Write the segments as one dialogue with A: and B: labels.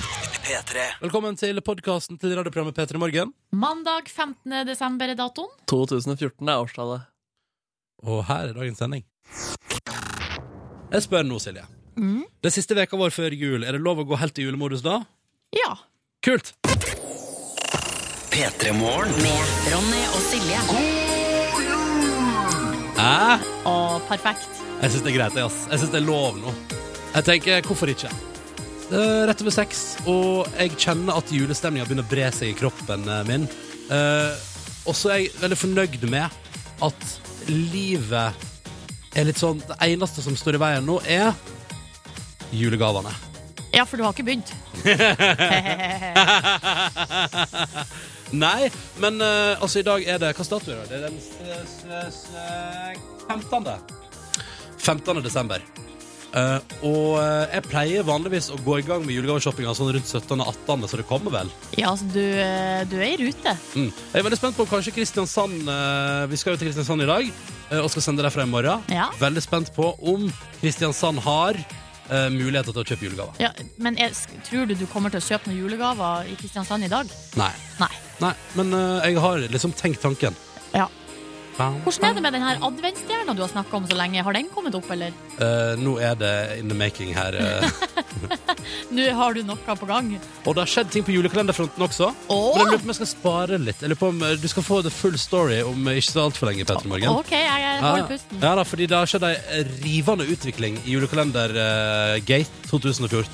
A: P3.
B: Velkommen til podkasten til radioprogrammet P3 Morgen.
C: Mandag 15. desember er datoen.
D: 2014 er årstallet.
B: Og her er dagens sending. Jeg spør nå, Silje. Det siste veka vår før jul, er det lov å gå helt i julemodus da?
C: Ja.
B: Kult!
A: P3 Morgen.
E: Med Ronny og Silje.
B: Æ?
C: Og perfekt.
B: Jeg syns det er greit, jeg, ass. Jeg syns det er lov nå. Jeg tenker, hvorfor ikke? Det er rett over seks, og jeg kjenner at julestemninga begynner å bre seg i kroppen eh, min. Eh, og så er jeg veldig fornøyd med at livet er litt sånn Det eneste som står i veien nå, er julegavene.
C: Ja, for du har ikke begynt.
B: Nei, men eh, altså i dag er det Hva dato er det? Det er den s- s- s- 15. 15. desember. Eh, og eh, jeg pleier vanligvis å gå i gang med julegaveshoppinga sånn rundt 17. og 18., så det kommer vel.
C: Ja, altså, du, eh, du er i rute.
B: Mm. Jeg er veldig spent på om kanskje Kristiansand eh, Vi skal jo til Kristiansand i dag eh, og skal sende derfra i morgen.
C: Ja.
B: Veldig spent på om Kristiansand har eh, muligheter til å kjøpe julegaver.
C: Ja, men jeg, sk- tror du du kommer til å kjøpe noen julegaver i Kristiansand i dag?
B: Nei.
C: Nei.
B: Nei, men eh, jeg har liksom tenkt tanken.
C: Ja.
B: Bam,
C: Hvordan er det med den her adventsstjerna du har snakka om så lenge? Har den kommet opp, eller?
B: Eh, nå er det in the making her. eh.
C: Nå har du noe på gang.
B: og det har skjedd ting på julekalenderfronten også.
C: Åh!
B: Men jeg lurer på om jeg skal spare litt. Jeg lurer på om eh, Du skal få the full story om eh, ikke så altfor lenge. Petter Morgen.
C: OK, jeg jeg holder pusten.
B: ja da, fordi det har skjedd ei rivende utvikling i eh, julekalender-gate 2014.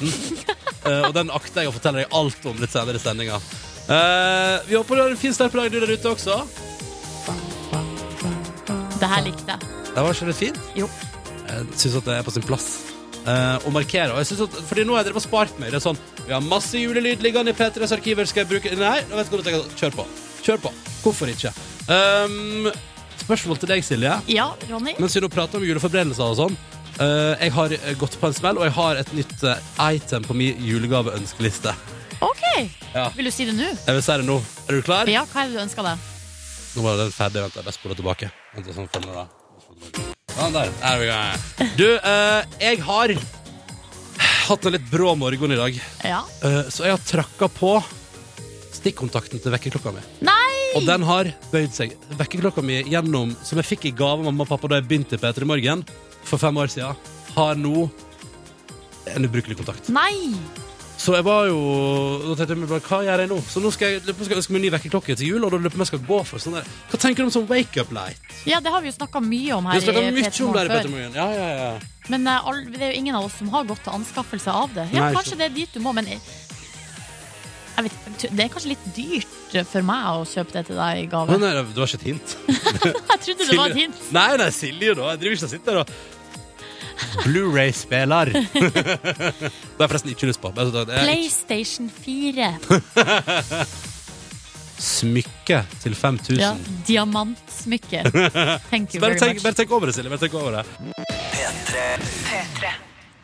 B: Eh, og den akter jeg å fortelle deg alt om litt senere i sendinga. Eh, vi håper du har en fin start på dagen du der ute også.
C: Det her likte jeg.
B: Det var ikke litt fint?
C: Jo.
B: Jeg syns at det er på sin plass. eh, å markere. Og jeg synes at, fordi nå har jeg drevet og spart meg. Det er sånn, Vi har masse julelyd liggende i P3s arkiver. Skal jeg bruke Nei, nå vet jeg hva du tenker. Kjør på. Kjør på. Hvorfor ikke? Um, spørsmål til deg, Silje.
C: Ja, Ronny.
B: Mens vi nå prater om juleforberedelser og sånn. eh, jeg har eh, gått på en smell, og jeg har et nytt eh, item på min julegaveønskeliste.
C: OK.
B: Ja.
C: Vil du si det nå?
B: Jeg vil si det nå. Er du klar?
C: Ja, hva er det du ønsker deg?
B: Nå var den ferdig. Vent, jeg bare spoler tilbake. Vent, sånn følger det da. Sånn der. Der er vi i gang. Du, eh, jeg har hatt en litt brå morgen i dag,
C: Ja.
B: eh, så jeg har trakka på stikkontakten til vekkerklokka mi.
C: Nei!
B: Og den har bøyd seg. Vekkerklokka mi gjennom, som jeg fikk i gave av mamma og pappa da jeg begynte i P3 Morgen for fem år siden, har nå en ubrukelig kontakt.
C: Nei!
B: Så jeg var jo Da tenkte jeg meg bare, hva gjør jeg nå? Så nå skal jeg, lurer på om jeg skal ønske meg en ny vekkerklokke til jul, og da lurer jeg på om jeg skal gå for sånn der. Hva tenker du om sånn wake-up light?
C: Ja, det har vi jo snakka mye om
B: Vi
C: her.
B: har snakket
C: i
B: mye
C: Peter
B: om det her i
C: Morgen
B: Petter Morgen. Ja, ja, ja.
C: før. Men eh, all, det er jo ingen av oss som har gått til anskaffelse av det. Ja,
B: Nei, ikke
C: Kanskje det er dit du må, men jeg, jeg vet, ikke, Det er kanskje litt dyrt for meg å kjøpe det til deg i gave.
B: Men nei, det var ikke et hint.
C: Jeg trodde det var et hint.
B: Nei, nei, Silje, da. Jeg driver ikke og sitter der og Blu-ray-spiller. det har jeg forresten ikke lyst på. Bare så- det er ikke-
C: PlayStation 4.
B: Smykke til 5000.
C: Ja, diamantsmykke. Thank you
B: Bare
C: very
B: tenk,
C: much.
B: bare tenk over det, Silje. Bare tenk over det.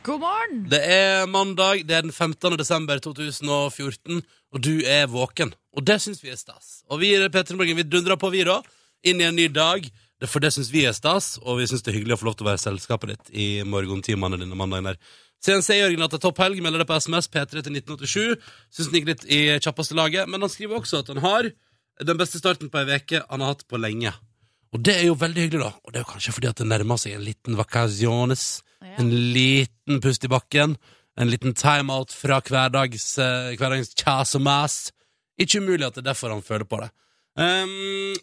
C: God morgen!
B: Det er mandag, det er den 15. desember 2014, og du er våken. Og det syns vi er stas. Og vi i P3 Morgen vi dundrer på, vi, da. Inn i en ny dag. Det- For det syns vi er stas, og vi syns det er hyggelig å få lov til å være selskapet ditt i morgentimene denne mandagen her. CNC Jørgen at det er topphelg, melder det på SMS P3 til 1987. Syns den gikk litt i kjappeste laget, men han skriver også at han har den beste starten på ei veke han har hatt på lenge. Og det er jo veldig hyggelig, da. Og det er jo kanskje fordi at det nærmer seg en liten vacaciones.
C: Ja.
B: En liten pust i bakken. En liten timeout fra hverdags, eh, hverdagens kjas og mas. Ikke umulig at det er derfor han føler på det. Um,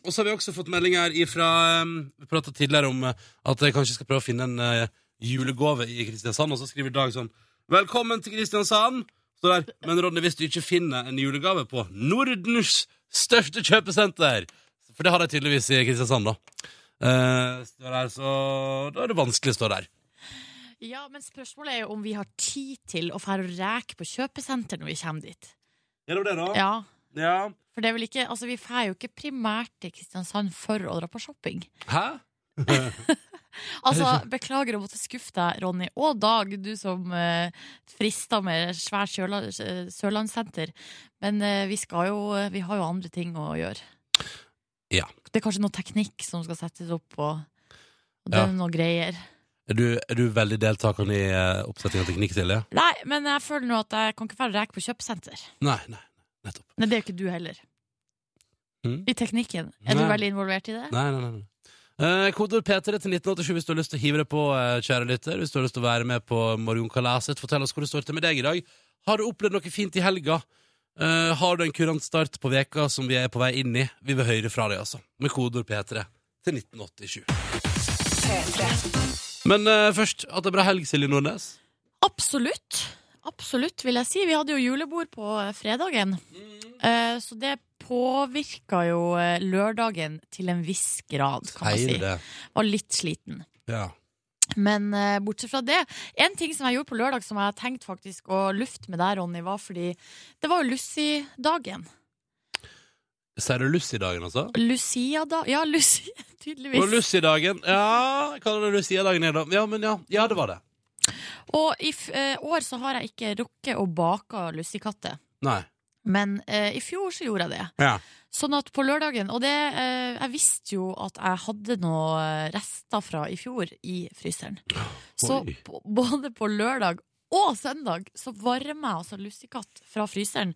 B: og så har vi også fått melding her ifra um, Vi prata tidligere om eh, at jeg kanskje skal prøve å finne en eh, julegave i Kristiansand, og så skriver Dag sånn Velkommen til Kristiansand! Så der, Men Ronny, hvis du ikke finner en julegave på Nordens største kjøpesenter For det har de tydeligvis i Kristiansand, da. Eh, står her, så da er det vanskelig å stå der.
C: Ja, men spørsmålet er jo om vi har tid til å fære og reke på kjøpesenter når vi kommer dit.
B: Gjennom det, da?
C: Ja,
B: Ja.
C: For det er vel ikke, altså vi drar jo ikke primært til Kristiansand for å dra på shopping.
B: Hæ?
C: Altså, Beklager å måtte skuffe deg, Ronny, og Dag, du som eh, frister med svært kjøla, eh, sørlandssenter. Men eh, vi, skal jo, eh, vi har jo andre ting å gjøre.
B: Ja.
C: Det er kanskje noe teknikk som skal settes opp, og, og det
B: Ja.
C: er noe greier.
B: Er du, er du veldig deltakende i eh, oppsetting av teknikk til, ja?
C: Nei, men jeg føler nå at jeg kan ikke være rek på kjøpesenter.
B: Nei, nei, nettopp.
C: Nei, det er jo ikke du heller.
B: Mm.
C: I teknikken. Er du
B: Nei.
C: veldig involvert i det?
B: Nei, nei, nei, nei. Eh, kodeord P3 til 1987 hvis du har lyst til å hive deg på, eh, kjære lytter. Hvis du har lyst til å være med på morgenkalaset. Fortell oss hvor det står til med deg i dag. Har du opplevd noe fint i helga? Eh, har du en kurant start på veka som vi er på vei inn i? Vi vil høre fra deg, altså. Med kodeord P3 til 1987. Men eh, først, at det er bra helg, Silje Nordnes.
C: Absolutt. Absolutt, vil jeg si. Vi hadde jo julebord på eh, fredagen. Eh, Så det påvirka jo eh, lørdagen til en viss grad, kan man
B: Sier
C: si.
B: du det?
C: Var litt sliten.
B: Ja.
C: Men eh, bortsett fra det, en ting som jeg gjorde på lørdag som jeg har tenkt faktisk å lufte med deg, Ronny, var fordi det var jo Lucy-dagen.
B: Sier du Lucy-dagen, altså?
C: Lucia-dagen Ja, Lucy, tydeligvis.
B: Og Lucy-dagen Ja, hva er det Lucia-dagen er, da? Ja, men ja. Ja, det var det.
C: Og i f eh, år så har jeg ikke rukket å bake lussekatter.
B: Nei.
C: Men eh, i fjor så gjorde jeg det.
B: Ja.
C: Sånn at på lørdagen Og det, eh, jeg visste jo at jeg hadde noe eh, rester fra i fjor i fryseren. Så
B: Oi.
C: på- både på lørdag og søndag så varmer jeg altså lussekatt fra fryseren,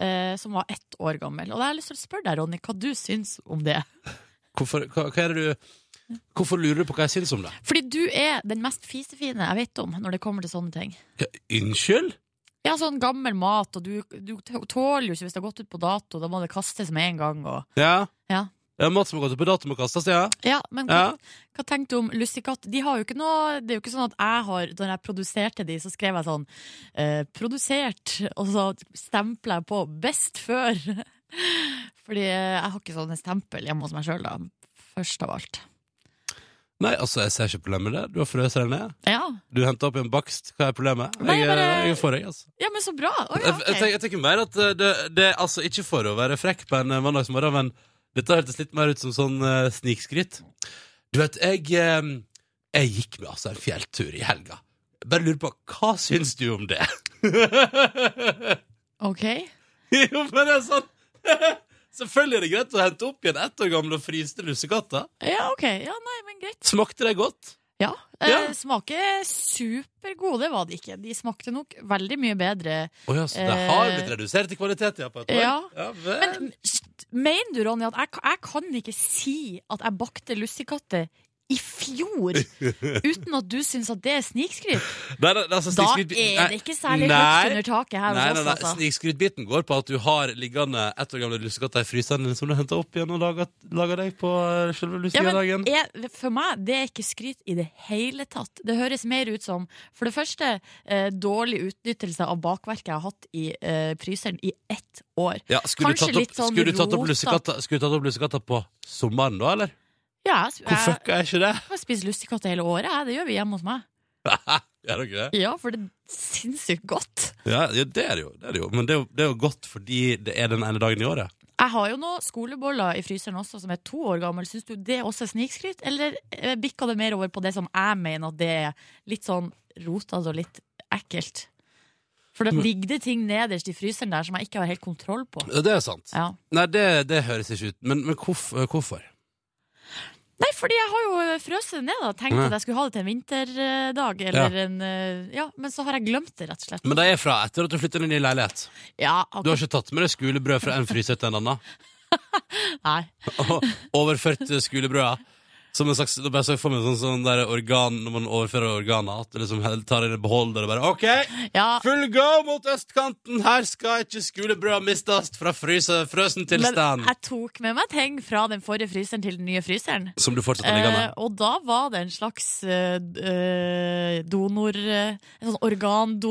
C: eh, som var ett år gammel. Og da har jeg lyst til å spørre deg, Ronny, hva du syns om det.
B: Hvorfor, hva, hva er det du Hvorfor lurer du på hva jeg syns om det?
C: Fordi du er den mest fisefine jeg vet om når det kommer til sånne ting.
B: Hva, unnskyld?
C: Ja, sånn gammel mat, og du, du tåler jo ikke hvis det har gått ut på dato, da må det kastes med en gang. Og...
B: Ja.
C: Ja.
B: Mat som har gått ut på dato, må kastes, ja.
C: Ja, men hva,
B: ja.
C: hva tenkte du om lussekatt? De har jo ikke noe, det er jo ikke sånn at jeg har, når jeg produserte de, så skrev jeg sånn eh, 'produsert', og så stempla jeg på 'best før'. Fordi eh, jeg har ikke sånne stempel hjemme hos meg sjøl, da. Først av alt.
B: Nei, altså, jeg ser ikke problemet med det. Du har frøst deg ned.
C: Ja,
B: Du henter opp i en bakst. Hva er problemet?
C: Nei,
B: jeg, er-
C: bare-
B: jeg er for deg, altså.
C: ja men så bra! Å, ja,
B: Jeg, jeg, tenker,
C: ok.
B: jeg tenker mer at eh, det, det er altså ikke for å være frekk på en eh, mandagsmorgen, men dette hørtes litt mer ut som sånn eh, snikskryt. Du vet, jeg, eh, jeg gikk med altså en fjelltur i helga. Bare lurer på, hva syns du om det?
C: Ok.
B: jo, men det er sånn Selvfølgelig er det greit å hente opp igjen ett år gamle og fryste lussekatter.
C: Ja, ok. Ja, nei, men greit.
B: Smakte det godt?
C: Ja.
B: Ja.
C: Eh, smaker supergode, var de ikke. De smakte nok veldig mye bedre.
B: Å ja, så det
C: Eh,
B: har blitt redusert i kvalitet ja, på et år?
C: ja.
B: vel.
C: Men st- mener du, Ronny, at jeg, ka- jeg kan ikke si at jeg bakte lussekatter i fjor uten at du syns at det er snikskryt?
B: Nei, nei, altså,
C: Da
B: snikskryt-
C: er det ikke særlig
B: Nei.
C: høyt under taket
B: Nei,
C: her hos
B: nei,
C: oss,
B: nei.
C: altså.
B: Snikskrytbiten går på at du har liggende ett år gamle lussekatter i fryseren din som du henter opp igjen og lager, lager deg på eh, selve
C: Ja, men
B: luciadagen.
C: jeg, for meg det er ikke skryt i det hele tatt. Det høres mer ut som for det første eh, dårlig utnyttelse av bakverket jeg har hatt i eh, fryseren i ett år.
B: Ja, skulle, du tatt
C: kanskje
B: opp,
C: litt sånn
B: skulle du tatt opp
C: rota.
B: lussekatter skulle du tatt opp lussekatter på sommeren da, eller?
C: Ja, jeg,
B: Hvor
C: jeg,
B: fucka er ikke det?
C: jeg har spist lussekatter hele året, jeg. det gjør vi hjemme hos meg.
B: Er det ikke det?
C: Ja, for det er sinnssykt godt.
B: Ja, ja, det er det jo. Det er det jo. Men det er jo, det er jo godt fordi det er den ene dagen i året.
C: Jeg har jo noen skoleboller i fryseren også som er to år gammel. Syns du det også er snikskryt, eller eh, bikker det mer over på det som jeg mener at det er litt sånn rotete og litt ekkelt? For det
B: Men-
C: ligger det ting nederst i fryseren der som jeg ikke har helt kontroll på.
B: Ja, det er sant.
C: Ja.
B: Nei, det, det høres ikke ut. Men, men hvorf, eh, hvorfor?
C: Nei, fordi jeg har jo frøset det ned, da. Tenkt
B: Ja.
C: at jeg skulle ha det til en vinterdag, eller en eh, Ja, men så har jeg glemt det, rett og slett.
B: Men det er fra etter at du flytter inn i ny leilighet.
C: Ja,
B: Du har
C: akkurat.
B: ikke tatt med deg skulebrød fra en fryser til en annen?
C: Nei.
B: og overført skulebrøda. Som en slags, da bare så jeg for meg sånn, sånn der organ Når man overfører organer. At du liksom hel- tar inn en beholder og bare OK,
C: Ja,
B: full go mot østkanten! Her skal ikke skulebrøda mistes fra fryse, frøsen
C: men
B: tilstand!
C: jeg tok med meg ting fra den forrige fryseren til den nye fryseren.
B: Som du fortsatt har liggende.
C: Eh, og da var det en slags eh, d- eh, donor... eh, En sånn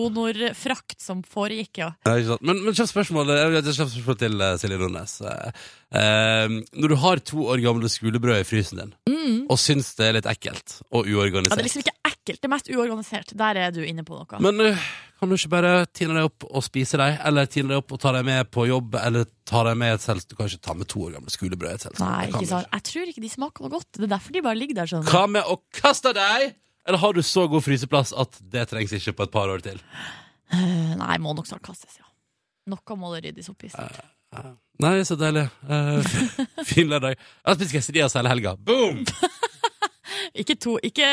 C: organdonorfrakt som foregikk, ja.
B: Ja, ikke sant. Men, men kjapt spørsmål, eh, jeg har et kjapt spørsmål til eh, Silje Nordnes. Eh, eh, når du har to år gamle skulebrød i frysen din, og syns det er litt ekkelt og
C: Mm. ja.
B: uorganisert
C: Det er liksom ikke ekkelt, det er mest uorganisert. Der er du inne på noe.
B: Men øh, kan du ikke bare tine deg opp og spise deg, eller tine deg opp og ta deg med på jobb, eller ta deg med et selskap? Du kan ikke ta med to år gamle skolebrød i et selskap.
C: Nei,
B: Det kan
C: ikke
B: du
C: sant. Jeg tror ikke de smaker noe godt. Det er derfor de bare ligger der sånn.
B: Hva med å kaste deg? Eller har du så god fryseplass at det trengs ikke på et par år til?
C: Eh, Nei, må nok snart kastes, ja. Noe må det ryddes opp i. snart.
B: Eh. Nei, så deilig. Eh, fin lørdag. Jeg har spist quesadillas hele helga. Boom!
C: Ikke, to, ikke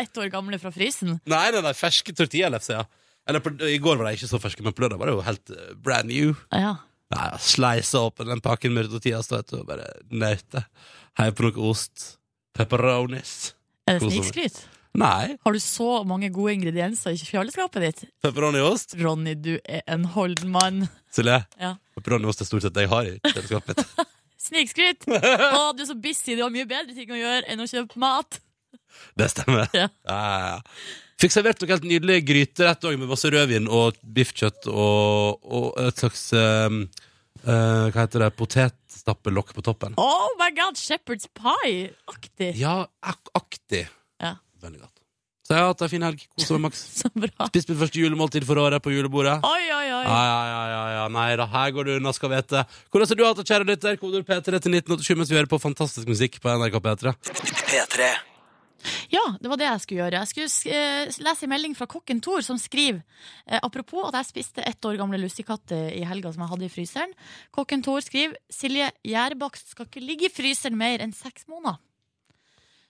C: ett år gamle fra frysen.
B: Nei, nei, nei, ferske tortillalefser, ja. Eller på, I går var de ikke så ferske, men på lørdag var det jo helt eh, brand new.
C: Ja.
B: Nei, jeg Sleisa opp den pakken med tortillas og vet du, og bare nøyte. Hei på noe ost. Pepperonis.
C: Er det
B: God sommer.
C: snikskryt?
B: Nei,
C: Har du så mange gode ingredienser i kjøleskapet ditt?
B: pepperoni og ost.
C: Ronny, du er en holden mann.
B: Silje,
C: Ja.
B: pepperoni og ost er stort sett det jeg har i kjøleskapet. mitt.
C: Snikskryt! Å, du er så busy, du har mye bedre ting å gjøre enn å kjøpe mat.
B: Det stemmer.
C: Ja.
B: Ja, ja, ja. Fikk servert noen helt nydelige gryterett også, med masse rødvin og biffkjøtt og, og et slags ehm, eh, Hva heter det? Potetstappelokk på toppen.
C: Oh my god, Shepherd's pie-aktig!
B: Ja, ak aktig.
C: Ja.
B: Veldig godt. Så jeg har hatt ei en fin helg. Kosa meg maks.
C: Så bra.
B: Spist mitt første julemåltid for året på julebordet.
C: Oi, oi, oi.
B: Ja, ja, ja, ja, ja, nei da, her går du unna, skal vite. Hvordan har du hatt det, kjære lytter? Kodord P3 til 1987 mens vi hører på fantastisk musikk på NRK P3.
A: P3.
C: Ja, det var det jeg skulle gjøre. Jeg skulle sk- eh, lese en melding fra kokken Tor, som skriver eh, Apropos at jeg spiste ett år gamle lussekatter i helga som jeg hadde i fryseren. Kokken Tor skriver Silje, gjærbakst skal ikke ligge i fryseren mer enn seks måneder.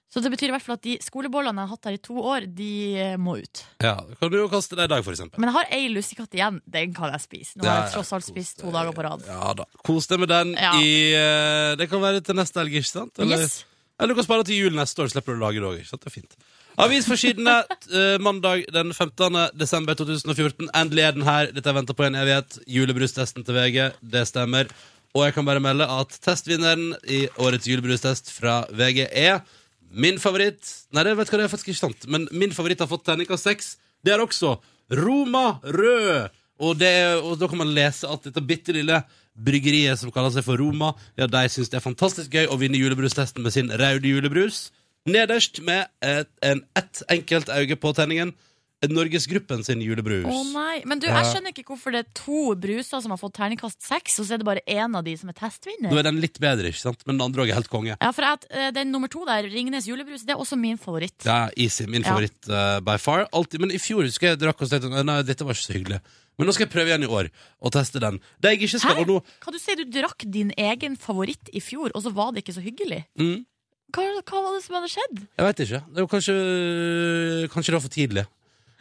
C: Så det betyr i hvert fall at de skolebollene jeg har hatt her i to år, de eh, må ut.
B: Ja, kan du jo kaste deg i dag, for eksempel.
C: Men jeg har ei lussekatt igjen. Den kan jeg spise. Nå har jeg tross alt spist to dager på rad.
B: Ja da. Kos deg med den
C: Ja.
B: i eh, Det kan være til neste helg, ikke sant? Eller,
C: Yes.
B: eller du kan spare til jul neste år, slipper du å lage det òg. ikke sant? Det er fint. Avisforsidene eh, mandag den 15. desember 2014. Endelig er den her. Dette har venta på i en evighet. Julebrustesten til VG, det stemmer. Og jeg kan bare melde at testvinneren i årets julebrustest fra VG er min favoritt Nei, det vet du hva det er faktisk ikke sant, men min favoritt har fått terningkast seks. Det er også Roma Rød. Og, det, er- og da kan man lese at dette bitte lille bryggeriet som kaller seg for Roma, ja, de syns det er fantastisk gøy å vinne julebrustesten med sin røde julebrus. Nederst med et, en ett enkelt auge på tenningen. Norgesgruppen sin julebrus.
C: Å nei, Men du,
B: Ja.
C: jeg skjønner ikke hvorfor det er to bruser som har fått terningkast seks, og så er det bare én av de som er testvinner.
B: Nå er den litt bedre, ikke sant? men den andre òg er helt konge.
C: Ja, for at, eh, den nummer to der, Ringnes julebrus, det er også min favoritt.
B: Det er easy, min
C: Ja.
B: favoritt eh, by far. Altid, men i fjor husker jeg drakk og tenkte Nei, dette var ikke så hyggelig. Men nå skal jeg prøve igjen i år og teste den. Det jeg ikke skal,
C: Hæ?
B: og nå
C: Hva du sier, du drakk din egen favoritt i fjor, og så var det ikke så hyggelig?
B: Mm.
C: Hva, hva var det som hadde skjedd?
B: Jeg veit ikke. Det var kanskje, kanskje det var for tidlig.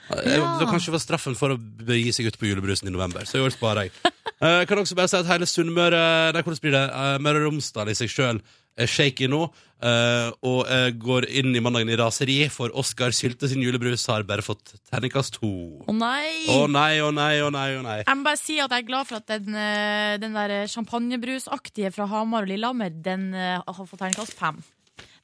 B: Jeg,
C: Ja.
B: Det kanskje var straffen for å begi seg ut på julebrusen i november. Så i år sparer jeg. Eh, Jeg kan også bare si at hele Sunnmøre Nei, hvordan blir det? Eh, Møre og Romsdal i seg sjøl er shaky nå. eh, og eh, går inn i mandagen i raseri, for Oskar Sylte sin julebrus har bare fått terningkast to.
C: Å nei!
B: Å nei, å nei, å nei. å nei
C: Jeg må bare si at jeg er glad for at den, eh, den der champagnebrusaktige fra Hamar og Lillehammer, den eh, har fått terningkast fem.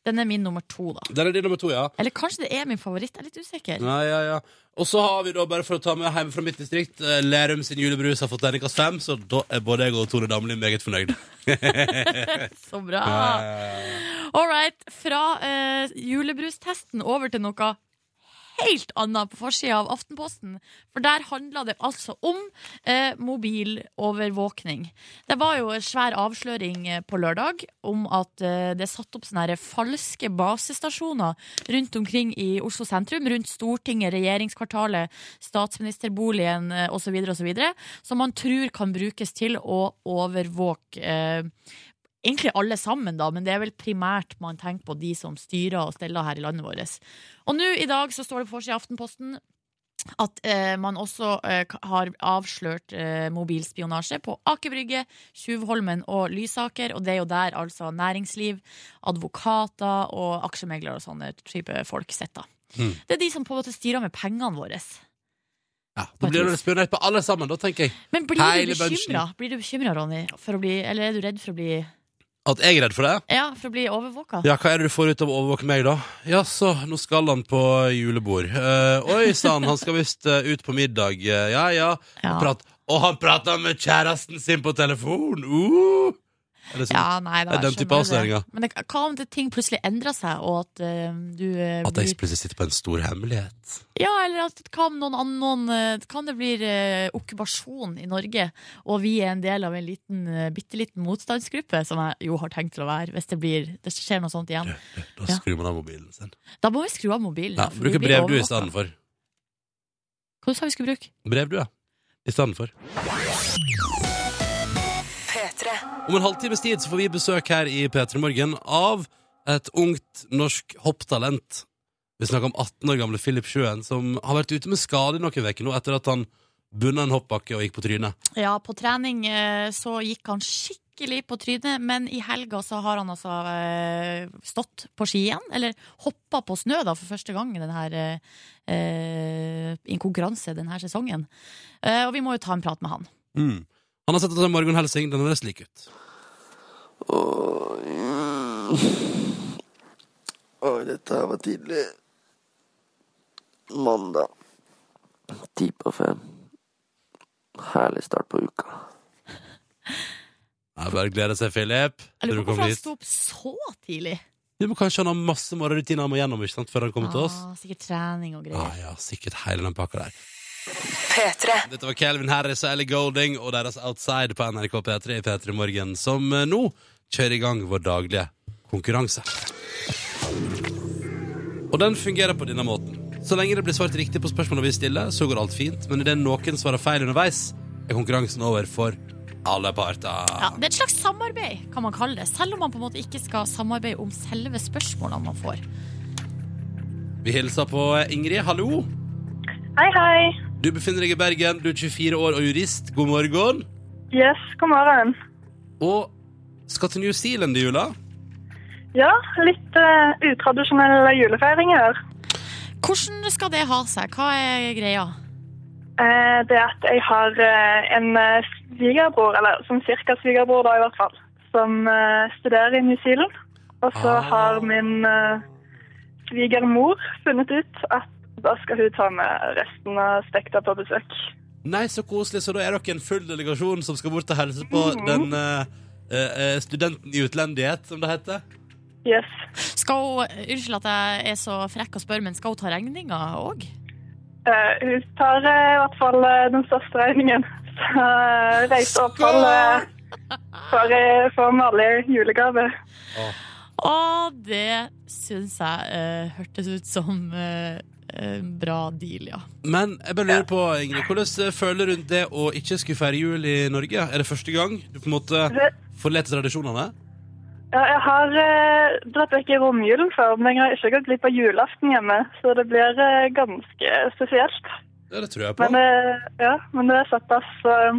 C: Den er min nummer to, da.
B: Der er din nummer to, ja.
C: Eller kanskje det er min favoritt, jeg er litt usikker.
B: Ja, ja, ja. Og så har vi da, bare for å ta med hjem fra mitt distrikt, eh, Lerum sin julebrus har fått terningkast fem, så da er både jeg og Tone Damli meget fornøyd.
C: Så bra! All right, fra eh, julebrustesten over til noe helt annet på forsida av Aftenposten. For der handla det altså om eh, mobilovervåkning. Det var jo en svær avsløring eh, på lørdag om at eh, det er satt opp sånne her falske basestasjoner rundt omkring i Oslo sentrum, rundt Stortinget, regjeringskvartalet, statsministerboligen eh, osv., osv., som man tror kan brukes til å overvåke eh, egentlig alle sammen, da, men det er vel primært man tenker på de som styrer og steller her i landet vårt. Og nå i dag så står det på forsiden i Aftenposten at eh, man også eh, ka- har avslørt eh, mobilspionasje på Aker Brygge, Tjuvholmen og Lysaker. Og det er jo der altså næringsliv, advokater og aksjemeglere og sånne type folk sitter.
B: Mm.
C: Det er de som på en måte styrer med pengene våre.
B: Ja, da blir det spionert på alle sammen, da, tenker jeg.
C: Men blir
B: Hele
C: du bekymra,
B: bunchen.
C: Blir du bekymret, Ronny? For å bli, eller er du redd for å bli,
B: At jeg er redd for det?
C: ja, for å bli overvåka?
B: Ja, hva er det du får ut av å overvåke meg, da? Ja, så, nå skal han på julebord. Eh, oi sann, han skal visst eh, ut på middag. Eh, ja, ja.
C: Ja.
B: Prat. Og han prater med kjæresten sin på telefon! Uh! Er det sånn?
C: Ja, nei, da,
B: Jeg er dømt
C: skjønner
B: i
C: det.
B: avsløringa.
C: Men det, hva om det ting plutselig endrer seg, og at eh, du eh,
B: At jeg
C: blir
B: plutselig sitter på en stor hemmelighet.
C: Ja, eller at hva om noen, annen- noen eh, Kan det bli eh, okkupasjon i Norge, og vi er en del av en liten, eh, bitte liten motstandsgruppe, som jeg jo har tenkt til å være, hvis det, blir, det skjer noe sånt igjen.
B: Da
C: Ja.
B: skrur man av mobilen sin.
C: Da må vi skru av mobilen.
B: Ja,
C: for vi
B: Bruker
C: blir
B: brevdue i
C: overvåket.
B: stedet for.
C: Hva sa vi skulle bruke?
B: Brevdue i stedet for. Om en halvtimes tid så får vi besøk her i P3 Morgen av et ungt norsk hopptalent. Vi snakker om 18 år gamle Philip Sjøen, som har vært ute med skade i noen uker nå etter at han bunna en hoppbakke og gikk på trynet.
C: Ja, på trening eh, så gikk han skikkelig på trynet, men i helga så har han altså eh, stått på ski igjen, eller hoppa på snø da for første gang i den her, eh, eh, i en konkurranse denne sesongen. Eh, Og vi må jo ta en prat med han.
B: Han har sett at Morgan Helsing den høres lik ut.
A: Oi, dette her var tidlig. Mandag. Ti på fem. Herlig start på uka.
B: Jeg bare gleder seg, Philip.
C: Jeg
B: til
C: lurer
B: du kommer
C: på hvorfor han
B: hit.
C: sto opp så tidlig.
B: Ja, men kanskje han har masse morgenrutiner han må gjennom ikke sant, før han kommer til oss.
C: Ah, sikkert trening og
B: Ja,
C: greier.
B: ja, sikkert hele den pakka der. Dette var Calvin Harris og Ellie Golding og deres Outside på NRK P3 i P3 Morgen, som eh, nå kjører i gang vår daglige konkurranse. Og den fungerer på denne måten. Så lenge det blir svart riktig på spørsmålet vi stiller, så går alt fint, men idet noen svarer feil underveis, er konkurransen over for alle parter.
C: Ja, det er et slags samarbeid, kan man kalle det. Selv om man på en måte ikke skal samarbeide om selve spørsmålene man får.
B: Vi hilser på Ingrid. Hallo.
F: Hei, hei.
B: Du befinner deg i Bergen, du er 24 år og jurist. God morgen.
F: Yes, god morgen.
B: Og skal til New Zealand i jula.
F: Ja, litt eh, utradisjonell julefeiring i år.
C: Hvordan skal det ha seg? Hva er greia?
F: Eh, det er at jeg har eh, en eh, svigerbror, eller som cirka svigerbror da i hvert fall, som eh, studerer i New Zealand. Og så
B: Ah.
F: har min eh, svigermor funnet ut at da skal hun ta med resten av spekta på besøk.
B: Nei, så koselig. Så da er dere en full delegasjon som skal bort og hilse på
F: Mhm.
B: den eh, eh, studenten i utlendighet, som det heter.
F: Yes.
C: Skal hun, Unnskyld at jeg er så frekk og spør, men skal hun ta regninga òg?
F: Eh, hun tar eh, i hvert fall eh, den største regningen. Så eh, reiseoppholdet eh, for, eh, for vanlig julegave.
C: Å, det syns jeg eh, hørtes ut som eh, en bra deal, ja.
B: Men jeg bare lurer på, Ingrid, hvordan eh, føler du rundt det å ikke skulle feire jul i Norge? Er det første gang du på en måte
F: Det-
B: forlater tradisjonene?
F: Ja, jeg har eh, dratt vekk i romjulen før, men jeg har ikke gått glipp av julaften hjemme, så det blir eh, ganske spesielt.
B: Ja, det tror jeg på.
F: Men, eh, ja, men det er såpass eh,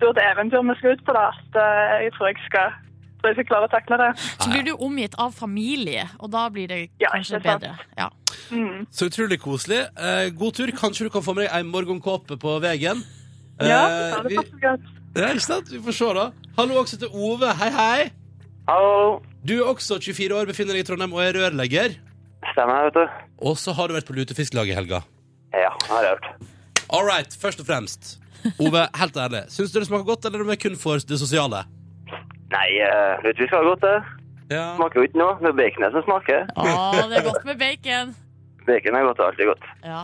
F: stort eventyr vi skal ut på, da, at eh, jeg tror jeg skal, tror jeg skal klare å takle det.
C: Så blir du omgitt av familie, og da blir det
F: Ja,
C: kanskje
F: ikke sant.
C: bedre. Ja.
F: Mm.
B: Så utrolig koselig. Eh, god tur. Kanskje du kan få med deg ei morgenkåpe på veien.
F: Ja,
B: Eh,
F: det
B: vi,
F: passer godt.
B: ja, ikke sant? Vi får se, da. Hallo også til Ove. Hei, hei.
A: Hallo.
B: Du er også 24 år, befinner deg i Trondheim og er rørlegger.
A: Stemmer, vet du.
B: Og så har du vært på lutefisklaget i helga.
A: Ja, har jeg hørt.
B: All right, først og fremst. Ove, helt ærlig, syns du det smaker godt, eller er det kun for det sosiale?
A: Nei, uh, Ludvig skal ha godt, det.
B: Ja.
A: Smaker jo ikke noe. Det er baconet som smaker.
C: Å, det er godt med bacon.
A: Bacon er godt, det er alltid godt.
C: Ja.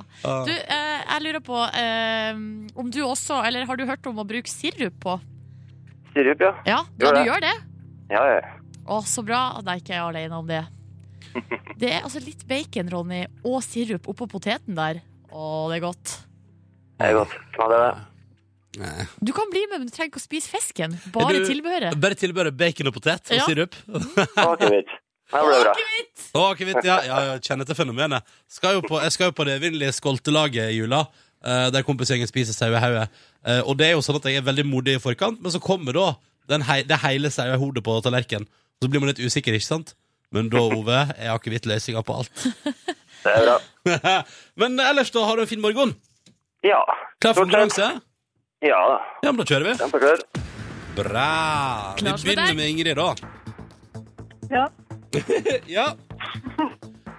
C: Du, eh, jeg lurer på eh, om du også, eller har du hørt om å bruke sirup på?
A: Sirup, ja.
C: Ja,
A: Gjør
C: ja du
A: det.
C: gjør det?
A: Ja, ja.
C: Å, så bra at jeg ikke er alene om det. Det er altså litt bacon, Ronny, og sirup oppå poteten der. Å, det er godt.
A: Det er godt. Ja, det er det.
B: Nei.
C: Du kan bli med, men du trenger ikke å spise fisken. Bare
B: Du-
C: tilbehøret.
B: Bare tilbehøret bacon og potet og
C: Ja.
B: sirup.
A: Akevitt. Det ble bra.
C: Akevitt!
B: Å, akevitt, ja. ja, ja kjenner til fenomenet. Skal jo på, jeg skal jo på det evinnelige skoltelaget i jula, eh, der kompisgjengen spiser sauehauge. Eh, og det er jo sånn at jeg er veldig modig i forkant, men så kommer da den hei, det hele sauehodet på tallerkenen. Så blir man litt usikker, ikke sant? Men da, Ove, er akevitt løsninga på alt.
A: Det er bra.
B: men ellers, da har du en fin morgen.
A: Ja.
B: Klar for
A: Stort sett.
B: konkurranse?
A: Ja da.
B: Ja, men da kjører vi.
A: Kjempeklar.
B: Bra! Vi
C: Klar som en
B: begynner
C: dag.
B: med Ingrid, da.
F: Ja.
B: Ja.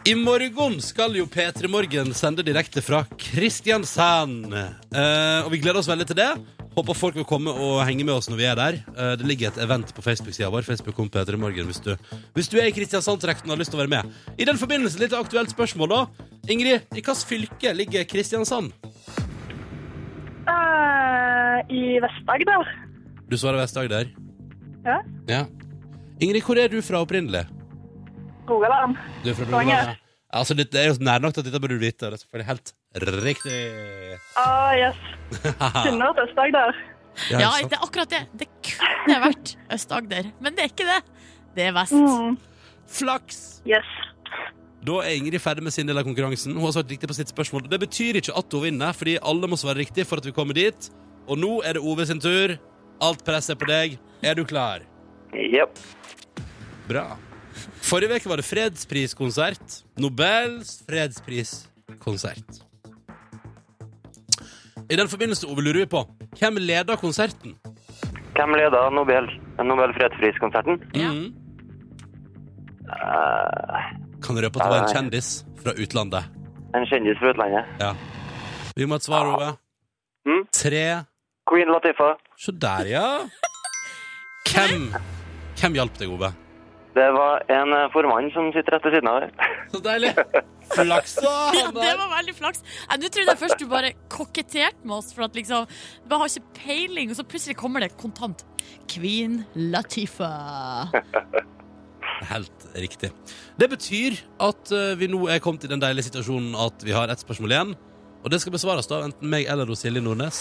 B: I morgen skal jo P3 Morgen sende direkte fra Kristiansand. Eh, og vi gleder oss veldig til det. Håper folk vil komme og henge med oss når vi er der. Eh, det ligger et event på Facebook-sida vår. Facebook kom P3 Morgen hvis du, hvis du er i Kristiansand-trekten og har lyst til å være med. I den forbindelse litt aktuelt spørsmål, da. Ingrid, i hvilket fylke ligger Kristiansand?
F: Eh, I Vest-Agder.
B: Du svarer Vest-Agder.
F: Ja.
B: Ja. Ingrid, hvor er du fra opprinnelig?
F: Rogaland.
B: Du er fra
F: Stavanger.
B: Rogaland, ja. Altså, det det er jo nær nok til at dette burde du vite. og Det er selvfølgelig helt riktig.
F: Ah, yes. Kjenner til Vest-Agder.
B: Ja,
C: Ja,
B: ikke sant?
C: det er akkurat det. Det kunne vært Øst-Agder, men det er ikke det. Det er vest.
F: Mm.
B: Flaks!
F: Yes.
B: Da er Ingrid ferdig med sin del av konkurransen. Hun har svart riktig på sitt spørsmål. Det betyr ikke at hun vinner, fordi alle må svare riktig for at vi kommer dit. Og nå er det Ove sin tur. Alt presset er på deg. Er du klar?
A: Jepp.
B: Bra. Forrige uke var det fredspriskonsert. Nobels fredspriskonsert. I den forbindelse, Ove, lurer vi på hvem leder konserten?
A: Hvem leder Nobel, Nobel fredspriskonserten?
C: Ja.
B: Mhm. Kan røpe at det var en kjendis fra utlandet.
A: En kjendis fra utlandet.
B: Vi må ha et svar,
C: Ah.
B: Ove.
C: Hmm?
A: Mm.
B: Tre
A: Queen Latifah.
B: Se der, ja. Hvem, hvem hjalp deg, Ove?
A: Det var en eh, formann som sitter rett ved siden av her.
B: Så deilig. Flaks, da!
C: Ja, det var veldig flaks. Nei, Nå trodde jeg først du bare koketterte med oss, for at liksom Du bare har ikke peiling, og så plutselig kommer det kontant. Queen Latifa.
B: Helt riktig. Det betyr at eh, vi nå er kommet i den deilige situasjonen at vi har ett spørsmål igjen. Og det skal besvares da, enten meg eller hos Silje Nordnes.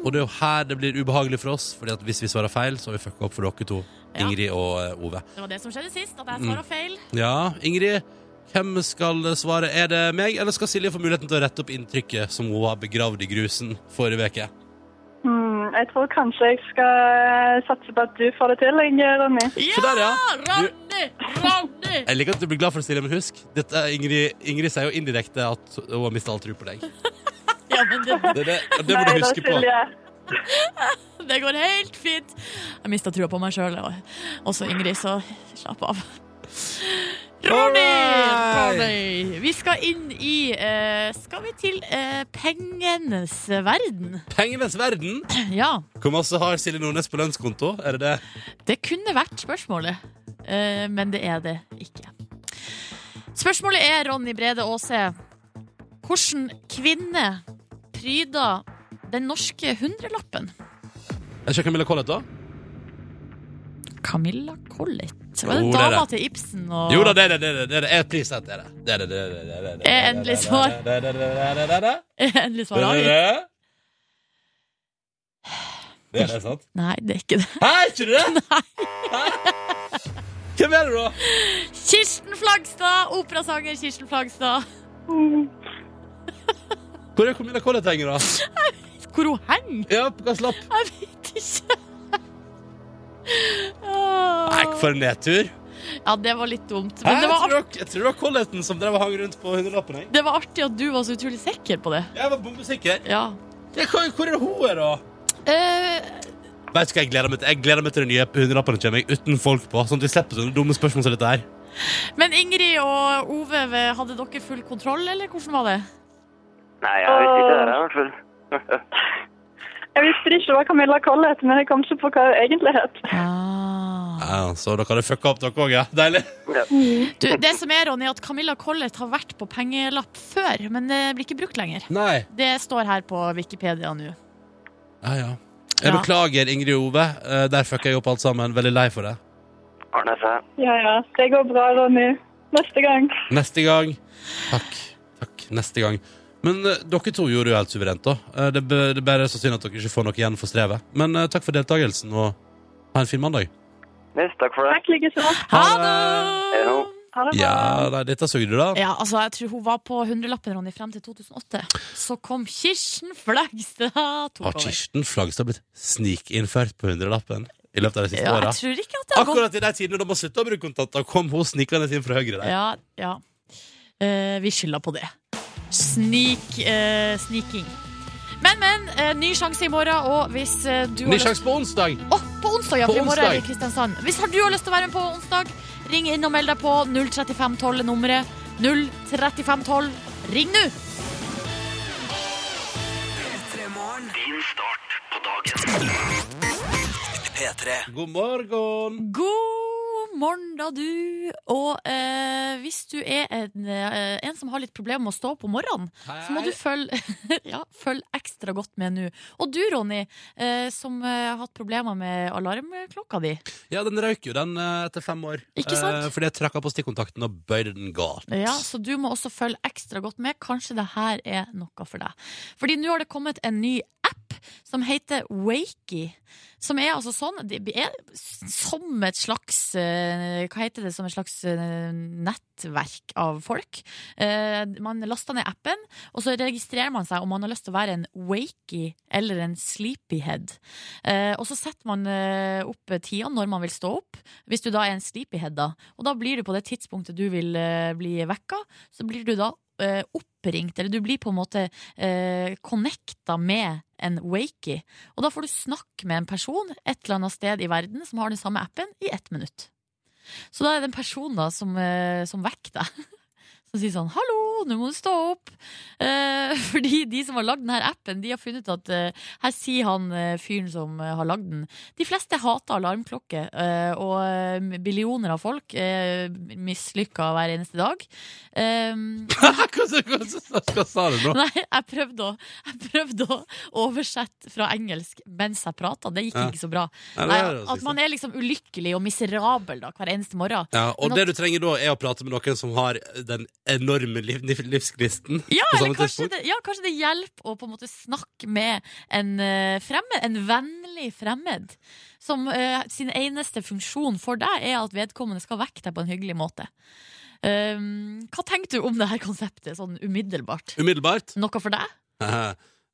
B: Og det er jo her det blir ubehagelig for oss, Fordi at hvis vi svarer feil, så har vi fucka opp for dere to.
C: Ja.
B: Ingrid og eh, Ove.
C: Det var det som skjedde sist, at jeg svara feil.
B: Ja, Ingrid, hvem skal svare? Er det meg, eller skal Silje få muligheten til å rette opp inntrykket som hun har begravd i grusen forrige uke?
F: Hmm, jeg tror kanskje jeg skal satse på at du får det til, jeg, Ronny.
B: Så der, ja. Du-
C: Ronny! Ronny!
B: Jeg liker at du blir glad for det, Silje, men husk dette er Ingrid, Ingrid sier jo indirekte at hun har mista all tro på deg.
C: Ja, men det,
B: Det, det, det må du
F: Nei, da,
B: huske på.
F: Silje.
C: det går helt fint. Jeg mista trua på meg sjøl. Og også Ingrid, så slapp av. Ronny!
B: Alright!
C: Ronny! Vi skal inn i eh, Skal vi til eh, pengenes verden?
B: Pengenes verden.
C: Ja.
B: Hvor masse har Silje Nordnes på lønnskonto? Er det det?
C: Det kunne vært spørsmålet, eh, men det er det ikke. Spørsmålet er, Ronny Brede Aase, hvordan kvinne pryder den norske hundrelappen?
B: Jeg ser Camilla Collett, da.
C: Camilla Collett. Var det
B: Jo, det er
C: dama
B: det.
C: til Ibsen? Og...
B: Jo da, det er det. det, er det, det, er det. Jeg priser at det er det. det, er det, det, er det, det, er det, det,
C: Er endelig svar.
B: Det er det, det, er det, det, er det,
C: Endelig
B: det,
C: svar
B: er det,
C: avgitt.
B: det. Det er det, sant?
C: Nei, det er ikke det.
B: Hæ, er ikke det det? Hæ? Hvem er det, da?
C: Kirsten Flagstad! Operasanger Kirsten Flagstad.
B: Hvor er Camilla Collett henger, da?
C: Hvor hun henger!
B: Ja, på hvilken lapp?
C: Jeg vet ikke. Åh.
B: Nei, for en nedtur.
C: Ja, det var litt dumt.
B: Hæ?
C: Men det var,
B: jeg, tror det var, jeg tror det var Colleten som drev og hang rundt på hundrelappen. Jeg.
C: art- det var artig at du var så utrolig sikker på det.
B: jeg var bombesikker.
C: Ja.
B: Ja, Hvor hvor er det hun er, da?
C: Eh,
B: Vet du hva Jeg gleder meg til Jeg gleder meg til den nye hundrelappen kommer jeg uten folk på. Sånn at vi slipper sånne dumme spørsmål som dette her.
C: men Ingrid og Ove, hadde dere full kontroll, eller hvordan var det?
A: Nei, jeg visste ikke det her, i hvert fall.
F: Jeg visste det ikke var Camilla Collett, men jeg kom ikke på hva hun egentlig het.
B: Ja, så dere hadde fucka opp, dere òg, ja? Deilig.
C: Du, det som er, Ronny, at Camilla Collett har vært på pengelapp før, men det blir ikke brukt lenger.
B: Nei.
C: Det står her på Wikipedia nå.
B: Ja, ja. Jeg
C: Ja.
B: beklager, Ingrid og Ove. Eh, Der fucka jeg opp alt sammen. Veldig lei for det.
A: Arne seg.
F: Ja, ja. Det går bra, Ronny. Neste gang.
B: Neste gang. Takk. Takk. Neste gang. Men eh, dere to gjorde jo helt suverent, da. Eh, det, bæ- det er bare så synd at dere ikke får noe igjen for strevet. Men eh, takk for deltakelsen, og ha en fin mandag.
A: Yes, takk for det.
F: Takk likeså.
C: Ha
A: Hei,
C: det!
A: ho.
F: Ha det bra.
B: Ja, nei, dette så du, da.
C: Ja, altså, jeg tror hun var på hundrelappen, Ronny, frem til 2008. Så kom Kirsten Flagstad. tok
B: Har
C: over.
B: Kirsten Flagstad blitt snikinnført på hundrelappen i løpet av de siste
C: Ja,
B: åra?
C: jeg tror ikke at det har gått
B: Akkurat i de tidene da man slutta å bruke kontanter, kom hun snikende inn fra høyre der.
C: Ja, ja. Eh, vi skylder på det. Snik, eh, sniking. Men, men. eh, ny sjanse i morgen, og hvis eh, du har
B: Ny
C: lyst
B: sjanse på onsdag!
C: Å, på onsdag, ja.
B: På
C: For i morgen er vi i
B: onsdag.
C: Kristiansand. Hvis har du har lyst til å være med på onsdag, ring inn og meld deg på 03512 er nummeret. 03512. Ring nå!
B: God morgen!
C: God morgen, da, du. Og eh, hvis du er en, eh, en som har litt problemer med å stå opp om morgenen, Så må du følge, ja, følg ekstra godt med nå. Og du, Ronny, eh, som eh, har hatt problemer med alarmklokka di.
B: Ja, den røyk jo, den, eh, etter fem år. Eh,
C: Ikke sant?
B: fordi jeg trakk av på stikkontakten og bøyde den galt.
C: Ja, så du må også følge ekstra godt med. Kanskje det her er noe for deg. Fordi nå har det kommet en ny app som heter Wakey. Som er altså sånn Det er som et slags eh, Hva heter det? Som et slags eh, nettverk av folk. Eh, Man laster ned appen, og så registrerer man seg om man har lyst til å være en wakey eller en sleepyhead. Eh, Og så setter man eh, opp tida når man vil stå opp, hvis du da er en sleepyhead, da. Og da blir du på det tidspunktet du vil eh, bli vekka, så blir du da eh, oppringt, eller du blir på en måte eh, connecta med en wakey. Og da får du snakke med en person et eller annet sted i verden som har den samme appen, i ett minutt. Så da er det en person da som, eh, som vekker deg. Som sier sånn 'hallo, nå må du stå opp'. Eh, fordi de som har lagd denne appen, de har funnet ut at eh, Her sier han eh, fyren som eh, har lagd den. De fleste hater alarmklokke, eh, og eh, billioner av folk eh, mislykka hver eneste dag. Eh,
B: Hva, hva, hva, hva sa du nå?
C: Nei, jeg prøvde, å, jeg prøvde å oversette fra engelsk mens jeg prata. Det gikk
B: Ja.
C: ikke så bra.
B: Nei, det sånn.
C: Nei,
B: er det
C: at
B: siste.
C: man er liksom ulykkelig og miserabel da, hver eneste morgen.
B: ja, og
C: Men
B: det du trenger da, er å prate med noen som har den enorme liv, livsgnisten.
C: Ja,
B: på
C: eller
B: samme
C: kanskje
B: tidspunkt.
C: det, ja, kanskje det hjelper å på en måte snakke med en eh, fremmed, en vennlig fremmed, som eh, sin eneste funksjon for deg er at vedkommende skal vekke deg på en hyggelig måte. Um, hva tenker du om det her konseptet, sånn umiddelbart?
B: Umiddelbart.
C: Noe for deg?
B: Eh,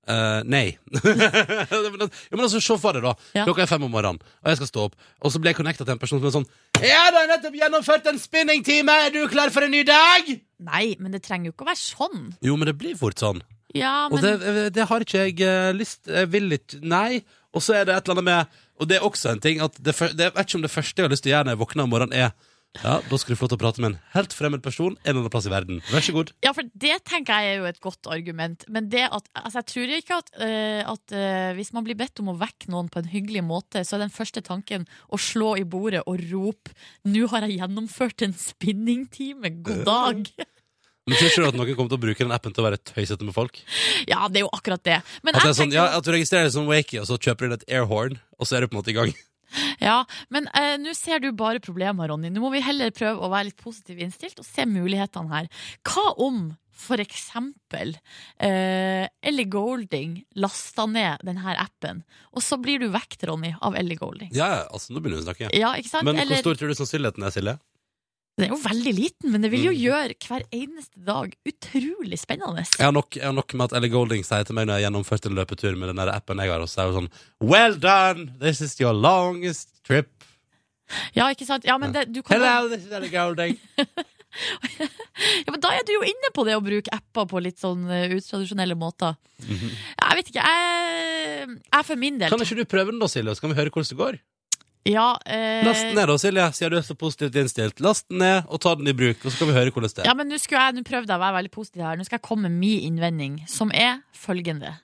B: eh, nei. men, ja, men altså, Se for deg, da.
C: Ja.
B: Klokka er fem om morgenen, og jeg skal stå opp. Og så blir jeg connecta til en person som er sånn Ja, du har nettopp gjennomført en spinningtime! Er du klar for en ny dag?
C: Nei, men det trenger jo ikke å være sånn.
B: Jo, men det blir fort sånn.
C: Ja, men...
B: Og det, det har ikke jeg eh, lyst Jeg vil ikke Nei. Og så er det et eller annet med Og det er også en ting at det, fyr- det, Jeg vet ikke om det første jeg har lyst til å gjøre når jeg våkner om morgenen, er ja, da skal du få lov til å prate med en helt fremmed person en eller annen plass i verden. Vær så god.
C: Ja, for det tenker jeg er jo et godt argument. Men det at, altså jeg tror ikke at, øh, at øh, hvis man blir bedt om å vekke noen på en hyggelig måte, så er den første tanken å slå i bordet og rope 'Nå har jeg gjennomført en spinningtime,
B: Eh.
C: god dag'.
B: Men tror ikke du at noen kommer til å bruke den appen til å være tøysete med folk?
C: Ja, det er jo akkurat det. Men
B: At, det
C: jeg
B: er sånn,
C: tenker
B: ja,
C: jo-
B: at du registrerer deg som wakey, og så kjøper du deg et airhorn, og så er du på en måte i gang.
C: Ja, men eh, nå ser du bare problemer, Ronny. Nå må vi heller prøve å være litt positivt innstilt og se mulighetene her. Hva om for eksempel eh, Ellie Golding lasta ned denne appen, og så blir du vekt, Ronny, av Ellie Golding?
B: Ja, ja, altså, nå begynner vi å snakke.
C: Ja, ikke sant?
B: Men hvor
C: Eller,
B: stor tror du sannsynligheten er, Silje?
C: den er jo veldig liten, men det vil jo
B: Mm.
C: gjøre hver eneste dag utrolig spennende.
B: Jeg har, nok, jeg har nok med at Ellie Golding sier til meg når jeg har gjennomført en løpetur med den der appen jeg har, og så er hun sånn Well done! This is your longest trip.
C: Ja, ikke sant? Ja, men, det, du kan,
B: Hello, this is Ellie Golding.
C: ja, men da er du jo inne på det å bruke apper på litt sånn eh, utradisjonelle måter. Jeg vet ikke, jeg, jeg for min del
B: Mhm. Kan ikke du prøve den da, Silje, og så kan vi høre hvordan det går?
C: Ja, eh,
B: Last den ned da, Silje, siden du er så positivt innstilt. Last den ned, og ta den i bruk, og så kan vi høre hvordan det
C: ja
B: er.
C: men nå skulle jeg, nå prøvde jeg å være veldig positiv her. Nå skal jeg komme med min innvending, som er følgende.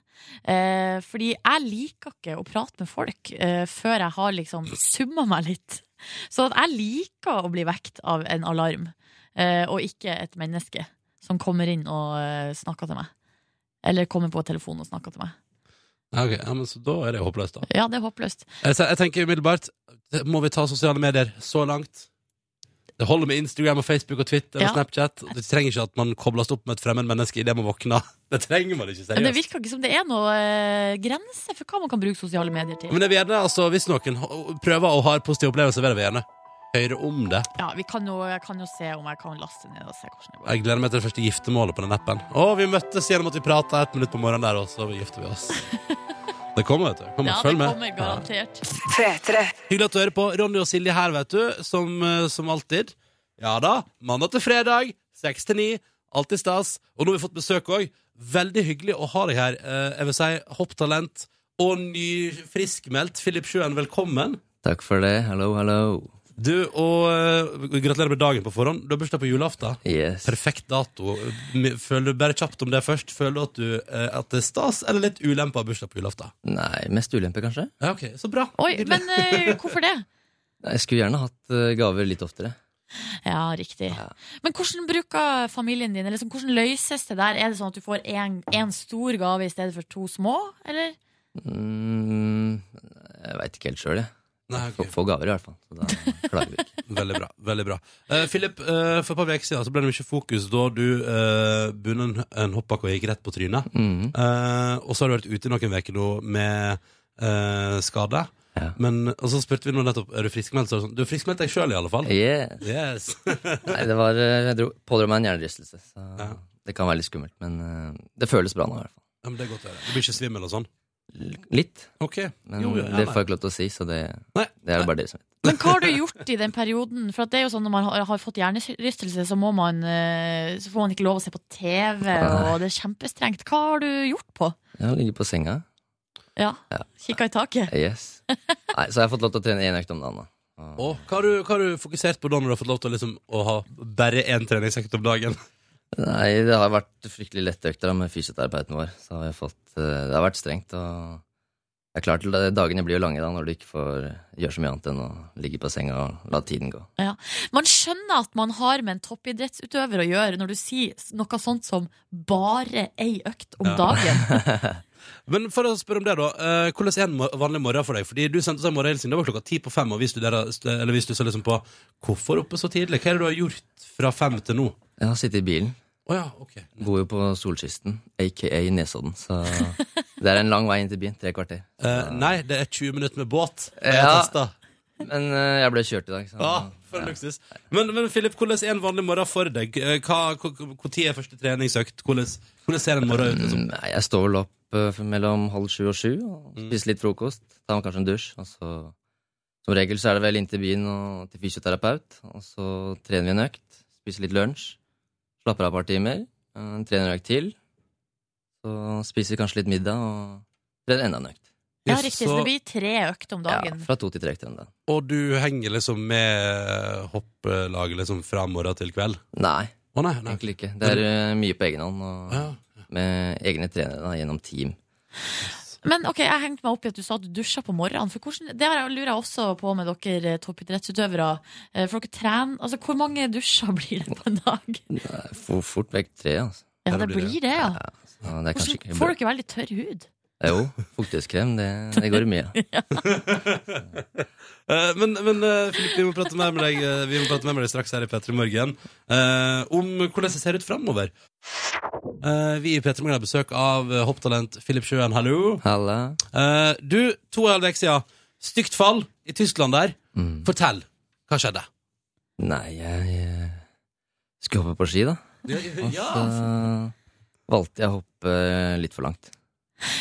C: Eh, fordi jeg liker ikke å prate med folk eh, før jeg har liksom summa meg litt. Så at jeg liker å bli vekt av en alarm, eh, og ikke et menneske som kommer inn og eh, snakker til meg. Eller kommer på telefonen og snakker til meg.
B: Ja, ok. ja, men så da er det jo håpløst, da.
C: Ja, det er håpløst.
B: Jeg, te- jeg tenker umiddelbart det- Må vi ta sosiale medier så langt? Det holder med Instagram og Facebook og Twitter
C: Ja.
B: og Snapchat. Det trenger ikke at man kobles opp med et fremmed menneske idet man våkner. Det trenger man ikke,
C: Men det
B: seriøst.
C: virker ikke som det er noe eh, grense for hva man kan bruke sosiale medier til.
B: Men jeg vil gjerne, altså, hvis noen ho- prøver og har positive opplevelser, vil jeg gjerne høre om det.
C: Ja, vi kan jo, jeg kan jo se om jeg kan laste ned og se hvordan det går.
B: Jeg gleder meg til det første giftermålet på den appen. Å, vi møttes gjennom at vi prata ett minutt på morgenen der, og så gifter vi oss. Det kommer, vet du. Kom,
C: Ja, det
B: følg med.
C: kommer
B: Ja.
C: garantert.
B: Hyggelig at du hører på. Ronny og Silje her, vet du, som, eh, som alltid. Ja da, mandag til fredag, seks til ni. Alltid stas. Og nå har vi fått besøk òg. Veldig hyggelig å ha deg her. Eh, Jeg vil si hopptalent og nyfriskmeldt Philip Sjøen, velkommen.
D: Takk for det. Hallo, hallo.
B: Du, og eh, gratulerer med dagen på forhånd. Du har bursdag på julaften.
D: Yes.
B: Perfekt dato. Føler du bare kjapt om det først? Føler du at, du, eh, at det er stas, eller litt ulempe å ha bursdag på julaften?
D: Nei, mest ulempe, kanskje?
B: Ja, ok, så bra.
C: Oi, men eh, hvorfor det?
D: Nei, Jeg skulle gjerne hatt eh, gaver litt oftere.
C: Ja, riktig.
D: Ja.
C: Men hvordan bruker familien din, eller sånn, hvordan løses det der? Er det sånn at du får én stor gave i stedet for to små, eller?
D: Mm, jeg veit ikke helt sjøl, jeg.
B: Nei, ok.
D: Få, få gaver, i hvert fall. Så da klager vi ikke.
B: Veldig bra. veldig bra Eh, Philip, eh, for et par uker siden så ble det mye fokus da du uh, bundet en, en hoppbakke og gikk rett på trynet.
D: Mhm.
B: Eh, og så har du vært ute i noen uker nå med eh, skade.
D: Ja.
B: Men, og så spurte vi nå nettopp er du friskmeldt. Så er det sånn, du har friskmeldt deg sjøl, i alle fall.
D: Yeah.
B: Yes.
D: Nei, det var eh, Jeg dro, pådro meg en hjernerystelse, så
B: Ja.
D: det kan være litt skummelt. Men eh, det føles bra nå, i hvert fall.
B: Ja, men det er godt å høre. Du blir ikke svimmel og sånn?
D: L- Litt.
B: Ok.
D: Men
B: Jo, jo, ja,
D: det
B: nei.
D: får jeg ikke lov til å si, så det,
B: Nei,
D: det er det bare dere som vet.
C: Men hva har du gjort i den perioden? For at det er jo sånn Når man har- har fått hjernerystelse, så, må man, eh, så får man ikke lov å se på TV, og det er kjempestrengt. Hva har du gjort på?
D: Jeg har ligget på senga.
C: Ja,
D: Ja.
C: Kikka i taket?
D: Yes. Nei, så jeg har fått lov til å trene én økt om dagen. da. Og-
B: Og hva har, du, hva har du fokusert på da når du har fått lov til å, liksom, å ha bare én treningsøkt om dagen?
D: Nei, det har vært fryktelig lette økter da, med fysioterapeuten vår. Så har jeg fått, eh, det har vært strengt. og det er klart, det- Dagene blir jo lange da, når du ikke får gjøre så mye annet enn å ligge på senga og la tiden gå.
C: Man skjønner at man har med en toppidrettsutøver å gjøre når du sier noe sånt som 'bare ei økt om
B: Ja.
C: dagen'.
B: Men for å spørre om det, da. eh, hvordan er en mor- vanlig morgen for deg? Fordi du sendte oss en morgenhilsen, det var klokka ti på fem, og vi studerer, stu- eller vi stussa liksom på hvorfor oppe så tidlig? Hva er det du har gjort fra fem til nå?
D: Jeg har sittet i bilen,
B: Å ja, ok.
D: bor jo på Solkysten, aka Nesodden, så det er en lang vei inn til byen. Tre kvarter.
B: Eh, nei, det er 20 minutter med båt. Jeg
D: Ja.
B: testa.
D: Men eh, jeg ble kjørt i dag, så
B: Ja, for en luksus. Men, men Philip, hvordan er en vanlig morgen for deg? Eh, Hva, hvor- hvor- hvor tid er første treningsøkt? Hvordan, hvordan ser en morgen ut? Liksom?
D: Mm, Nei, jeg står vel opp eh, mellom halv sju og sju og
B: Mm.
D: spiser litt frokost. Tar meg kanskje en dusj. Og så, som regel så er det vel inn til byen og til fysioterapeut. Og så trener vi en økt. Spiser litt lunsj. Slapper av et par timer. eh, Trener en økt til. Så spiser vi kanskje litt middag og trener enda en økt.
C: Ja,
B: Yes,
C: riktig.
B: så-
C: Så det blir tre økter om
D: Ja,
C: dagen.
D: fra to til tre økter om dagen.
B: Og du henger liksom med hopplaget liksom fra morgen til kveld?
D: Nei,
B: Å nei, nei.
D: egentlig ikke. Det er eh, mye på egen hånd. Og
B: Ja.
D: med egne trenere da, gjennom team.
C: Men ok, jeg hengte meg opp i at du sa at du dusja på morgenen. For hvordan, det har jeg- lurer jeg også på med dere eh, toppidrettsutøvere. Eh, For dere trener Altså, hvor mange dusjer blir det på en dag?
D: Nei, for- Fort vekk tre, altså.
C: Ja,
B: det
C: det
B: blir
C: blir det, ja.
D: Så det er kanskje
C: Hvordan,
D: ikke
C: får dere veldig tørr hud?
D: Jo, fuktighetskrem, det, det går i mye.
B: Eh, men men eh, Philip, vi må prate mer med deg, eh, vi må prate mer med deg straks her i P3 Morgen eh, om hvordan det ser ut framover. Eh, vi i P3 Morgen har besøk av eh, hopptalent Philip Sjøen. Hallo.
D: Halla.
B: Eh, du, to og en halv uke siden. Stygt fall i Tyskland der.
D: Mm.
B: Fortell. Hva skjedde?
D: Nei, jeg eh, skulle hoppe på ski, da. Og
B: Ja.
D: så valgte jeg å hoppe litt for langt.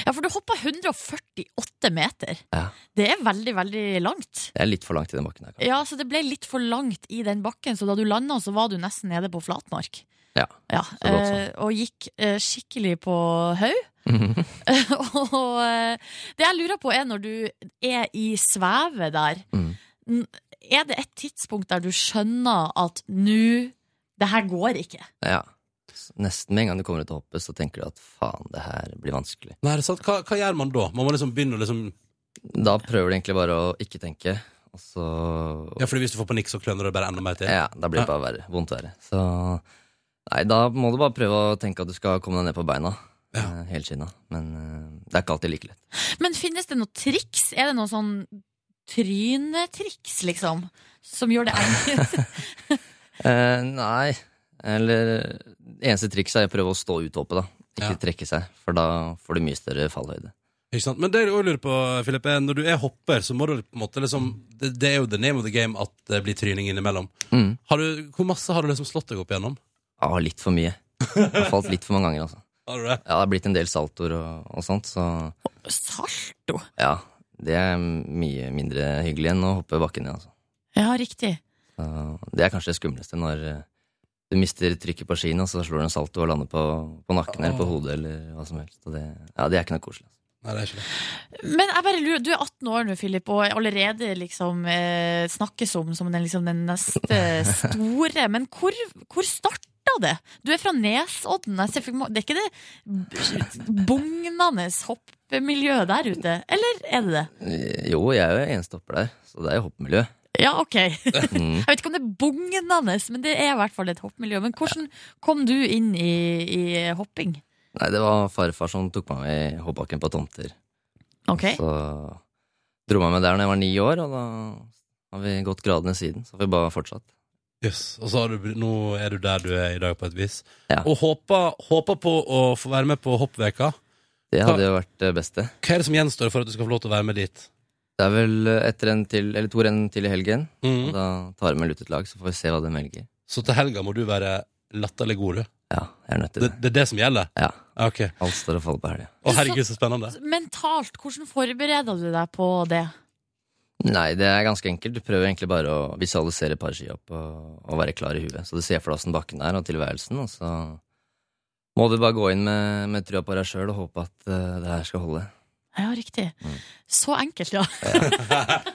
C: Ja, for du hoppa 148 meter.
D: Ja.
C: Det er veldig, veldig langt.
D: Det er litt for langt i den bakken her. kanskje.
C: Ja, så det ble litt for langt i den bakken, så da du landa, så var du nesten nede på flatmark.
D: Ja,
C: Ja,
D: så godt sånn.
C: eh, og gikk eh, skikkelig på haug. og eh, det jeg lurer på er når du er i svevet der,
D: Mm.
C: n- er det et tidspunkt der du skjønner at nå det her går ikke.
D: ja. Så Nesten med en gang du kommer ut og hopper, så tenker du at faen, det her blir vanskelig.
B: Nei, er det sant? Hva, hva gjør man da? Man må liksom begynne å liksom
D: Da prøver du egentlig bare å ikke tenke, og så
B: Ja, fordi hvis du får panikk, så kløner det bare enda mer til.
D: Ja, da blir det bare verre. Vondt verre. Så Nei, da må du bare prøve å tenke at du skal komme deg ned på beina.
B: Ja.
D: eh, Helskinna. Men eh, det er ikke alltid like lett.
C: Men finnes det noe triks? Er det noe sånn trynetriks, liksom? Som gjør det enkelt?
D: Eh, nei, eller Det eneste trikset er å prøve å stå ut hoppet, da. Ikke
B: Ja.
D: trekke seg, for da får du mye større fallhøyde.
B: Ikke sant? Men det jeg også lurer på, Philip, er når du er hopper, så må du på en måte liksom Det, det er jo the name of the game at det blir tryning innimellom.
D: Mm.
B: Har du, hvor masse har du liksom slått deg opp igjennom?
D: Ja, litt for mye. Jeg har falt litt for mange ganger, altså.
B: Har du det?
D: Ja, det har blitt en del saltoer og, og sånt, så
C: Salto?
D: ja. Det er mye mindre hyggelig enn å hoppe bakken ned, altså.
C: Ja, riktig.
D: Så det er kanskje det skumleste når eh, du mister trykket på skiene, og så slår du en salto og lander på, på nakken eller på hodet eller hva som helst. Og det, ja, det er ikke noe koselig.
B: Nei,
D: Altså.
B: det er ikke det.
C: Men jeg bare lurer, du er 18 år nå, Philip, og allerede liksom, eh, snakkes om som den, liksom, den neste store. Men hvor, hvor starta det? Du er fra Nesodden. Jeg ser for meg- Det er ikke det bugnende hoppmiljøet der ute? Eller er det det?
D: Eh, Jo, jeg er jo enstopper der, så det er jo hoppmiljø.
C: Ja, ok. Jeg
D: Mm.
C: vet ikke om det er bugnende, men det er i hvert fall et hoppmiljø. Men hvordan kom du inn i, i hopping? Eh.
D: Nei, det var farfar som tok meg med i hoppbakken på tomter.
C: Ok,
D: Så Tromma med der når jeg var ni år, og da har vi gått gradene siden. Så har vi bare fortsatt.
B: Yes. Og så har du, nå er du der du er i dag, på et vis.
D: Ja.
B: Og håper, håper på å få være med på hoppveka.
D: Det hadde jo vært det beste.
B: Hva er det som gjenstår for at du skal få lov til å være med dit?
D: Det er vel ett renn til, eller to renn til i helgen. Og
B: Mhm.
D: da tar vi med lutet lag, så får vi se hva det melger.
B: Så til helga må du være latterlig god, du.
D: Ja, jeg er nødt til
B: Det,
D: det.
B: det er det som gjelder?
D: Ja.
B: Ok.
D: Alt står og faller på helga.
B: Å, herregud, så spennende.
C: Mentalt, hvordan forbereder du deg på det?
D: Nei, det er ganske enkelt. Du prøver egentlig bare å visualisere et par ski opp og, og være klar i huet. Så du ser for deg åssen bakken er og tilværelsen, og så må du bare gå inn med, med trua på deg sjøl og håpe at eh, det her skal holde.
C: Ja, riktig.
D: Mm.
C: Så enkelt, ja.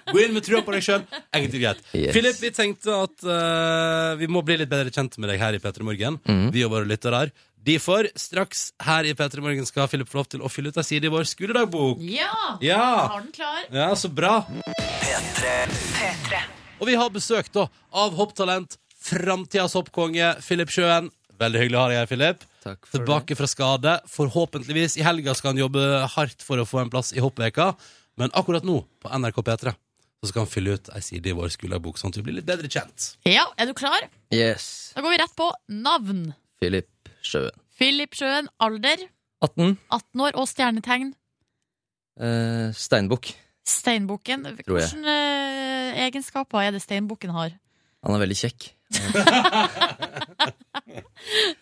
B: Gå inn med trua på deg sjøl. Egentlig greit.
D: Yes.
B: Philip, vi tenkte at eh, vi må bli litt bedre kjent med deg her i P3 Morgen.
D: Mhm.
B: Vi og våre lyttere her. Derfor, straks her i P3 Morgen skal Philip få lov til å fylle ut ei side i vår skoledagbok.
C: Ja!
B: Ja!
C: Har den klar?
B: Ja, så bra. Og vi har besøk da av hopptalent, framtidas hoppkonge, Philip Sjøen. Veldig hyggelig å ha deg her, Philip.
D: Takk for
B: Tilbake fra skade. Forhåpentligvis i helga skal han jobbe hardt for å få en plass i hoppveka. Men akkurat nå, på NRK P3, så skal han fylle ut ei side i vår skolebok, sånn at vi blir litt bedre kjent.
C: Ja, er du klar?
D: det. Yes.
C: Da går vi rett på navn.
D: Philip Sjøen.
C: Philip Sjøen, alder
D: 18.
C: 18 år og stjernetegn.
D: Eh, Steinbukk.
C: Steinbukken.
D: Tror jeg.
C: Hvilke eh, egenskaper er det steinbukken har?
D: Han er veldig kjekk.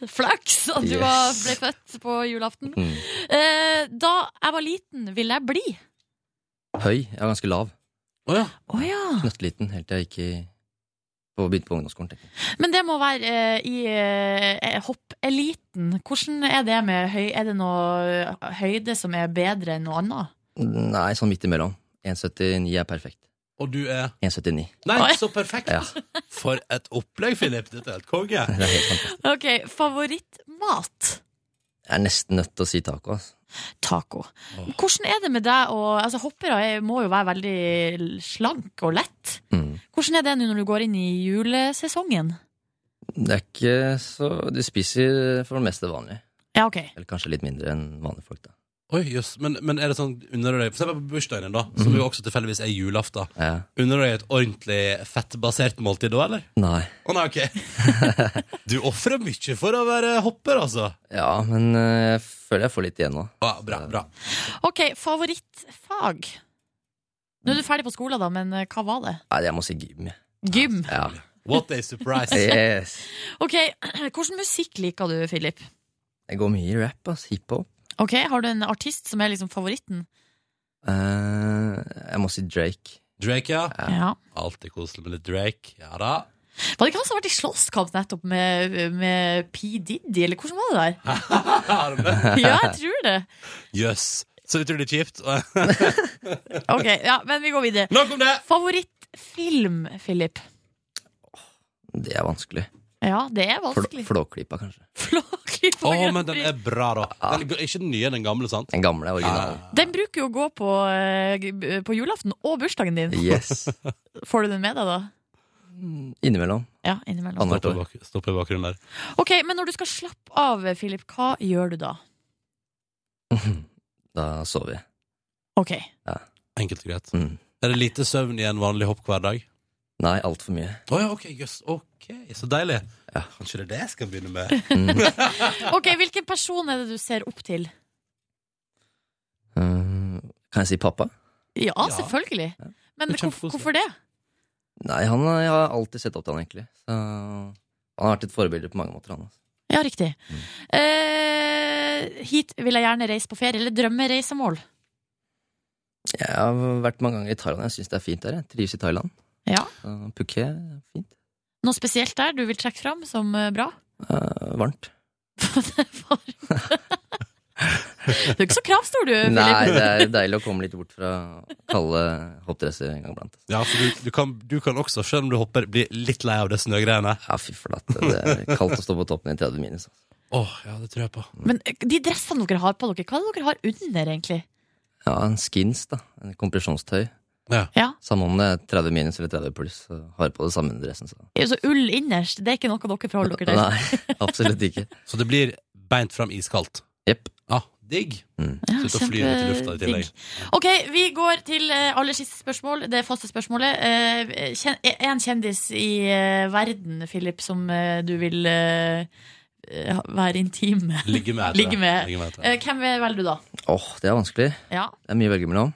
C: Flaks at du
D: Yes.
C: var, ble født på julaften.
D: Mm.
C: Eh, da jeg var liten, ville jeg bli.
D: Høy. Jeg var ganske lav.
B: Å ja.
C: Å ja.
D: Knøttliten helt til jeg gikk i på, begynte på ungdomsskolen. tenker jeg.
C: Men det må være eh, i eh, hoppeliten. Hvordan er det med høy... Er det noe eh, høyde som er bedre enn noe annet?
D: Nei, sånn midt imellom. 1,79 er perfekt.
B: Og du er
D: 1,79.
B: Nei,
C: Oi.
B: så perfekt!
D: Ja.
B: For et opplegg, Philip. Dette er helt konge.
D: Det er helt fantastisk.
C: Ok, favorittmat?
D: Jeg er nesten nødt til å si taco. Altså.
C: Taco. Hvordan er det med deg og altså, Hoppere er- må jo være veldig slank og lett.
D: Mm.
C: Hvordan er det nå når du går inn i julesesongen?
D: Det er ikke så Du spiser for det meste vanlig.
C: Ja, ok.
D: Eller kanskje litt mindre enn vanlige folk, da.
B: Oi, jøss. Men, men er det sånn under deg For eksempel på bursdagen din, da, som jo også tilfeldigvis er julaften.
D: Ja.
B: Unner du deg et ordentlig fettbasert måltid da, eller?
D: Nei.
B: Å nei, ok Du offrer mye for å være hopper, altså
D: Ja, men eh, jeg føler jeg får litt igjen nå.
B: ah, Bra, bra
C: Ok, favorittfag? Nå er du ferdig på skolen, da, men eh, hva var det?
D: Nei, jeg må si gym. jeg.
C: Gym.
D: Ja.
B: What a surprise
D: Yes.
C: Ok, Hvordan musikk liker du, Philip?
D: Det går mye i rap, ass. Hiphop.
C: Ok, Har du en artist som er liksom favoritten?
D: Eh, jeg må si Drake.
B: Drake, ja
D: Ja.
C: Ja.
B: Altid koselig med litt Drake Ja da
C: Var det ikke han som har vært i slåsskamp nettopp med, med P. Diddy, eller hvordan var det der? Ja, jeg tror det.
B: Jøss Så utrolig kjipt
C: Ok, ja, Men vi går videre.
B: Nok om det
C: Favorittfilm, Philip?
D: Det er vanskelig.
C: Ja, det er
D: Fl
C: vanskelig.
D: Flåklypa, kanskje.
C: Flåklypa
B: Åh,
C: Grand
B: men den
C: Prix.
B: er bra da den er, Ikke den nye, den gamle, sant?
D: Den gamle originalen.
C: Den bruker jo å gå på, eh, g- på julaften og bursdagen din.
D: Yes.
C: Får du den med deg, da?
D: Innimellom.
C: Ja, innimellom.
D: Annethvert
B: Stopp i
D: år.
B: bak- Stopp i bakgrunnen der
C: Ok, Men når du skal slappe av, Philip, hva gjør du da?
D: Da sover jeg.
C: Ok,
B: Enkelt og greit
D: Mm.
B: Er det lite søvn i en vanlig hopp hver dag?
D: Nei, altfor mye.
B: Åja, ja, ok, jøss Ok, så deilig
D: Ja.
B: Kanskje det er det jeg skal begynne med
C: Ok, Hvilken person er det du ser opp til?
D: Eh, kan jeg si pappa?
C: Ja,
B: Ja.
C: selvfølgelig. Men
B: Det er kjempekoselig.
C: hvorf- hvorfor det?
D: Nei, han, jeg har alltid sett opp til han, egentlig. Så han har vært et forbilde på mange måter, han. Altså.
C: Ja, riktig. Eh, hit vil jeg gjerne reise på ferie, eller drømme reisemål.
D: Jeg har vært mange ganger i Thailand. Jeg syns det er fint der. Jeg trives i Thailand.
C: Ja.
D: Så Phuket, fint.
C: Noe spesielt der du vil trekke fram som eh, bra?
D: Eh, varmt.
C: du er ikke så kravstor, du,
D: Nei,
C: Philip.
D: det er deilig å komme litt bort fra kalde hoppdresser en gang iblant. altså.
B: Ja, for du, du, kan, du kan også, selv om du hopper, bli litt lei av det snøgreiene.
D: Ja, fy flate. Det er kaldt å stå på toppen i 30 minus. Altså.
B: Åh, ja, det tror jeg på.
C: Men eh, de dressene dere har på dere, hva er det dere har under, egentlig?
D: Ja, en skins, da. En kompresjonstøy.
B: Ja.
C: Ja.
D: Samme om det er 30 minus eller 30 pluss, så har jeg på det samme dressen. Så.
C: Eh, Så ull innerst, det er ikke noe dere forholder dere til?
D: Nei, absolutt ikke.
B: Så det blir beint fram iskaldt.
D: Jepp.
B: Ja, Digg.
C: Ja,
B: Slutt å fly ut i lufta i tillegg.
C: kjempedigg. Ok, vi går til eh, aller siste spørsmål. Det faste spørsmålet. Eh, kjen- En kjendis i eh, verden, Philip, som eh, du vil eh, eh, være intim med.
B: Ligge med. tror jeg.
C: Ligge med.
B: Ligge med tror
C: Eh,
B: jeg.
C: Hvem velger du da?
D: Åh, det er vanskelig.
C: Ja,
D: Det er mye å velge mellom.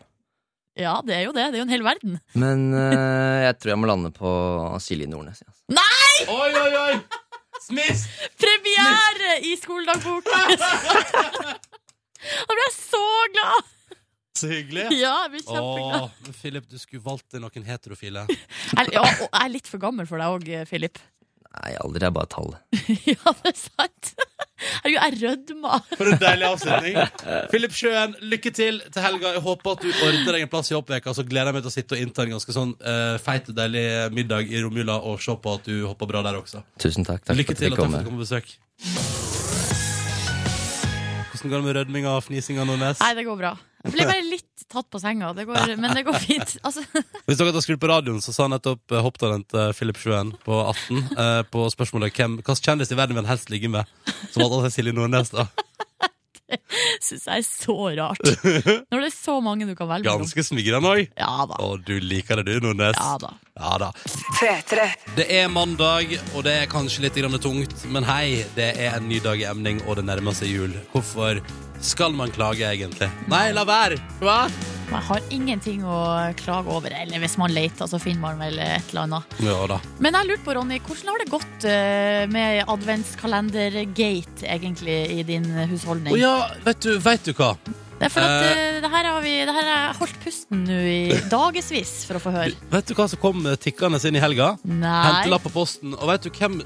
C: ja, det er jo det. Det er jo en hel verden.
D: Men eh, jeg tror jeg må lande på Silje Nordnes. Ja.
B: Oi, oi, oi! Smisk!
C: Premiere i skoledagboken! Da ble jeg så glad!
B: Så hyggelig.
C: Ja, jeg blir kjempeglad.
B: Åh, men Philip, du skulle valgt deg noen heterofile.
C: Jeg, ja, og jeg er litt for gammel for deg òg, Philip.
D: Nei, alder er bare tall.
C: Ja, det er sant. Herregud, jeg rødma.
B: For en deilig avslutning. Philip Sjøen, lykke til til helga. Jeg håper at du ordner deg en plass i hoppveka. Så gleder jeg meg til å sitte og innta en ganske sånn eh, feit og deilig middag i romjula og se på at du hopper bra der også.
D: Tusen takk. Takk
B: Lykke
D: for at
B: til, og
D: jeg
B: takk
D: kom.
B: for at du kom på besøk. Hvordan går det med rødminga og fnisinga, Nordnes?
C: Nei, det går bra. Jeg blir bare litt tatt på senga, det går, men det går fint. Altså,
B: Hvis dere har skrudd på radioen, så sa nettopp eh, hopptalent eh, Philip Sjøen på 18 eh, på spørsmålet hvem hvilken kjendis i verden vil han helst ligge med. Så valgte han seg Silje Nordnes, da.
C: syns jeg er så rart. Når det er så mange du kan velge mellom.
B: Ganske smigrende òg.
C: Ja da.
B: Og du liker det, du, Nordnes.
C: Ja da.
B: Ja da. Det er mandag, og det er kanskje litt grann tungt, men hei, det er en ny dag i emning, og det nærmer seg jul. Hvorfor skal man klage, egentlig? Nei, la være! Hva?
C: Men Jeg har ingenting å klage over. Eller hvis man leter, så finner man vel et eller annet.
B: Ja da.
C: Men jeg lurte på, Ronny, hvordan har det gått eh, med adventskalender-gate, egentlig, i din husholdning?
B: Å ja, vet du, vet du hva?
C: Det er for at eh, det her har vi det her har jeg holdt pusten nå i dagevis for å få høre.
B: Vet du hva som kom eh, tikkende inn i helga? Hente
C: Nei.
B: lapp på posten. Og vet du hvem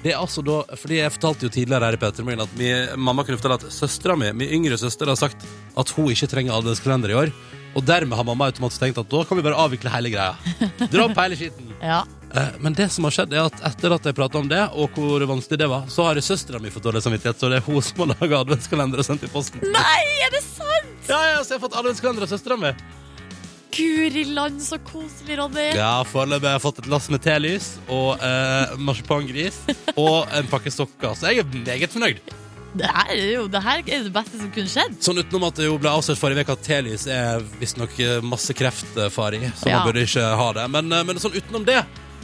B: det er altså da, fordi Jeg fortalte jo tidligere her i Peter Morgen at mi- mamma kunne fortelle at søstera mi min yngre søster har sagt at hun ikke trenger adventskalender i år. Og dermed har mamma automatisk tenkt at da kan vi bare avvikle hele greia. Dra opp hele skitten.
C: Ja.
B: Eh, Men det som har skjedd er at etter at jeg pratet om det, og hvor vanskelig det var, så har søstera mi fått dårlig samvittighet, så det er hun som har laga adventskalender og sendt i posten.
C: Nei, er det sant?!
B: Ja, ja, så jeg har fått adventskalender av søstera mi.
C: Guri land, så koselig, Ronny.
B: Ja, foreløpig har jeg fått et lass med telys og eh, marsipangris og en pakke sokker, så jeg er meget fornøyd.
C: Det her er jo det, her er det beste som kunne skjedd.
B: Sånn utenom at det jo ble avslørt forrige uke at telys er visstnok eh, masse kreftfare i, så
C: Ja.
B: man burde ikke ha det. Men, eh, men sånn utenom det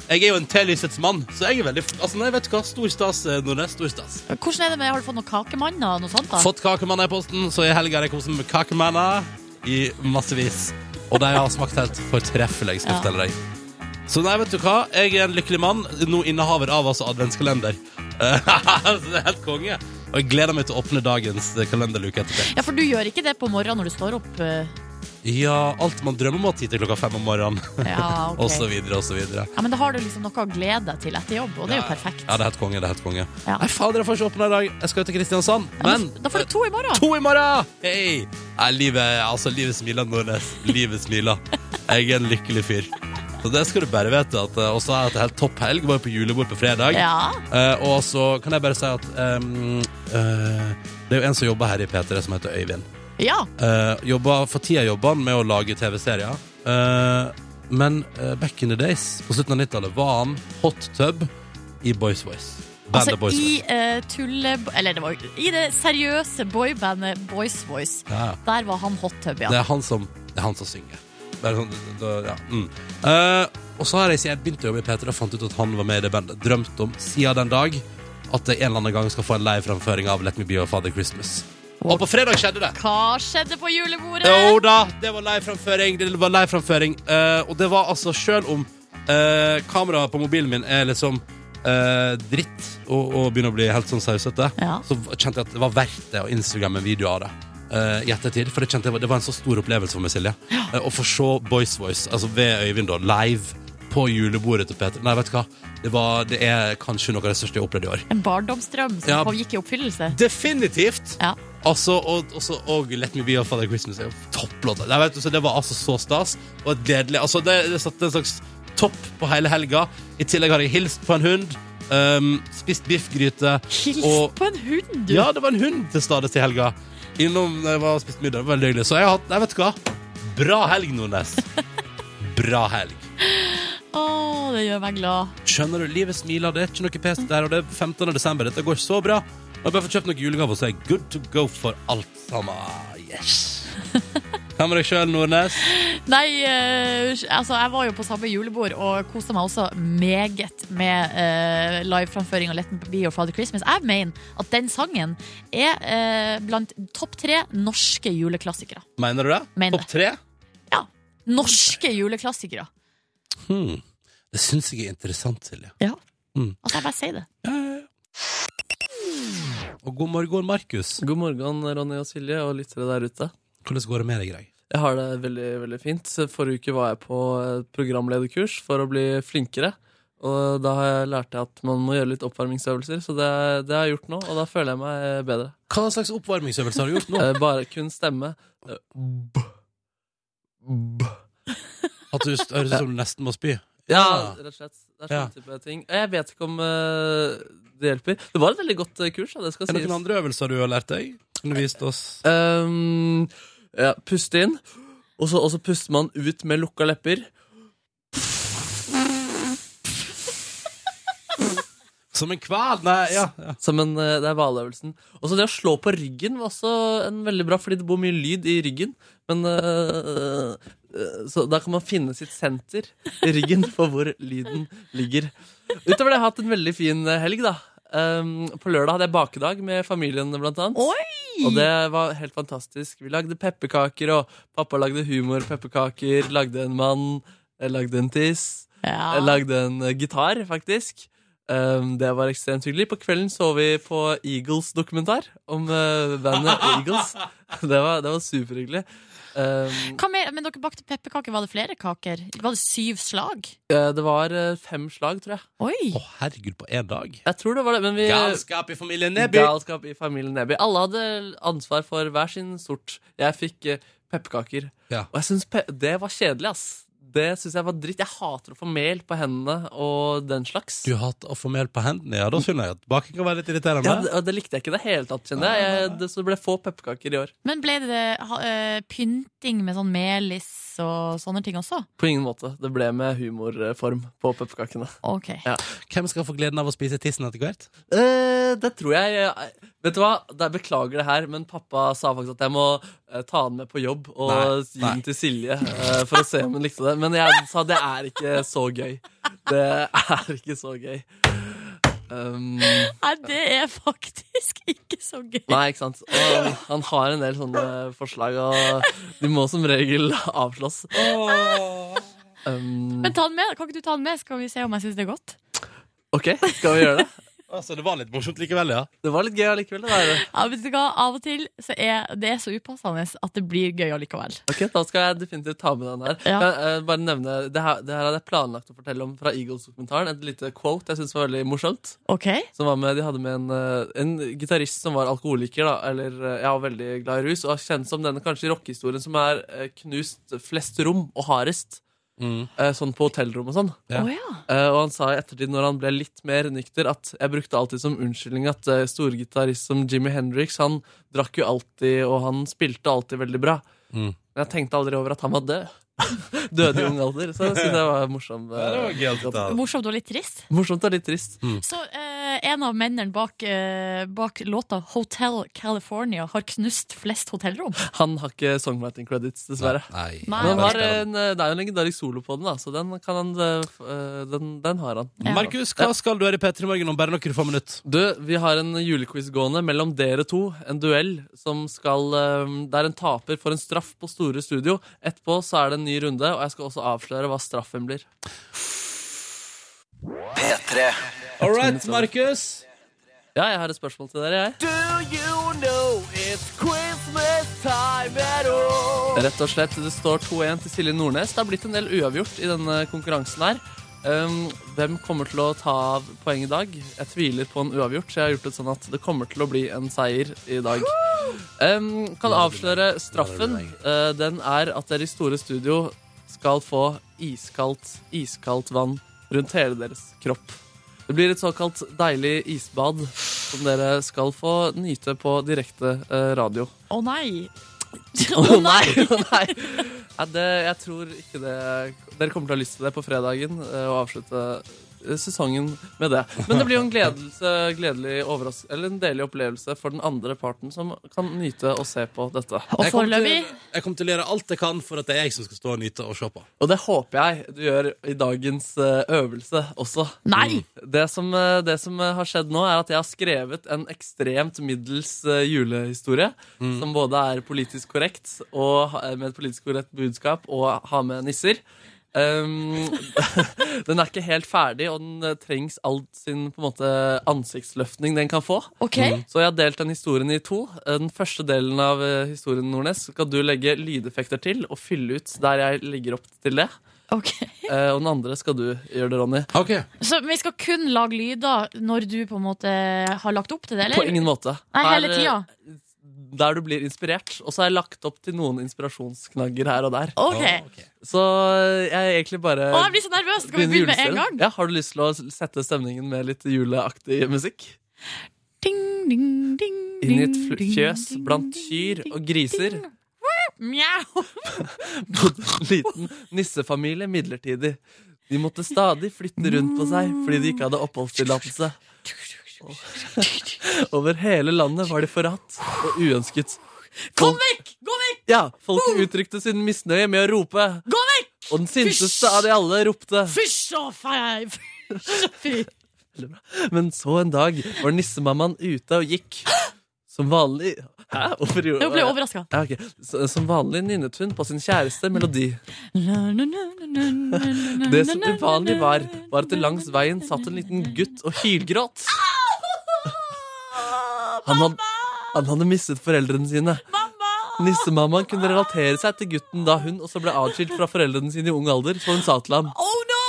B: jeg er jo en telysets mann, så jeg er veldig Altså, nei, vet du hva? Stor stas, eh, Nordnes. Stor stas.
C: Hvordan er det med, Har du fått noen kakemanner? og Noe sånt da?
B: Fått kakemanner i posten, så i helga har jeg kost meg med kakemanner i massevis. Og de har smakt helt fortreffelig, skal jeg
C: Ja.
B: fortelle deg. Så nei, vet du hva? Jeg er en lykkelig mann, nå innehaver av altså adventskalender. så det er helt konge. Og jeg gleder meg til å åpne dagens kalenderluke etterpå.
C: Ja, For du gjør ikke det på morgenen når du står opp? eh.
B: Ja, alt man drømmer om å ha tid til klokka fem om morgenen,
C: Ja,
B: og så
C: ok.
B: videre, og så videre.
C: Ja, men da har du liksom noe å glede deg til etter jobb, og det er jo
B: Ja,
C: perfekt.
B: Ja, det er helt konge, det er helt konge.
C: Ja.
B: Nei, fader, jeg får ikke åpne i dag. Jeg skal jo til Kristiansand,
C: Ja,
B: men...
C: men da får du to i morgen.
B: To i morgen! Hei! Nei, livet, altså, livet smiler, Nordnes. Livet smiler. Jeg er en lykkelig fyr. Så det skal du bare vite. at eh, Og så har jeg hatt en helt topp helg. Var jo på julebord på fredag.
C: Ja.
B: Eh, og så kan jeg bare si at ehm, eh, det er jo en som jobber her i P3 som heter Øyvind.
C: ja.
B: Eh, jobber, for tida jobber han med å lage TV-serier. Eh, men eh, back in the days, på slutten av 90-tallet, var han hot tub i Boys Voice. Bandet
C: Altså
B: Boys
C: i
B: Voice.
C: eh, tulle... Eller det var jo i det seriøse boybandet Boys Voice.
B: Ja, ja.
C: Der var han hot tub,
B: Det
C: ja.
B: er han som, det er han som synger. Det er sånn, da, ja. mm. Eh, og så har jeg, siden jeg begynte å jobbe i P3 og fant ut at han var med i det bandet. Drømt om siden den dag at jeg en eller annen gang skal få en live framføring av Let Me Be Your Father Christmas. Og på fredag skjedde det!
C: Hva skjedde på julebordet?
B: Jo da, det var live-framføring. Det var live-framføring eh, Og det var altså selv om eh, kameraet på mobilen min er liksom eh, dritt og, og begynner å bli helt sånn sausete,
C: Ja.
B: så v- kjente jeg at det var verdt det å Instagramme en video av det. eh, I ettertid, for det, kjente jeg var, det var en så stor opplevelse for meg, Silje. Eh, å få se Boys Voice, altså ved Øyvind, da, live på julebordet til Peter. Nei, vet du hva? Det, var, det er kanskje noe av det største jeg har opplevd i år.
C: En barndomsdrøm som
B: Ja.
C: kom- gikk i oppfyllelse.
B: Definitivt!
C: Ja.
B: Altså, og, også, og Let Me Be Your Father Christmas er jo topplåta. Nei, vet du, så Det var altså så stas og et gledelig altså, det, det satte en slags topp på hele helga. I tillegg har jeg hilst på en hund, ehm, spist biffgryte
C: Hils
B: og
C: på en hund, du!
B: Ja, det var en hund til stades i helga. Innom da jeg var og spiste middag. Det var veldig hyggelig. Så jeg har hatt Nei, vet du hva? Bra helg, Nordnes. Bra helg.
C: Å, det gjør meg glad.
B: Skjønner du, livet smiler, det er ikke noe pes der, og det er 15. desember, dette går så bra. Og bare få kjøpt noen julegaver, så er jeg good to go for alt sammen. Yes! Hva med deg sjøl, Nordnes?
C: Nei, eh, altså jeg var jo på samme julebord og koste meg også meget med eh, liveframføring av Let Me Be Your Father Christmas. Jeg mener at den sangen er eh, blant topp tre norske juleklassikere.
B: Mener du det?
C: Mener
B: Topp tre?
C: Norske juleklassikere.
B: Hmm. Det syns jeg er interessant, Silje.
C: Altså, jeg bare sier det.
B: Ja, ja, ja. Og god morgen, Markus.
G: God morgen, Ronny og Silje og lyttere der ute.
B: Hvordan går det med deg i dag?
G: Jeg har det veldig, veldig fint. Forrige uke var jeg på et programlederkurs for å bli flinkere. Og da har jeg lært at man må gjøre litt oppvarmingsøvelser, så det, det har jeg gjort nå. Og da føler jeg meg eh, bedre.
B: Hva slags oppvarmingsøvelse har du gjort nå?
G: Eh, Bare kun stemme. Eh, B. B.
B: At du st- høres ut som du nesten må spy? Ah.
G: Ja, rett og slett. Det er
B: Ja.
G: sånn type ting. Og jeg vet ikke om eh, det hjelper. Det var et veldig godt eh, kurs, da, det skal
B: Er det
G: sies.
B: noen andre øvelser du har lært deg? Som du viste oss?
G: Ehm, ja, puste inn, og så, og så puster man ut med lukka lepper.
B: Som en kval? Nei, ja. ja.
G: Som en, eh, det er hvaløvelsen. Og så det å slå på ryggen var også en veldig bra, fordi det bor mye lyd i ryggen. Men eh, eh, Så da kan man finne sitt senter i ryggen for hvor lyden ligger. Utover det har jeg hatt en veldig fin eh, helg, da. Ehm, på lørdag hadde jeg bakedag med familien, blant annet. Og det var helt fantastisk. Vi lagde pepperkaker, og pappa lagde humorpepperkaker. Lagde en mann, eh, lagde en tiss. Jeg
C: Ja.
G: lagde en eh, gitar, faktisk. Um, det var ekstremt hyggelig. På kvelden så vi på Eagles-dokumentar om eh, bandet Eagles. Det var, det var superhyggelig. Um,
C: Hva mer? Men dere bakte pepperkaker. Var det flere kaker? Var det syv slag?
G: eh, det var eh, fem slag, tror jeg.
C: Oi!
B: Å, herregud, på én dag?
G: Jeg tror det var det, men vi
B: Galskap i familien Nebby!
G: Galskap i familien Neby. Alle hadde ansvar for hver sin sort. Jeg fikk eh, pepperkaker.
B: Ja.
G: Og jeg synes pe det var kjedelig, ass. Det syns jeg var dritt. Jeg hater å få mel på hendene og den slags.
B: Du har hatt å få mel på hendene, ja. Da skjønner jeg at baking kan være litt irriterende.
G: Ja, det, og det likte jeg ikke i det hele tatt, kjenner jeg. jeg det, så det ble få pepperkaker i år.
C: Men ble det ha, eh, pynting med sånn melis og sånne ting også?
G: På ingen måte. Det ble med humorform på pepperkakene.
C: Ok.
B: Hvem skal få gleden av å spise tissen etter hvert?
G: Eh, det tror jeg eh, Vet du hva, jeg beklager det her, men pappa sa faktisk at jeg må eh, ta den med på jobb og
B: Nei,
G: gi
B: nei.
G: den til Silje eh, for å se om hun likte det. Men jeg sa det er ikke så gøy. Det er ikke så gøy. Um,
C: Nei, det er faktisk ikke så gøy.
G: nei, ikke sant. Og han har en del sånne forslag, og de må som regel avslås. Um,
C: Men ta den med. Kan ikke du ta den med, så kan vi se om jeg syns det er godt?
G: OK, skal vi gjøre det?
B: Altså, det var litt morsomt likevel, ja.
G: Det var litt gøy allikevel. Det der.
C: Ja, vet du hva? Av og til så er det så upassende at det blir gøy allikevel.
G: Ok, Da skal jeg definitivt ta med den her.
C: Ja.
G: Kan jeg, eh, bare nevne, det her, det her hadde jeg planlagt å fortelle om fra Eagles-dokumentaren. Et lite quote jeg synes var veldig morsomt.
C: OK?
G: Som var med, de hadde med en, eh, en gitarist som var alkoholiker, da, eller eh, ja, veldig glad i rus, og kjent som denne kanskje rockehistorien som er eh, knust flest rom og hardest.
B: Mm.
G: eh, Sånn på hotellrom og sånn.
C: Å
B: Ja.
C: ja.
G: Eh, Og han sa i ettertid, når han ble litt mer nykter, at jeg brukte alltid som unnskyldning at eh, storgitarist som Jimmy Hendrix, han drakk jo alltid, og han spilte alltid veldig bra.
B: Mm.
G: Men jeg tenkte aldri over at han var død. Døde i ung alder. Så jeg synes det var morsom, eh,
B: det var gøy å ta.
C: Morsomt og litt trist.
G: morsomt og litt trist.
C: Så eh, en av mennene bak, eh, bak låta 'Hotel California' har knust flest hotellrom.
G: Han har ikke songwriting credits, dessverre.
B: Nei.
C: Nei.
G: Men han har
B: Bare-
G: en, eh, det er jo en legendarisk solo på den, da, så den, kan han, eh, f- eh, den, den har han.
C: Ja.
B: Markus, hva skal du gjøre i P3 Morgen om bare noen få minutter?
G: Du, vi har en julequiz gående mellom dere to. En duell som skal eh, Der en taper får en straff på Store Studio. Etterpå så er det en ny runde, og jeg skal også avsløre hva straffen blir.
B: All right, Markus.
G: Ja, jeg har et spørsmål til dere, jeg. Rett og slett, det står 2-1 til Silje Nordnes. Det har blitt en del uavgjort i denne konkurransen her. Um, hvem kommer til å ta av poeng i dag? Jeg tviler på en uavgjort, så jeg har gjort det sånn at det kommer til å bli en seier i dag. Um, kan avsløre straffen. Uh, den er at dere i Store Studio skal få iskaldt, iskaldt vann rundt hele deres kropp. Det blir et såkalt deilig isbad som dere skal få nyte på direkte eh, radio.
C: Å nei!
G: Å nei! å nei. Nei, det, jeg tror ikke det Dere kommer til å ha lyst til det på fredagen eh, og avslutte eh, sesongen med det. Men det blir jo en gledelse, gledelig overraskelse, eller en deilig opplevelse for den andre parten som kan nyte å se på dette.
C: Og
B: Jeg kommer til-
C: foreløpig
B: Jeg kommer til å gjøre alt jeg kan for at det er jeg som skal stå og nyte og se på.
G: Og det håper jeg du gjør i dagens eh, øvelse også.
C: Nei!
G: Det som, eh, det som eh, har skjedd nå, er at jeg har skrevet en ekstremt middels eh, julehistorie. Som både er politisk korrekt, og ha- eh, med et politisk korrekt budskap, og har med nisser. Um, den er ikke helt ferdig, og den eh, trengs alt sin på en måte, ansiktsløftning den kan få.
C: OK?
G: Så jeg har delt den historien i to. Eh, Den første delen av eh, historien Nordnes skal du legge lydeffekter til og fylle ut der jeg legger opp til det.
C: ok
G: Eh, Og den andre skal du gjøre det, Ronny.
C: Så vi skal kun lage lyder når du på en måte har lagt opp til det,
G: På
C: eller?
G: ingen måte.
C: Nei, hele
G: Her,
C: tida.
G: eh, Der du blir inspirert. Og så har jeg lagt opp til noen inspirasjonsknagger her og der.
C: OK.
G: Så eh, jeg er egentlig bare
C: Å, jeg blir så nervøs! Skal vi begynne med en
G: julestjernen.
C: gang?
G: Ja, Har du lyst til å sette stemningen med litt juleaktig musikk?
C: Ding, ding, ding,
G: Inn i et
C: ding,
G: fl-
C: ding,
G: fjøs
C: ding,
G: blant
C: ding,
G: kyr
C: ding,
G: og griser
C: ding. Mjau!
G: bodde en liten nissefamilie midlertidig. De måtte stadig flytte rundt på seg fordi de ikke hadde oppholdstillatelse. Og- Over hele landet var de forhatt og uønsket.
C: Kom vekk! Gå vekk!
G: Ja, Folket uttrykte sin misnøye med å rope,
C: Gå vekk!
G: og den sinteste av de alle ropte.
C: Fysj og fei! Fysj og fy!
G: Men så en dag var nissemammaen ute og gikk. Som vanlig Hæ? Hvorfor gjorde
C: Hun ble overraska.
G: Ja, ok. Så- Som vanlig nynnet hun på sin kjæreste melodi. Det som uvanlig var, var at det langs veien satt en liten gutt og hylgråt. Han hadde, han hadde mistet foreldrene sine. Nissemammaen kunne relatere seg til gutten da hun også ble atskilt fra foreldrene sine i ung alder, så hun sa til ham
C: Oh no!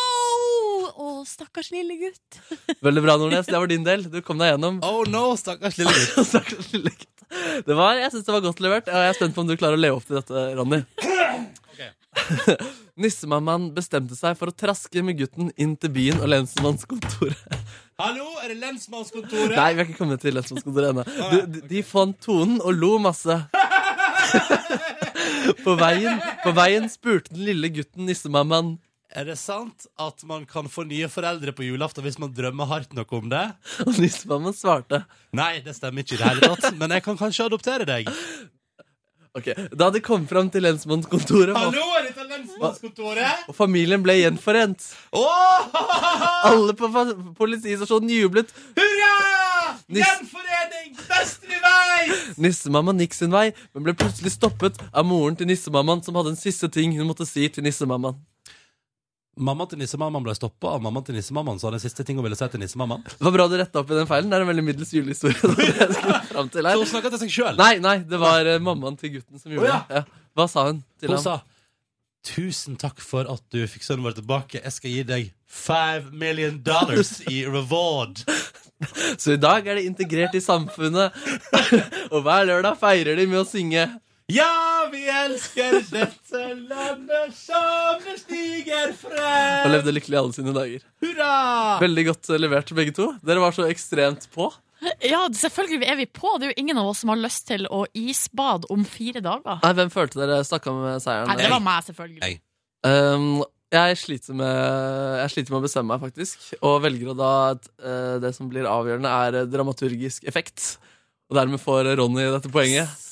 C: Å, stakkars lille gutt.
G: Veldig bra, Nordnes, det var din del. Du kom deg gjennom.
B: Oh no, stakkars lille gutt.
G: Stakkars lille gutt. Det var, jeg syns det var godt levert, og jeg er spent på om du klarer å leve opp til dette, Ronny. Nissemammaen bestemte seg for å traske med gutten inn til byen og lensmannskontoret.
B: Hallo, er det lensmannskontoret?
G: Nei, vi har ikke kommet til lensmannskontoret ennå. Du, de- De fant tonen og lo masse. På veien, på veien spurte den lille gutten nissemammaen.
B: Er det sant at man kan få nye foreldre på julaften hvis man drømmer hardt nok om det?
G: Og nissemammaen svarte.
B: Nei, det stemmer ikke i det hele tatt, men jeg kan kanskje adoptere deg.
G: Ok, Da de kom fram til lensmannskontoret, og,
B: Hallo, er dette lensmannskontoret?
G: og familien ble gjenforent
B: Åh,
G: Alle på fa- politistasjonen jublet.
B: hurra!
G: Nis-
B: Gjenforening! Best vi veit!
G: Nissemammaen gikk sin vei, men ble plutselig stoppet av moren til nissemammaen, som hadde en siste ting hun måtte si til nissemammaen.
B: Mamma til nissemammaen ble stoppa av mammaen til nissemammaen, så den siste ting hun ville si til nissemammaen.
G: Det var bra du retta opp i den feilen. Det er en veldig middels julehistorie. det var det jeg skulle fram til her.
B: Så hun snakka til seg sjøl.
G: Nei, nei, det var eh, mammaen til gutten som gjorde
B: Å, ja.
G: det. Ja. Hva sa hun til
B: Hun
G: ham?
B: sa Tusen takk for at du fikk sønnen vår tilbake. Jeg skal gi deg five million dollars i reward.
G: Så i dag er de integrert i samfunnet, og hver lørdag feirer de med å synge.
B: Ja, vi elsker dette landet som det stiger
G: Og
B: frem.
G: levde lykkelig alle sine dager.
B: Hurra!
G: Veldig godt eh, levert, begge to. Dere var så ekstremt på.
C: Ja, selvfølgelig er vi på. Det er jo ingen av oss som har lyst til å isbad om fire dager.
G: Nei, Hvem følte dere snakka med seieren?
C: Nei, det var meg, selvfølgelig.
G: Um, jeg, sliter med, jeg sliter med å bestemme meg, faktisk. Og velger å da at eh, det som blir avgjørende, er eh, dramaturgisk effekt. Og dermed får Ronny dette poenget.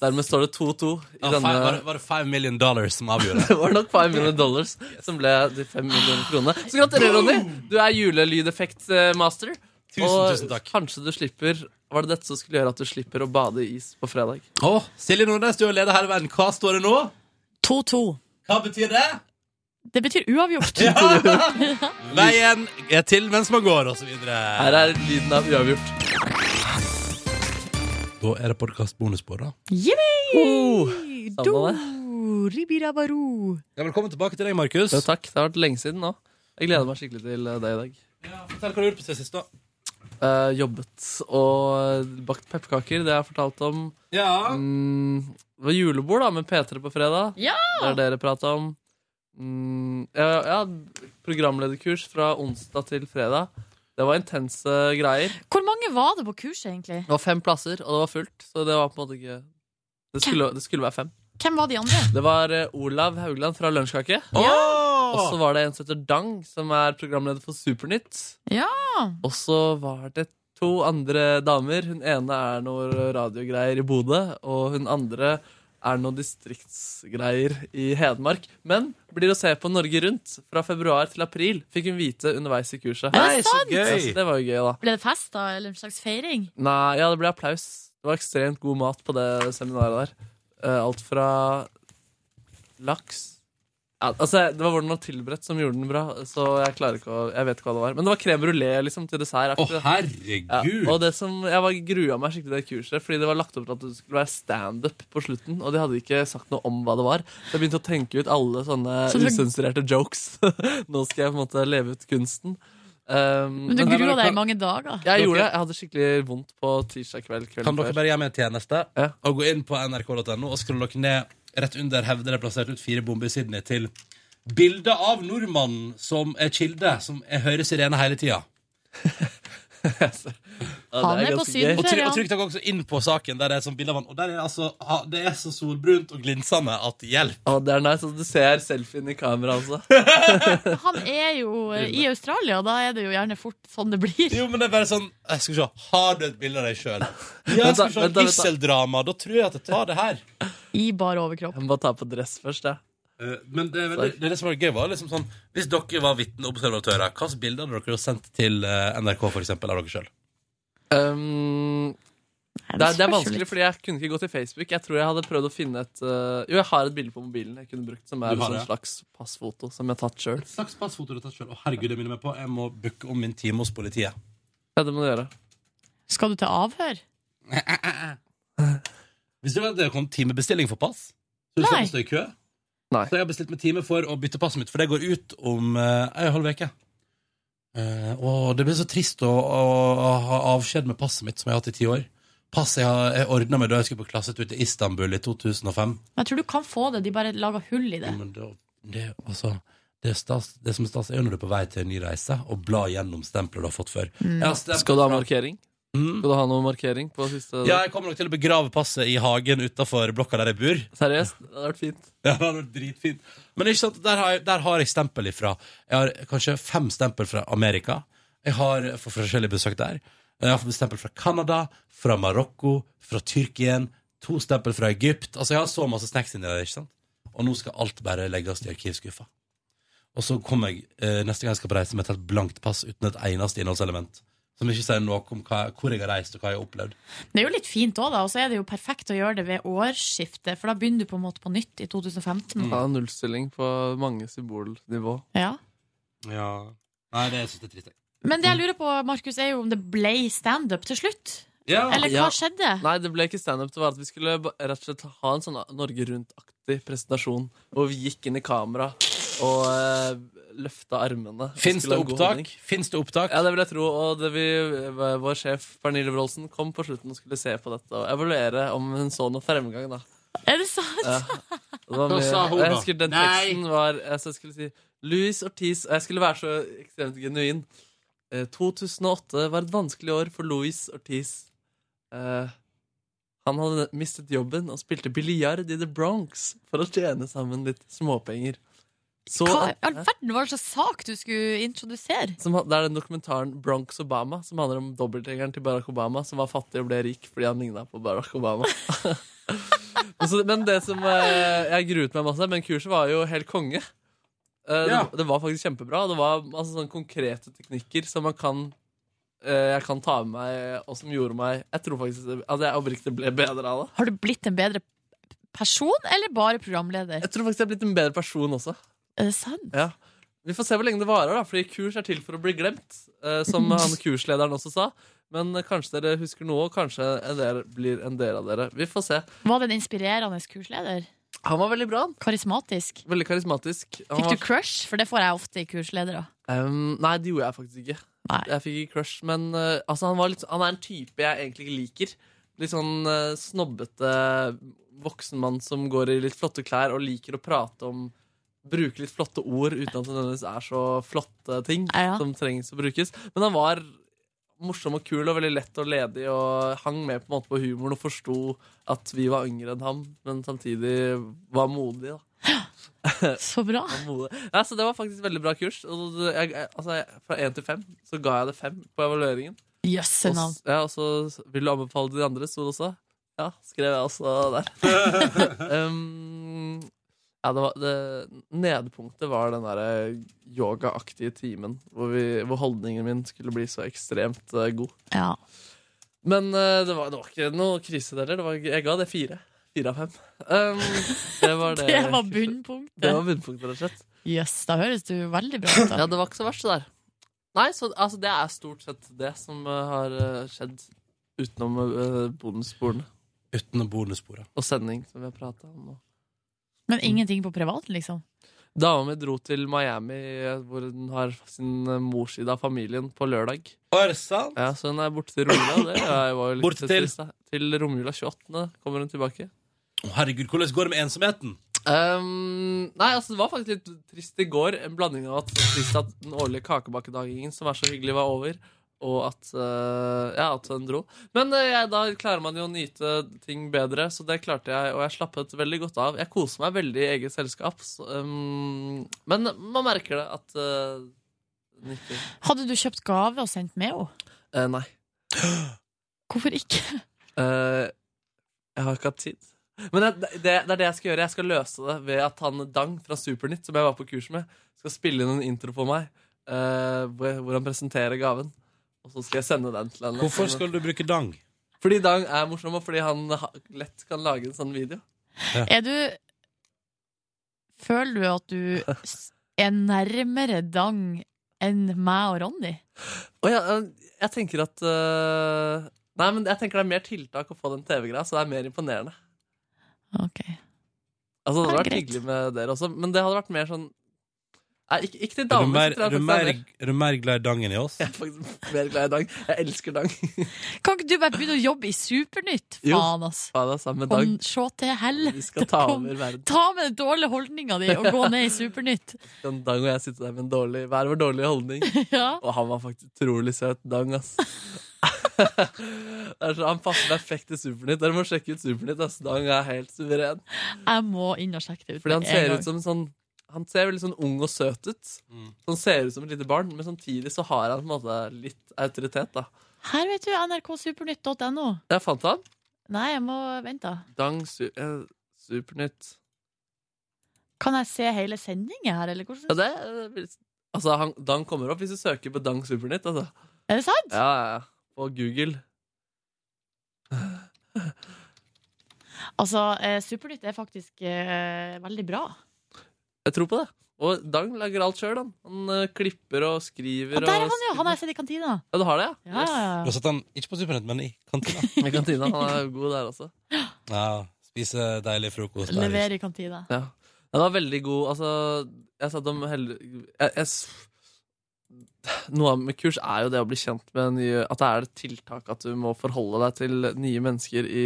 G: Dermed står det 2-2 i
B: Ja,
G: denne
B: five, var, det- var det five million dollars som avgjorde?
G: Det var nok 5 millioner dollars som ble de 5 millioner kronene. Så gratulerer, Ronny. Du er julelydeffekt-master.
B: Tusen,
G: og
B: tusen takk.
G: kanskje du slipper Var det dette som skulle gjøre at du slipper å bade i is på fredag?
B: Å, Silje Nordnes, du er leder her i verden. Hva står det nå?
C: 2-2.
B: Hva betyr det?
C: Det betyr uavgjort.
B: Veien er til mens man går, og så videre.
G: Her er lyden av uavgjort.
B: Da er det podkast bonusbord, da.
G: Oh,
C: Do, ribirabaro.
B: Ja, velkommen tilbake til deg, Markus.
G: jo, takk. Det har vært lenge siden nå. Jeg gleder meg skikkelig til det i dag.
B: Ja, Fortell hva du har gjort på siden sist, da.
G: Eh, jobbet og bakt pepperkaker. Det har jeg fortalt om.
B: Ja.
G: Mm, det var julebord da, med P3 på fredag.
C: Ja!
G: Det er dere prata om. Mm, ja, ja, programlederkurs fra onsdag til fredag. Det var intense greier.
C: Hvor mange var det på kurset, egentlig?
G: Det var fem plasser, og det var fullt. Så det var på en måte ikke Det skulle, det skulle være fem.
C: Hvem var de andre?
G: Det var eh, Olav Haugland fra Lunsjkake.
B: Å!
G: Og så var det en som heter Dang, som er programleder for Supernytt.
C: Ja.
G: Og så var det to andre damer. Hun ene er noe radiogreier i Bodø, og hun andre er noe distriktsgreier i Hedmark. Men blir å se på Norge Rundt fra februar til april, fikk hun vite underveis i kurset.
C: Er det
B: Nei, så
C: sant?
G: Så
B: gøy!
G: det var jo gøy, da.
C: Ble det fest, da? Eller en slags feiring?
G: Nei, ja, det ble applaus. Det var ekstremt god mat på det seminaret der. Eh, alt fra laks ja, Altså, Det var hvordan den var tilberedt som gjorde den bra. Så jeg klarer ikke å, jeg vet ikke hva det var. Men det var krem brulé liksom, til dessert.
B: Å,
G: akkurat. ja.
B: herregud!
G: Og det som, Jeg var grua meg skikkelig til det kurset, fordi det var lagt opp til at det skulle være standup på slutten. Og de hadde ikke sagt noe om hva det var. Så jeg begynte å tenke ut alle sånne
C: Så du-
G: usensurerte jokes. Nå skal jeg på en måte leve ut kunsten. Um,
C: Men du
B: Men-
C: grua deg i mange dager.
G: jeg
B: Dere-
G: gjorde det. Jeg hadde skikkelig vondt på tirsdag kveld. kvelden
B: Kan dere
G: før.
B: bare gjøre meg en tjeneste
G: Ja.
B: og gå inn på nrk.no og skrolle dere ned rett under hevder det er plassert ut fire bomber i Sydney til bilde av nordmannen som er kilde, som jeg hører sirene hele tida.
G: Ja,
C: Han
G: det
C: er på
G: ganske
C: syden.
G: gøy.
B: Og tryk, og trykk dere også inn på saken der det er sånn bilde av han. Og der er det altså ha- Det er så solbrunt og glinsende at hjelp!
G: Å, det er nice. Altså, du ser selfien i kameraet, altså.
C: Han er jo eh, i Australia, da er det jo gjerne fort sånn det blir.
B: Jo, men det er bare sånn jeg Skal vi se, Har du et bilde av deg sjøl? Ja,
G: Vent da,
B: skal vi se,
G: vent da, vent da.
B: gisseldrama. Da tror jeg at jeg tar det her.
C: I bar overkropp.
G: Jeg må bare ta på dress først, jeg.
B: Eh, Men det, er veldig, det, er det som var gøy, var liksom sånn Hvis dere var vitneobservatører, hvilke bilder hadde dere sendt til eh, NRK for eksempel, av dere sjøl?
G: Um, det, er, det er vanskelig, fordi jeg kunne ikke gå til Facebook. Jeg tror jeg hadde prøvd å finne et uh, Jo, jeg har et bilde på mobilen jeg kunne brukt, som
B: Du
G: er et
B: har
G: sånn
B: det,
G: slags passfoto som jeg har tatt sjøl.
B: Et slags passfoto du har tatt selv. Å, herregud, det minner meg på. Jeg må booke om min time hos politiet.
G: Ja, det må du gjøre.
C: Skal du til avhør?
B: Hvis det var at det kom timebestilling for pass, så du
C: Nei.
B: skal stå i kø.
G: Nei.
B: Så jeg har bestilt meg time for å bytte passet mitt, for det går ut om eh, ei halv uke. Eh, og det blir så trist å, å, å ha avskjed med passet mitt, som jeg har hatt i ti år. Passet jeg, har- jeg ordna meg da jeg skulle på klassetur til Istanbul i 2005.
C: Men jeg tror du kan få det, de bare lager hull i det.
B: Jo, men det, det, altså, det, er stas, det som er stas, er jo når du er på vei til en ny reise og blar gjennom stempler du har fått før. Jeg har stemplet
G: Skal du ha
B: fra-
G: markering?
B: Mm.
G: Skal du ha noe markering på siste
B: Ja, jeg kommer nok til å begrave passet i hagen utafor blokka der jeg bor.
G: Seriøst? Det hadde vært fint.
B: Ja, det hadde vært dritfint. Men ikke sant, der har, jeg, der har jeg stempel ifra. Jeg har kanskje fem stempel fra Amerika. Jeg har for forskjellige besøk der. Jeg har fått stempel fra Canada, fra Marokko, fra Tyrkia. To stempel fra Egypt. Altså, jeg har så masse snacks inni der, ikke sant? Og nå skal alt bare legges i arkivskuffa. Og så kommer jeg eh, neste gang jeg skal på reise med et helt blankt pass uten et eneste innholdselement. Som ikke sier noe om hva, hvor jeg har reist, og hva jeg har opplevd.
C: Det er jo litt fint òg, da. Og så er det jo perfekt å gjøre det ved årsskiftet, for da begynner du på en måte på nytt i
B: Mm.
C: 2015.
G: Ha nullstilling på mange symbolnivå.
C: Ja.
B: Ja. Nei, det syns jeg er trist. jeg.
C: Men det jeg lurer på, Markus, er jo om det ble standup til slutt?
B: Ja.
C: Eller hva
G: Ja.
C: skjedde?
G: Nei, det ble ikke standup. Det var at vi skulle ba- rett og slett ha en sånn Norge Rundt-aktig presentasjon. Hvor vi gikk inn i kamera og eh, løfta armene. og
B: Fins
G: skulle
B: det
G: ha en god holdning.
B: opptak? Fins det opptak?
G: Ja, det vil jeg tro. Og det vi, eh, vår sjef Pernille Wroldsen kom på slutten og skulle se på dette og evaluere om hun så noe fremgang. da
C: Er det sant?
G: Ja. Det var
B: Da
G: mye-
B: sa hun
G: jeg
B: da,
G: husker den
B: «Nei!»
G: teksten var altså, Jeg skulle si Louis Ortiz Og jeg skulle være så ekstremt genuin eh, 2008 var et vanskelig år for Louis Ortiz eh, Han hadde mistet jobben Og spilte biljard i The Bronx For å tjene sammen litt småpenger så,
C: Hva i all verden var det slags sak du skulle introdusere?
G: som, ha- det er den dokumentaren Bronx Obama Som handler om dobbeltgjengeren til Barack Obama Som var fattig og ble rik fordi han lignet på Barack Obama Men så- Men det som eh, Jeg gruet meg masse Men kurset var jo helt konge Eh,
B: Ja.
G: det, det var faktisk kjempebra Det var masse sånne konkrete teknikker Som man kan eh, Jeg kan ta med meg Og som gjorde meg Jeg tror faktisk det- at jeg oppriktig ble bedre av det
C: Har du blitt en bedre person, eller bare programleder?
G: Jeg tror faktisk jeg har blitt en bedre person også
C: Er det sant?
G: Ja. Vi får se hvor lenge det varer, da, fordi kurs er til for å bli glemt. eh, som han kurslederen også sa. Men eh, kanskje dere husker noe, og kanskje en del blir en del av dere. Vi får se.
C: Var det en inspirerende kursleder?
G: Han var veldig bra. han.
C: Karismatisk?
G: Veldig karismatisk. Han
C: Fikk du
G: var,
C: crush? For det får jeg ofte i kursledere.
G: Ehm, nei, det gjorde jeg faktisk ikke.
C: Nei.
G: Jeg fikk ikke crush, men eh, altså, han, var litt, han er en type jeg egentlig ikke liker. Litt sånn eh, snobbete voksen mann som går i litt flotte klær og liker å prate om Bruke litt flotte ord uten at det nødvendigvis er så flotte ting
C: Ja.
G: som trengs å brukes. Men han var morsom og kul og veldig lett og ledig og hang med på, en måte på humoren og forsto at vi var yngre enn ham, men samtidig var modig. Da.
C: Så bra.
G: Ja, så det var faktisk veldig bra kurs. Og det- jeg, jeg, altså jeg, fra én til fem så ga jeg det fem på evalueringen.
C: Jøsse
G: Og,
C: navn.
G: s- ja, og så vil du anbefale de andre, sto det også. Ja, skrev jeg også der. um, ja, det var, det, Nedepunktet var den derre yogaaktige timen hvor, vi, hvor holdningen min skulle bli så ekstremt eh, god.
C: Ja.
G: Men eh, det, var, det var ikke noe krise der. Det var, jeg ga det fire. Fire av fem. Um, det var det.
C: Det var
G: Det
C: bunnpunktet.
G: var bunnpunktet, rett og slett.
C: Jøss, da høres du veldig bra ut.
G: Ja,
C: da.
G: det var ikke så verst, det der. Nei, så altså, det er stort sett det som eh, har eh, skjedd utenom uh, bonussporene
B: Uten bonussporet.
G: og sending, som vi har prata om nå.
C: Men ingenting på privat, liksom?
G: Dama mi dro til Miami, eh, hvor hun har sin eh, morside av familien, på lørdag.
B: Å, er det sant?
G: Ja, Så hun er borte til romjula. Det er- var jo litt
B: Borte til?
G: trist, da. til romjula 28. kommer hun tilbake.
B: Å, herregud, hvordan går det med ensomheten?
G: Ehm, nei, altså Det var faktisk litt trist i går. En blanding av at, det var trist at den årlige kakebakkedagingen som er så hyggelig, var over. Og at eh, Ja, at den dro. Men eh, jeg, da klarer man jo å nyte ting bedre, så det klarte jeg. Og jeg slappet veldig godt av. Jeg koser meg veldig i eget selskap. Så, ehm, men man merker det at eh, den ikke
C: Hadde du kjøpt gave og sendt med henne?
G: Eh, Nei.
C: Hvorfor ikke?
G: Eh, jeg har ikke hatt tid. Men det, det, det er det jeg skal gjøre. Jeg skal løse det ved at han Dang fra Supernytt, som jeg var på kurs med, skal spille inn en intro for meg eh, hvor, hvor han presenterer gaven. Og så skal jeg sende den til henne.
B: Hvorfor skal du bruke dang?
G: Fordi Dang er morsom, og fordi han ha- lett kan lage en sånn video.
C: Er du Føler du at du s- er nærmere Dang enn meg og Ronny?
G: Og jeg, jeg tenker at eh, Nei, men jeg tenker det er mer tiltak å få den TV-greia, så det er mer imponerende.
C: Ok.
G: Altså, det
C: Ja,
G: hadde vært
C: greit.
G: hyggelig med dere også, men det hadde vært mer sånn Nei, ikke, ikke til
B: Er du
G: damer.
B: mer,
G: så tror
B: er
G: jeg
B: du
G: faktisk
B: mer,
G: det er mer-
B: er du mer glad i dang enn i oss?
G: Jeg er faktisk mer glad i Dang. Jeg elsker Dang.
C: Kan ikke du bare begynne å jobbe i Supernytt?
G: Jo.
C: Faen, ass.
G: Ta deg sammen med
C: Kom,
G: Dang.
C: se til hell.
G: Vi skal ta
C: Kom.
G: over verden.
C: Ta med den dårlige holdninga di og gå ned i Supernytt.
G: Kan Sånn Dang og jeg sitte der med en dårlig, hver vår dårlige holdning.
C: Ja.
G: Og han var faktisk utrolig søt. Dang, ass. Det er så- han passer perfekt til Supernytt. Dere må sjekke ut Supernytt. ass. Dang er helt suveren.
C: Jeg må inn og sjekke det ut.
G: Fordi han
C: med en
G: ser
C: gang.
G: ut som en sånn han ser veldig sånn ung og søt ut.
B: Mm.
G: Så han ser ut som et lite barn, men samtidig så har han på en måte litt autoritet. da.
C: Her, vet du. nrksupernytt.no.
G: Jeg fant han.
C: Nei, jeg må vente. da.
G: Dang su eh, Supernytt.
C: Kan jeg se hele sendinga her, eller
G: Ja,
C: hvordan?
G: det, det- altså, han, Dang kommer opp hvis du søker på Dang Supernytt. Altså.
C: Er det sant?
G: Ja, ja, ja. På Google.
C: Altså, eh, Supernytt er faktisk eh, veldig bra.
G: Jeg tror på det. Og Dang lager alt sjøl, han. Han eh, klipper og skriver.
C: Og der er
G: og
C: han jo!
G: skriver.
C: Han har jeg sett i kantina.
G: Ja, du har det,
C: Ja, ja,
B: Du
C: ja.
B: har sett den ikke på Supernett, men i kantina.
G: I kantina. Han er god der altså. også.
B: Ja, spise deilig frokost. der.
C: Leverer i kantina.
G: Ja. Han var veldig god. Altså, jeg satt om helle... Jeg, jeg, s- noe av med kurs er jo det å bli kjent med nye At det er et tiltak at du må forholde deg til nye mennesker i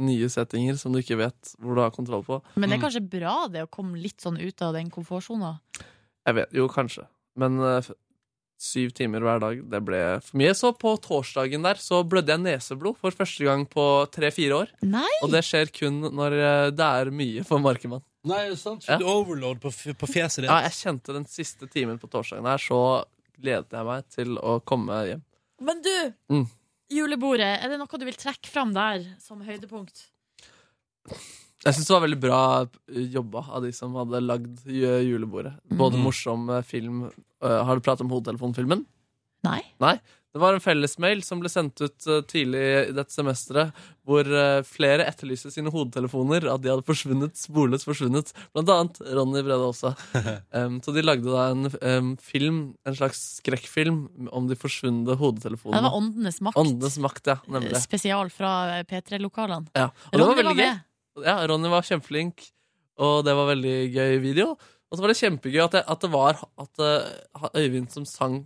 G: nye settinger som du ikke vet hvor du har kontroll på.
C: Men
B: Mm.
C: det er kanskje bra det å komme litt sånn ut av den komfortsona.
G: Jeg vet, jo, kanskje. Men eh, f- syv timer hver dag, det ble for mye. Så på torsdagen der så blødde jeg neseblod for første gang på tre-fire år.
C: Nei!
G: Og det skjer kun når eh, det er mye for markemann.
B: Nei, er det sant? Fikk du overload på, f- på fjeset ditt?
G: Ja, jeg kjente den siste timen på torsdagen her, så gledet jeg meg til å komme hjem.
C: Men du!
G: Mm.
C: Julebordet, er det noe du vil trekke fram der som høydepunkt?
G: Jeg syns det var veldig bra eh, jobba av de som hadde lagd ju- julebordet. Både
B: Mm.
G: morsom eh, film eh, Har du pratet om hodetelefonfilmen?
C: Nei.
G: Det var en fellesmail som ble sendt ut eh, tidlig i dette semesteret, hvor eh, flere etterlyste sine hodetelefoner, at de hadde forsvunnet, sporløst forsvunnet. Blant annet Ronny Brede Aase. Em, så de lagde da en em, film, en slags skrekkfilm, om de forsvunne
C: Det var
G: hodetelefonene.
C: Åndenes makt. Eh,
G: Åndenes makt, ja. Nemlig.
C: Spesial fra eh, P3-lokalene.
G: Ja. Og det var
C: Ronny
G: veldig
C: var
G: gøy.
C: med.
G: Ja, Ronny var kjempeflink, og det var veldig gøy video. Og så var det kjempegøy at det, at det var at, eh, Øyvind som sang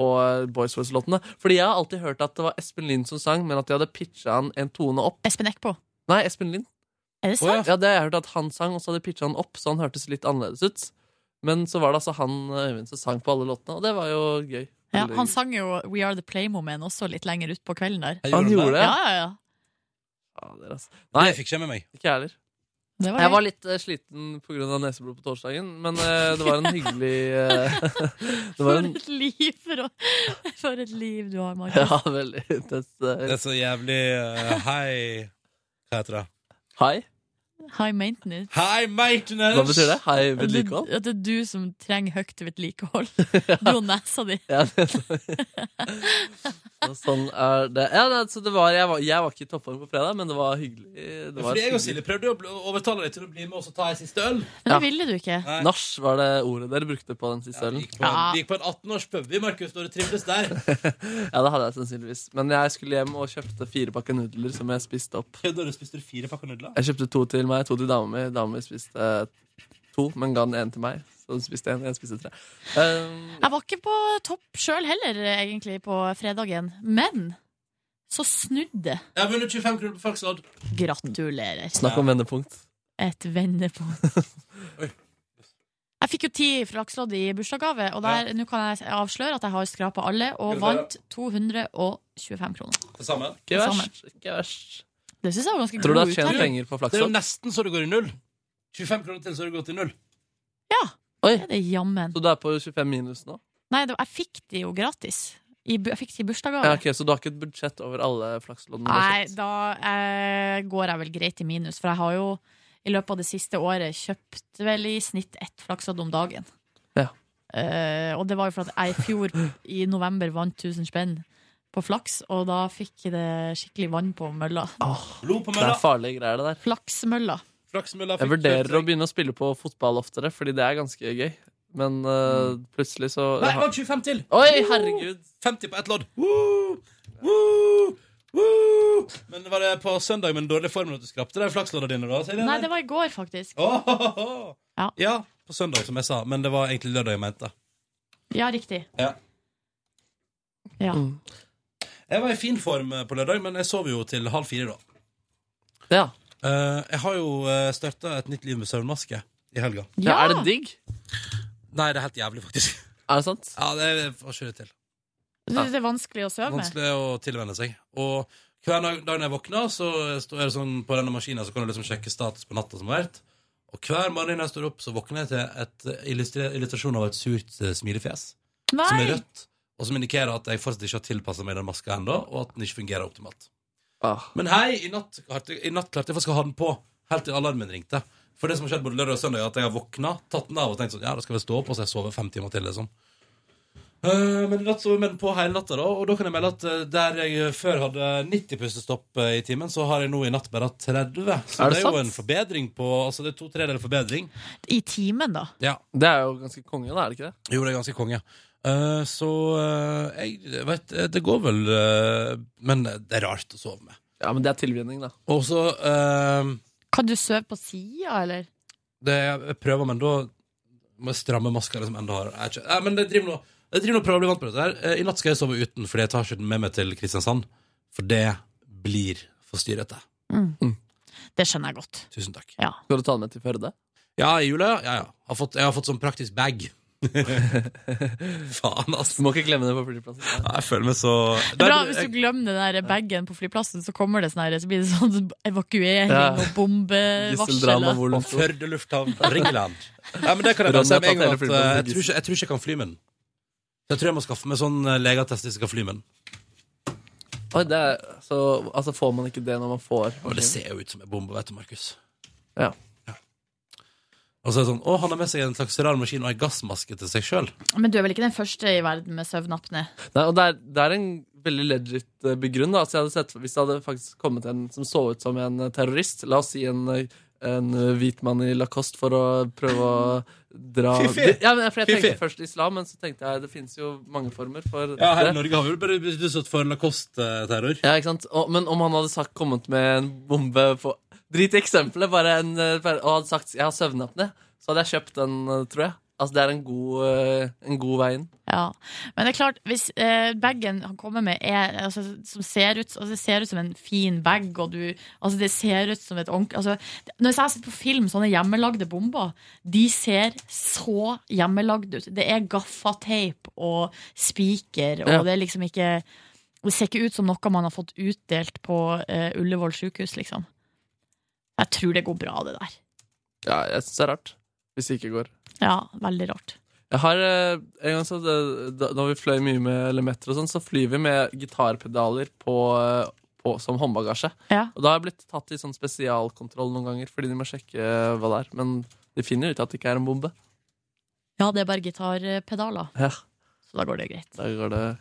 G: på eh, Boys Voice-låtene. Fordi jeg har alltid hørt at det var Espen Lind som sang, men at de hadde pitcha han en tone opp.
C: Espen Eckbo.
G: Nei, Espen Lind.
C: Er det
B: Å, ja.
C: sant?
G: Ja, det har jeg hørt at han sang, og så hadde de pitcha han opp, så han hørtes litt annerledes ut. Men så var det altså han eh, Øyvind som sang på alle låtene, og det var jo gøy.
C: Ja,
G: Veldig
C: han
G: gøy.
C: sang jo We Are The Playmomen også litt lenger ut på kvelden der.
B: Jeg
G: han
B: det.
G: gjorde det?
C: Ja,
G: Ja.
C: ja, ja.
G: Ja, det er altså.
B: Nei,
G: Nei,
B: jeg fikk ikke med meg.
G: ikke jeg heller.
C: Det var
G: Jeg
C: det.
G: var litt eh, sliten pga. neseblod på torsdagen, men eh, det var en hyggelig eh, Det var
C: For
G: en
C: et liv, for, å, for et liv du har, Markus.
G: Ja, veldig intens
B: Det
G: eh,
B: er så jævlig eh, Hei Hva heter det?
G: Hei?
C: High maintenance.
B: Hei, maintenance!
G: Hva betyr det? Hei, vedlikehold?
C: At det er du som trenger høyt vedlikehold. Du og nesa di.
G: Ja, det-
B: sånn.
G: Og sånn er det. Ja, det, så det var, jeg, var, jeg var ikke i toppform på fredag, men det var hyggelig. Det
B: Fordi
G: var
B: jeg og
G: hyggelig.
B: Silje prøvde å bl- å overtale deg til å bli med oss og ta en siste øl.
C: Men
G: Ja.
C: det ville du ikke.
B: Nei.
G: Nach var det ordet dere brukte på den siste
B: Ja, vi
G: ølen.
B: gikk på en,
C: Ja.
B: vi gikk på en 18-årspub, vi, Markus, når du trivdes der.
G: Ja, det hadde jeg sannsynligvis. Men jeg skulle hjem og kjøpte fire pakker nudler som jeg spiste opp.
B: Kødder du? Spiste du fire pakker nudler?
G: Jeg kjøpte to til meg, to til dama mi. Dama mi spiste eh, to, men ga den ene til meg. Så hun spiste én, jeg spiste tre. Um,
C: Jeg var ikke på topp sjøl heller, egentlig, på fredagen. Men så snudde det.
B: Jeg har vunnet 25 kroner på Faxlodd.
C: Gratulerer.
G: snakk om vendepunkt.
C: Et vendepunkt. Jeg fikk jo ti flakslodd i bursdagsgave, og der, nå kan jeg avsløre at jeg har skrapa alle og
B: Gratulerer.
C: vant 225 kroner.
B: Til sammen.
G: Ikke
C: Samme.
G: verst. Ikke verst.
C: Det syns jeg var ganske
G: Tror du
C: god
G: har tjent
C: uttelling.
G: penger
B: Det
G: på
B: er jo
G: flakslodd?
B: nesten så det går i null. 25 kroner til så det går til null.
C: Ja,
G: Oi.
C: det er det jammen.
G: Så du er på 25 minus nå?
C: Nei, det, var- jeg fikk de jo gratis. I, bu- jeg fikk de i bursdagsgave.
G: Ja, ok, Så du har ikke et budsjett over alle flaksloddene? du har
C: Nei,
G: kjøpt?
C: da eh, går jeg vel greit i minus, for jeg har jo i løpet av det siste året kjøpt vel i snitt ett flakslodd om dagen.
G: Ja.
C: Eh, og det var jo for at jeg i fjor i november vant 1000 spenn på flaks, og da fikk jeg det skikkelig vann på mølla.
B: Blod på
G: Det
B: mølla.
G: er farlige greier, det der.
C: Flaksmølla.
B: Flaksmølla
G: Jeg
B: fikk
G: vurderer å
B: 23.
G: begynne å spille på fotball oftere, fordi det er ganske gøy. Men eh, plutselig så
B: Nei, jeg vant 25 til!
G: Oi, herregud!
B: 50 på ett lodd. Woo! Woo! Woo! Men var det på søndag med den dårlige formen at du skrapte de flaksloddene dine? da? Sier jeg
C: Nei,
B: det?
C: det var i går, faktisk.
B: Åhåhåhå.
C: Ja.
B: Ja, på søndag, som jeg sa. Men det var egentlig lørdag jeg mente.
C: Ja, riktig.
B: Ja.
C: Ja.
G: Mm.
B: Jeg var i fin form eh, på lørdag, men jeg sov jo til halv fire da.
G: Ja.
B: Eh, jeg har jo uh, starta et nytt liv med søvnmaske i helga.
G: ja,
C: Ja,
G: Er det digg?
B: Nei, det er helt jævlig, faktisk.
G: Er det sant?
B: ja, det er- får ikke det til.
C: Du synes det er vanskelig å sove med?
B: Vanskelig å tilvenne seg. Og hver dag, dag når jeg våkner, så står jeg sånn på denne maskinen, så kan du liksom sjekke status på natta som har vært. Og hver morgen når jeg står opp, så våkner jeg til et eh, illustre- illustrasjon av et surt eh, smilefjes. Som er
C: Nei!
B: rødt, og som indikerer at jeg fortsatt ikke har tilpassa meg den maska ennå, og at den ikke fungerer optimalt.
G: Ah.
B: Men hei, i natt, klarte- i natt klarte jeg faktisk å ha den på helt til alarmen ringte. For det som har skjedd både lørdag og søndag, er at jeg har våkna, tatt den av og tenkt sånn Ja, da skal vi stå opp, og så har jeg sovet fem timer til, liksom. Eh, men i natt sov jeg med den på hele natta, da, og da kan jeg melde at eh, der jeg før hadde 90 pustestopp eh, i timen, så har jeg nå i natt bare hatt 30. Så
G: Er
B: det, er
G: det
B: jo
G: sant?
B: en forbedring på Altså det er to tredeler forbedring.
C: I timen, da.
B: Ja.
G: Det er jo ganske konge, da, er det ikke det?
B: Jo, det er ganske konge. Eh, så eh, jeg vet eh, Det går vel eh, Men det er rart å sove med.
G: Ja, men det er tilvinning, da.
B: Og så eh,
C: Kan du sove på sida, eller?
B: det, Jeg prøver, men da må jeg stramme maska liksom enda hardere. Jeg er ikke- Nei, men det driver nå Jeg driver nå og prøver å bli vant med dette her. Eh, I natt skal jeg sove uten, fordi jeg tar ikke den med meg til Kristiansand. For det blir for styrete.
C: Det skjønner jeg godt.
B: Tusen takk.
C: Ja.
G: Skal du ta den med til Førde?
B: Ja, i jula, ja. ja, ja. Har fått, jeg har fått sånn praktisk bag. Faen,
G: Du
B: altså.
G: må ikke glemme det på flyplassen.
B: Jeg føler meg så
C: Det er bra hvis du glemmer den der bagen på flyplassen, så kommer det sånn her, så blir det sånn evakuering
G: Ja.
C: og
G: Eh,
C: bombevarsel.
G: Gisseldrama,
C: og-
G: hvor
B: Og
G: langt
B: Førde lufthavn, Ringeland. Ja, men det kan jeg bare
G: Ronny
B: si
G: har
B: med en gang at
G: tatt hele
B: eh, jeg
G: flyplassen.
B: tror, ikke, jeg tror ikke jeg kan fly med den. Så Jeg tror jeg må skaffe meg sånn eh, legeattest hvis jeg skal fly med den.
G: Oi, det er, så, altså Får man ikke det når man får
B: Og det ser jo ut som en bombe, vet du, Markus.
G: Ja.
B: Og så er det sånn, å, han har med seg en slags rar maskin og en gassmaske til seg sjøl.
C: Men du er vel ikke den første i verden med søvnapné?
G: Nei, og det er, det er en veldig legit eh, begrunn. Da. Altså, jeg hadde sett, hvis det hadde faktisk kommet en som så ut som en eh, terrorist, la oss si en, eh, en eh, hvit mann i Lacoste for å prøve å dra
B: Fifi!
G: Ja, men, for jeg
B: Fifi!
G: tenkte først islam, men så tenkte jeg det finnes jo mange former for det.
B: Norge har vi bare blitt utsatt for Lacoste-terror.
G: Ja, ikke sant? Og, men om han hadde sagt, kommet med en bombe på Drit i eksempelet, bare en eh, per- Og hadde sagt 'jeg har søvnapné', så hadde jeg kjøpt den, eh, tror jeg. Altså, det er en god, eh, en god vei inn.
C: Ja. Men det er klart, hvis eh, bagen han kommer med, er, altså, som ser ut, altså, det ser ut som en fin bag, og du Altså, det ser ut som et ordentlig altså, det- Når jeg har sett på film sånne hjemmelagde bomber, de ser så hjemmelagde ut. Det er gaffateip og spiker, og
G: Ja.
C: det er liksom ikke Det ser ikke ut som noe man har fått utdelt på eh, Ullevål sykehus, liksom. Jeg tror det går bra, det der.
G: Ja, jeg syns det er rart. Hvis det ikke går.
C: Ja, veldig rart.
G: Jeg har, eh, en gang så, da, da vi fløy mye med Lemetter, og sånn, så flyr vi med gitarpedaler på, eh, på, som håndbagasje.
C: Ja.
G: Og da har jeg blitt tatt i sånn spesialkontroll noen ganger, fordi de må sjekke eh, hva det er. Men de finner ut at det ikke er en bombe.
C: Ja, det er bare gitarpedaler,
G: Ja,
C: så da går det greit.
G: Da går det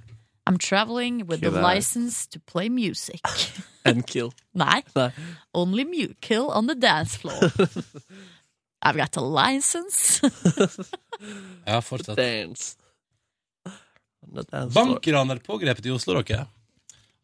C: I'm traveling with the
G: Kevær.
C: license to play music.
G: en kill.
C: Nei.
G: Nei.
C: Only mu kill on the dance floor. I've got a license.
B: Ja, fortsett.
G: Dance. Bank.
B: Bankraner pågrepet i Oslo, dere.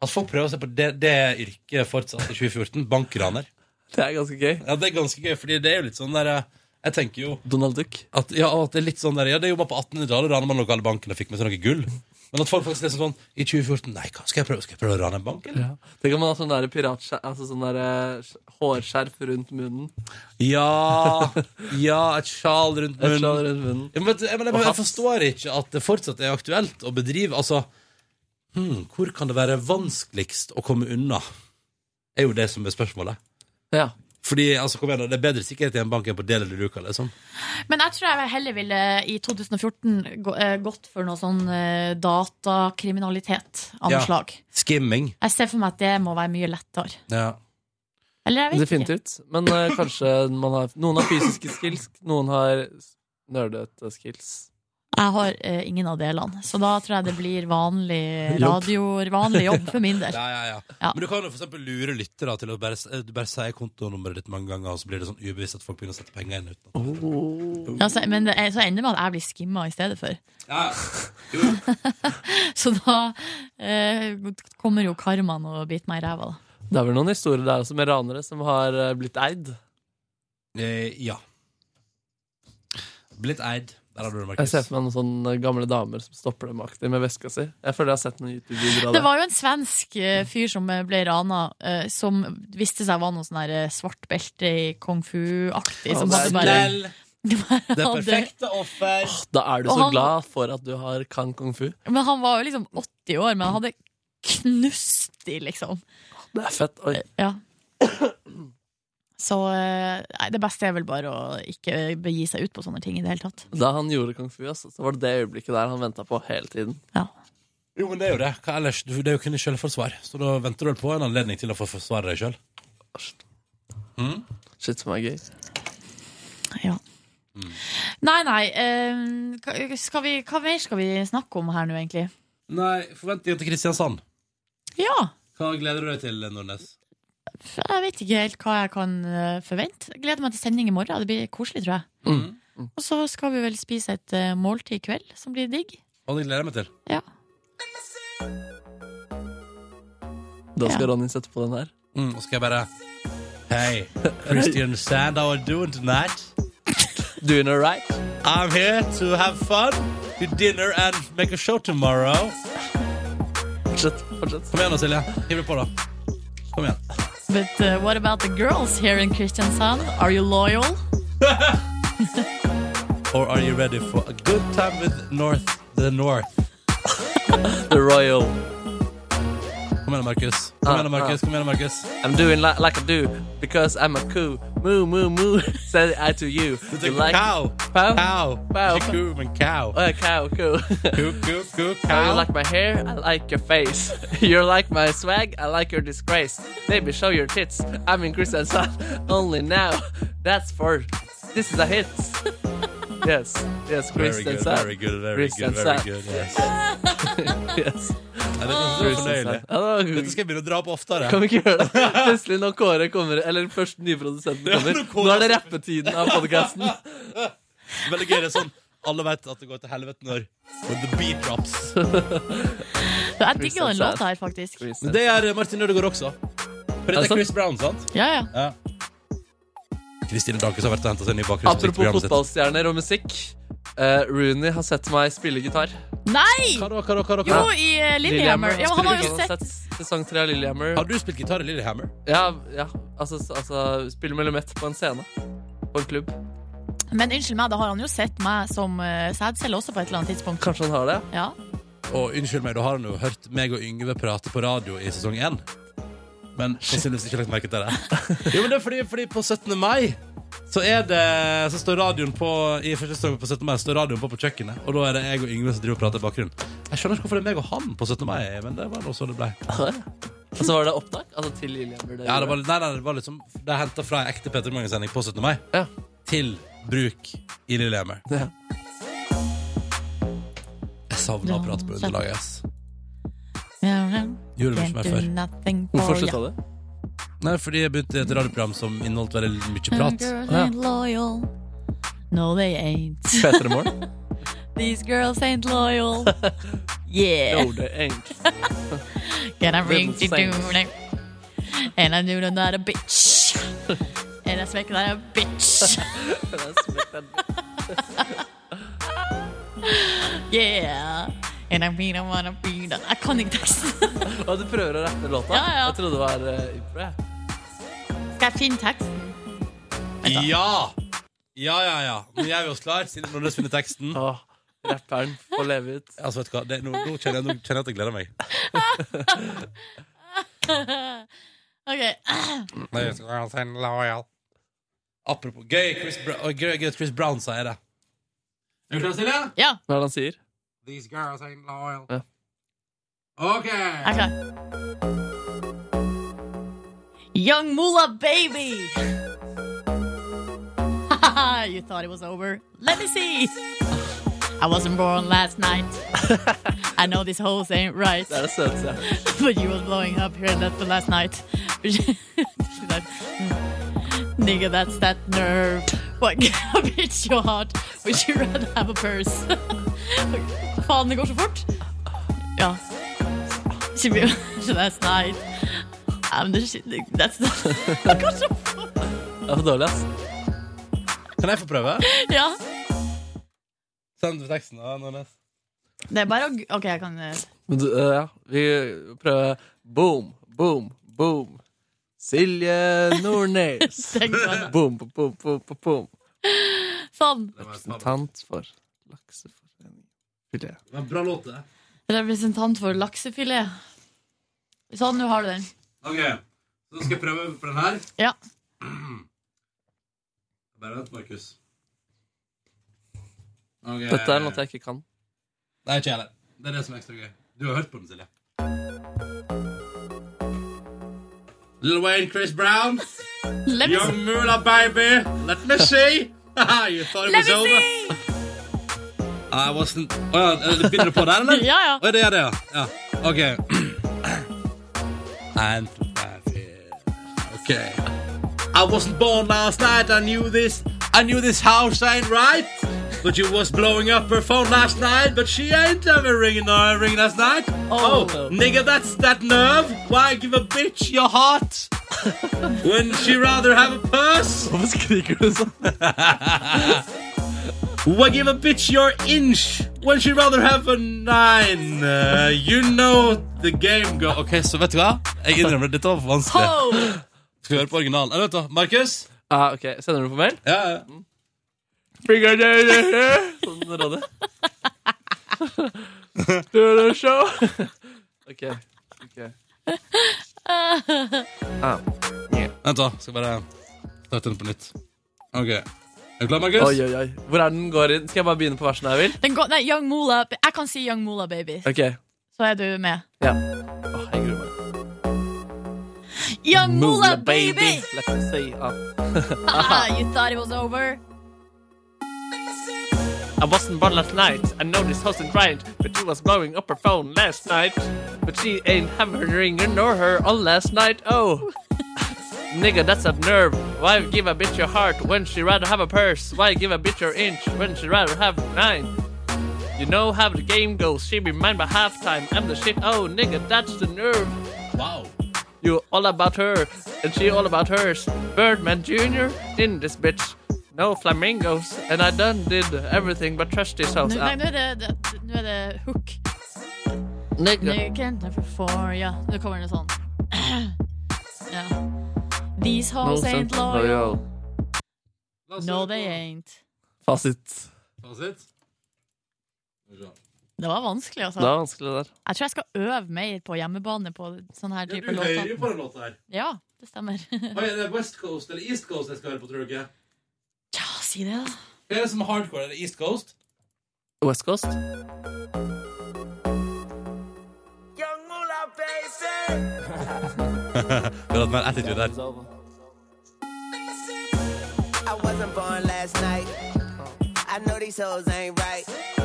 B: Altså, folk prøver å se på det, det yrket fortsatt i 2014. Bankraner.
G: Det er ganske gøy.
B: Ja, det er ganske gøy, fordi det er jo litt sånn der eh, Jeg tenker jo
G: Donald Duck.
B: at, ja, at det er litt sånn der Ja, det jobba på 1800-tallet, raner man lokale banken og fikk med seg noe gull. Men at folk faktisk er sånn i 2014 Nei, hva skal jeg prøve? Skal jeg prøve å rane en bank, eller?
G: Tenk om man har sånn der piratskjerf altså sånn der, eh, hårskjerf rundt munnen.
B: Ja, ja, et sjal rundt
G: Et skjold
B: munnen.
G: rundt munnen.
B: Ja, men, jeg, men, jeg,
G: Og
B: jeg
G: hatt.
B: forstår ikke at det fortsatt er aktuelt å bedrive Altså, hmm, hvor kan det være vanskeligst å komme unna? Er jo det som er spørsmålet.
G: Ja.
B: Fordi, altså, kom igjen, da, Det er bedre sikkerhet i en bank enn på Del eller Luka. Liksom.
C: Men jeg tror jeg heller ville i 2014 gå- eh, gått for noe sånn eh, datakriminalitet av
B: Ja.
C: noe slag.
B: Skimming.
C: Jeg ser for meg at det må være mye lettere.
B: Ja.
C: Eller jeg vet ikke.
G: Definitivt. Men eh, kanskje man har, noen har fysiske skills, noen har nerdete skills.
C: Jeg har eh, ingen av delene, så da tror jeg det blir vanlig
G: Jobb.
C: radio, vanlig jobb for min del.
B: Ja, ja, ja.
C: Ja.
B: Men du kan jo for eksempel lure lyttere til å bare, s- eh, du bare si kontonummeret ditt mange ganger, og så blir det sånn ubevisst at folk begynner å sette penger inn uten
G: Oh.
B: at
C: Ja, så, men det, er- så ender det med at jeg blir skimma i stedet for.
B: ja.
C: Så da eh, kommer jo karmaen og biter meg i ræva, da.
G: Det er vel noen historier der også med ranere som har eh, blitt eid.
B: Eh, ja. Blitt eid. Der har du det,
G: Jeg ser
B: Markus.
G: for meg noen sånne gamle damer som stopper dem aktivt med veska si. Jeg føler jeg har sett noen YouTube-videoer av
C: Det
G: det.
C: var jo en svensk eh, fyr som eh, ble rana, eh, som viste seg var noe sånn der, eh, svart belte i kung fu-aktig.
G: Å,
C: som
G: det
C: hadde
G: er
C: bare
B: Snell, det
C: hadde-
B: perfekte offer.
G: Da er du
C: Og
G: så
C: han-
G: glad for at du har kan kung fu.
C: Men han var jo liksom 80 år, men han hadde knust i, liksom.
G: Det er fett. Oi.
C: Ja. Så eh, nei, det beste er vel bare å ikke begi seg ut på sånne ting i det hele tatt.
G: Da han gjorde kung fu, altså, så var det det øyeblikket der han venta på hele tiden.
B: Jo, men det er jo det. Hva ellers? Du- Det er jo kun i selvforsvar. Så da venter du vel på en anledning til å få forsvare deg sjøl.
G: Shit som er gøy.
C: Ja. Nei, nei. eh, hva- skal vi, hva mer skal vi snakke om her nå, egentlig?
B: Nei, forventninger til Kristiansand.
C: Ja.
B: Hva gleder du deg til, Nordnes?
C: Jeg vet ikke helt hva jeg kan eh, forvente. Jeg Gleder meg til sending i morgen. Det blir koselig, tror jeg.
G: Mm.
C: Og så skal vi vel spise et eh, måltid i kveld, som blir digg.
B: Hva gleder jeg meg til?
C: Ja.
G: Da skal Ronny sette på den her.
B: Mm, og skal jeg bare Hey, Christian Sand, how are you doing tonight?
G: Doing all right?
B: I'm here to have fun, to dinner and make a show tomorrow.
G: Fortsett. fortsett.
B: Kom igjen da, Silje. Hiv deg på, da. Kom igjen.
C: But eh, what about the girls here in Kristiansand? Are you loyal?
B: Or are you ready for a good time with North the North?
G: The Royal.
B: Kom igjen, da, Markus. Kom igjen, da, Markus. Kom igjen, da, Markus.
G: I'm doing li like I do because I'm a coo. Moo, moo, moo. Say I to you.
B: Det
G: You
B: er
G: like
B: cow.
G: Cow?
B: Cow.
G: Cow.
B: Ikke ku, men cow.
G: Oh, yeah, cow, coo.
B: Ku, ku, ku,
G: I
B: cow.
G: like my hair, I like your face. You're like my swag, I like your disgrace. Baby, show your tits. I'm in Kristiansand only now. That's for. This is a hit. yes, yes,
B: Very good, very
G: Kristiansand.
B: good, very good, very
G: Kristiansand.
B: good. Yes.
G: Yes,
B: Ja, dette synes jeg var fornøyelig.
G: Kristiansand. Ja, det var-
B: Dette skal jeg begynne å dra på oftere.
G: Kan vi ikke gjøre det? Plutselig når Kåre kommer, eller først den nye produsenten kommer,
B: når Kåre-
G: nå er det rappetiden av podkasten.
B: Veldig gøy, det er sånn. Alle vet at det går til helvete når When the beat drops.
C: Så Jeg digger den
G: Kristiansand.
C: låta her, faktisk.
B: Men det gjør Martin Ødegaard også. For
G: Er
B: dette
G: det
B: er Chris Brown, sant?
C: Ja, ja.
B: Ja. Kristine Dankes har vært og hentet seg en ny bakgrunnsmusikk til
G: Apropos
B: programmet sitt.
G: fotballstjerner og musikk. eh, Rooney har sett meg spille gitar.
C: Nei!
B: Hva da, hva da, hva da, hva
C: Jo,
B: da?
C: i eh, Lillehammer. Ja, men han har jo
G: spiller-
C: sett
G: sesong tre av Lillehammer.
B: Har du spilt gitar i Lillehammer?
G: Ja, ja. Altså, altså spiller melomett på en scene. På en klubb.
C: Men unnskyld meg, da har han jo sett meg som uh, sædcelle også på et eller annet tidspunkt.
G: Kanskje han har det?
C: Ja.
B: Og unnskyld meg, da har han jo hørt meg og Yngve prate på radio i sesong 1 Men sannsynligvis ikke lagt merke til det Jo, men det er fordi, fordi på 17. mai så, er det, så står radioen på I første sesong på 17. mai står radioen på på kjøkkenet, og da er det jeg og Yngve som driver og prater i bakgrunnen. Jeg skjønner ikke hvorfor det er meg og han på 17. mai, men det var nå så det ble.
G: Og så var det opptak? Altså til Lillehammer?
B: Ja, det var, litt- nei, nei, det var liksom Det er henta fra en ekte Peter Magnus-sending på 17. mai
G: Ja.
B: til bruk i Lillehammer.
G: Ja.
B: Jeg savna å prate på underlaget, ass. Gjorde det ikke
C: Can't
B: mer
C: do
B: før.
C: nothing
G: Hvorfor
C: for
G: slutta
C: you.
G: det?
B: Nei, fordi jeg begynte i et radioprogram som inneholdt veldig mye prat.
C: Girls
G: Ja.
C: ain't loyal. No, they ain't.
G: P3 Morgen?
C: These girls ain't loyal. Yeah.
G: Jo, det er egentlig
C: Can I ring to
G: Little
C: do
G: saints.
C: it? And I knew that not a bitch. And I smack that a bitch. Yeah. And I mean I wanna be the Jeg kan ikke teksten.
G: Og du prøver å rappe låta?
C: Ja, ja.
G: Jeg trodde det var eh, impro. jeg.
C: Skal jeg finne teksten?
B: Ja! Ja, ja, ja. Nå gjør vi oss klar, siden Nordnes finner teksten.
G: Åh, Rapperen får leve ut.
B: Altså, vet du hva? Det, nå, nå, kjenner jeg, nå kjenner jeg at jeg gleder meg.
C: Ok.
B: Nei, jeg skal være en lojal. Apropos gøy Chris, Bra og gøy, gøy, Chris Brown, sa jeg det. Er du klar, Silje?
C: Ja,
G: Hva er det han sier?
B: These girls ain't loyal.
G: Ja.
B: OK!
C: jeg er klar. Young Moolah Baby! Haha, you thought it was over? Let me see! I wasn't born last night. I know these hoes ain't right.
G: Det er det søteste jeg har hørt.
C: But you was blowing up here that the last night. She's like, "Mm, Nigga, that's that nerve. What bitch your heart? Would you rather have a purse? Faen, det går så fort. Ja. She be, she last night. I'm the shit. That's the Det går så fort.
G: Det er for dårlig, ass.
B: Kan jeg få prøve?
C: Ja.
B: Send teksten, da, Nordnes.
C: Det er bare å gu- OK, jeg kan eh,
G: Men du, eh, ja, vi prøver boom, boom, boom. Silje Nordnes.
C: tenke på det.
G: boom, boom, boom, boom, boom, boom.
C: Sånn.
G: Representant for Lakseforeningen. Filet.
B: Det var en bra låt, det.
C: Representant for laksefilet. Sånn, nå har du den.
B: Ok, så skal jeg prøve på den her.
C: Ja.
B: Bare vent, Markus. Okay.
G: Dette er noe jeg ikke kan.
B: Nei, ikke jeg heller. Det er det som er ekstra gøy. Du har hørt på den, Silje. Lil Wayne, Chris Brown,
C: Let me
B: Young Moolah Baby, Let Me See. you thought it
C: Let
B: was
C: me
B: over. I wasn't Å ja, er det- begynner det på der, eller?
C: Ja, ja.
B: Å, det gjør det, ja. ja. OK. And that is- OK. I wasn't born last night, I knew this. I knew this house ain't right. But you was blowing up her phone last night, but she ain't ever ringing her ring last night.
C: Oh.
B: nigga, that's that nerve. Why give a bitch your heart? Wouldn't she rather have a purse?
G: Hvorfor skriker du sånn?
B: Why give a bitch your inch when she rather have a nine? Uh, you know the game go Ok, så vet du hva? Jeg innrømmer dette var for vanskelig.
C: Ho!
B: Skal vi høre på originalen? Eller, vet du, Markus?
G: Ah, ok, Sender du på mail?
B: Ja, ja.
G: Sånn rådde. Lørdagsshow. Ok. ok ah.
B: Vent, da. Skal bare starte den på nytt. Ok. Er du klar, Markus?
G: Oi, oi, oi. Hvor er den går inn? Skal jeg bare begynne på versene jeg vil?
C: Den går, nei, Young Moolah Jeg kan si Young Moolah, baby.
G: Ok.
C: Så er du med.
G: Ja. Åh, jeg gruer meg.
C: Young Moolah, baby!
G: Let me see. Ah.
C: Ah, you thought it was over?
G: I wasn't born last night. I know this wasn't right, but she was blowing up her phone last night. But she ain't have her ringer nor her on last night. Oh, nigga, that's a nerve. Why give a bitch your heart when she rather have a purse? Why give a bitch your inch when she rather have nine? You know how the game goes. She be mine by halftime. I'm the shit. Oh, nigga, that's the nerve.
B: Wow.
G: You all about her, and she all about hers. Birdman Jr. in this bitch. No flamingos, and I done did everything but trash this house.
C: Nå, nei,
G: Ah,
C: nå er det, det, nå er det hook.
G: nigga.
C: You can't never for Ja, nå kommer det sånn. ja. These hoes ain't loyal. No, they ain't.
G: Fasit.
B: Fasit?
C: Det var vanskelig,
G: Det
C: altså.
G: er vanskelig, det der.
C: Jeg tror jeg skal øve mer på hjemmebane på sånn her
B: Ja,
C: type
B: du hører
C: låter.
B: jo på den låta her.
C: Ja, det stemmer.
B: Oi, er det West Coast eller East Coast jeg skal høre på, tror du ikke?
C: Si det, da.
B: Hva er det som er hardcore? Er det East Coast?
G: West Coast.
B: Vi har hatt mer attitude der.
H: I wasn't born last night. I know these hoes ain't right.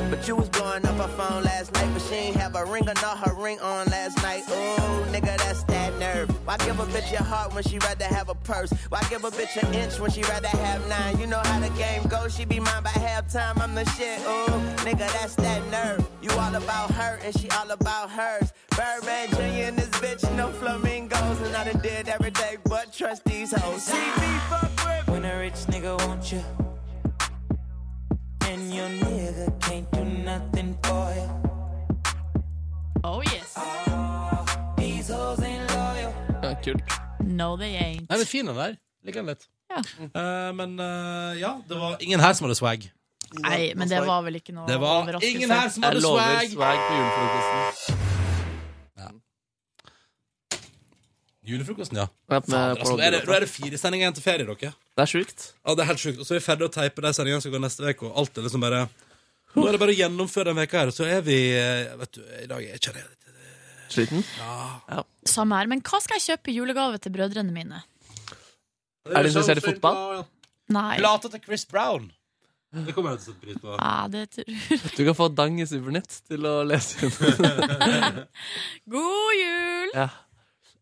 H: But you was blowing up her phone last night. But she ain't have a ring or not her ring on last night. Ooh, nigga, that's that nerve. Why give a bitch your heart when she rather have a purse? Why give a bitch an inch when she rather have nine? You know how the game goes. She be mine by halftime. I'm the shit. Ooh, nigga, that's that nerve. You all about her and she all about hers. Birdman Jr. and this bitch, no flamingos. And I done did everything but trust these hoes. See me fuck with
I: When a rich nigga want you, and your nigga can't do nothing for you.
C: Oh yes.
I: These hoes ain't loyal.
G: Ja, kult.
C: No, they ain't.
B: Nei, det er fin den der. Liker den litt.
C: Ja.
B: Eh, men eh, ja, det var ingen her som hadde swag.
C: Nei, men det var vel ikke noe
B: Det var
C: overraskelse.
B: ingen her som
G: Jeg
B: hadde
G: lover
B: swag.
G: swag på julefrokosten.
B: Julefrokosten, ja.
G: Ja, med
B: Fader, altså,
G: Paul
B: nå er det, nå
G: Gulbrand.
B: er det fire sendinger igjen til ferie, dere.
G: Det er sjukt.
B: Ja, det er helt sjukt. Og så er vi ferdig å teipe de sendingene som går neste uke, og alt er liksom bare Nå er det bare å gjennomføre den veka her, og så er vi eh, Vet du, i dag er jeg kjenner jeg
G: Sliten.
C: Samme her. Men hva skal jeg kjøpe i julegave til brødrene mine?
G: Er du interessert i fotball?
C: Nei,
B: Plata til Chris Brown. Det kommer jeg til å sette pris på.
C: ja, det tror
G: Du kan få Dang i Supernytt til å lese inn.
C: God jul!
G: ja.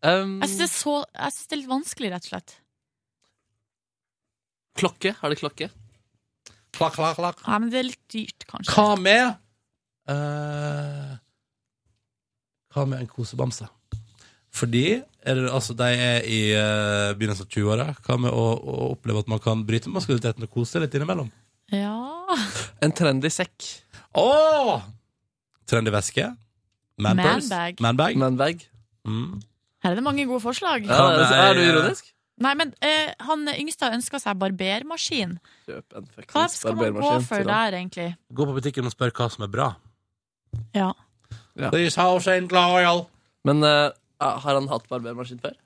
G: um,
C: Jeg syns det, er så- jeg synes det er litt vanskelig, rett og slett.
G: klokke. Har det klokke?
B: Klakk, klakk, klakk.
C: Nei, men det er litt dyrt, kanskje.
B: Hva med eh, Hva med en kosebamse? Fordi er det, altså, de er i eh, begynnelsen av 20-åra. Hva med å, å oppleve at man kan bryte maskuliniteten og kose litt innimellom?
C: Ja
G: En trendy sekk.
B: Åh! Trendy væske. Man purse.
C: Manbag.
B: Manbag.
G: Manbag.
B: Mm.
C: Her er det mange gode forslag.
G: Ja,
B: Kan
G: altså,
B: jeg-
G: er du ironisk?
C: Nei, men eh, han yngste har ønska seg barbermaskin.
G: Kjøp en
C: Hva
G: fuckings
C: skal man gå for
G: til han.
C: der, egentlig?
B: Gå på butikken og spør hva som er bra.
C: Ja.
G: Ja.
B: These house ain't loyal.
G: Men eh, har han hatt barbermaskin før?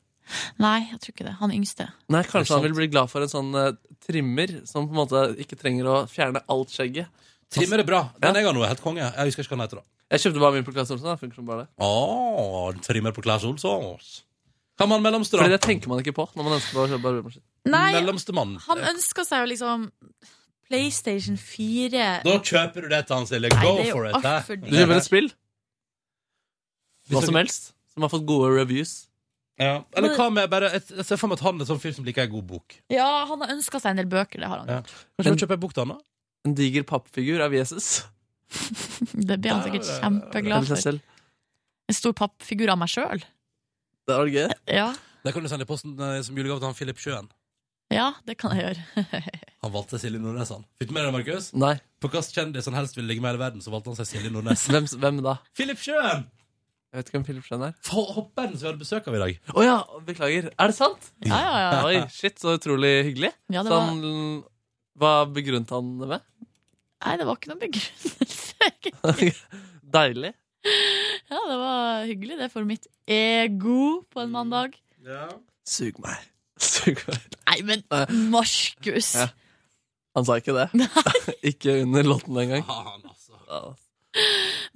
C: Nei, jeg tror ikke det. Han yngste.
G: Nei,
B: Er det
G: kanskje
B: sant?
G: han vil bli glad for en sånn eh, trimmer som på en måte ikke trenger å fjerne alt skjegget.
B: Trimmer er bra. Den
G: Ja.
B: jeg har nå, er helt konge. Jeg husker ikke hva den heter. da
G: Jeg kjøpte bare min på Klasse Olsen. da, Funker som bare det.
B: Åh, trimmer på Claes Olsås. Kan man mellomstrå?
G: Fordi det tenker man ikke på når man ønsker å kjøpe barbermaskin.
C: Nei,
B: Mellomste mann.
C: han ønska seg jo liksom PlayStation 4
B: Da kjøper du det til han, Silje.
C: Nei,
B: Go
C: det er
B: for
C: jo
B: it. hæ?
C: altfor
G: Du kjøper et
C: dyrt.
G: spill, hva
B: Hvis
G: som
B: dere-
G: helst, som har fått gode reviews.
B: Ja. Eller hva med bare Jeg jeg ser for meg at han er sånn fyr som liker ei god bok.
C: Ja, han har ønska seg en del bøker, det har han.
B: Ja. Kanskje du kjøper ei bok til han, da?
G: En diger pappfigur av Jesus.
C: Det blir han sikkert kjempeglad
G: Eller
C: for.
G: seg selv.
C: En stor pappfigur av meg sjøl.
G: Det var gøy.
C: Ja.
B: Det kan du sende i posten eh, som julegave til han Philip Sjøen.
C: ja, det kan jeg gjøre.
B: Han valgte Silje Nordnes, han. Fikk du med deg det, Markus?
G: Nei,
B: På hvilken kjendis han helst ville ligge med i hele verden, så valgte han seg Silje Nordnes.
G: hvem, hvem da?
B: Philip Sjøen!
G: Jeg vet ikke hvem Philip Schjøn er.
B: Fa- Hopperen som vi hadde besøk av i dag.
G: Å ja, beklager. Er det sant?
C: Ja, ja, ja.
G: Oi, shit, så utrolig hyggelig.
C: ja det,
G: Så
C: var,
G: han, hva begrunnet han det med?
C: nei, det var ikke noen begrunnelse.
G: Deilig.
C: Ja, det var hyggelig, det, for mitt ego på en mandag.
G: Sug meg. Sug meg.
C: Nei, men
G: Nei.
C: Markus!
G: Ja. Han sa ikke det. ikke under låten engang.
B: Faen, altså.
G: Ah,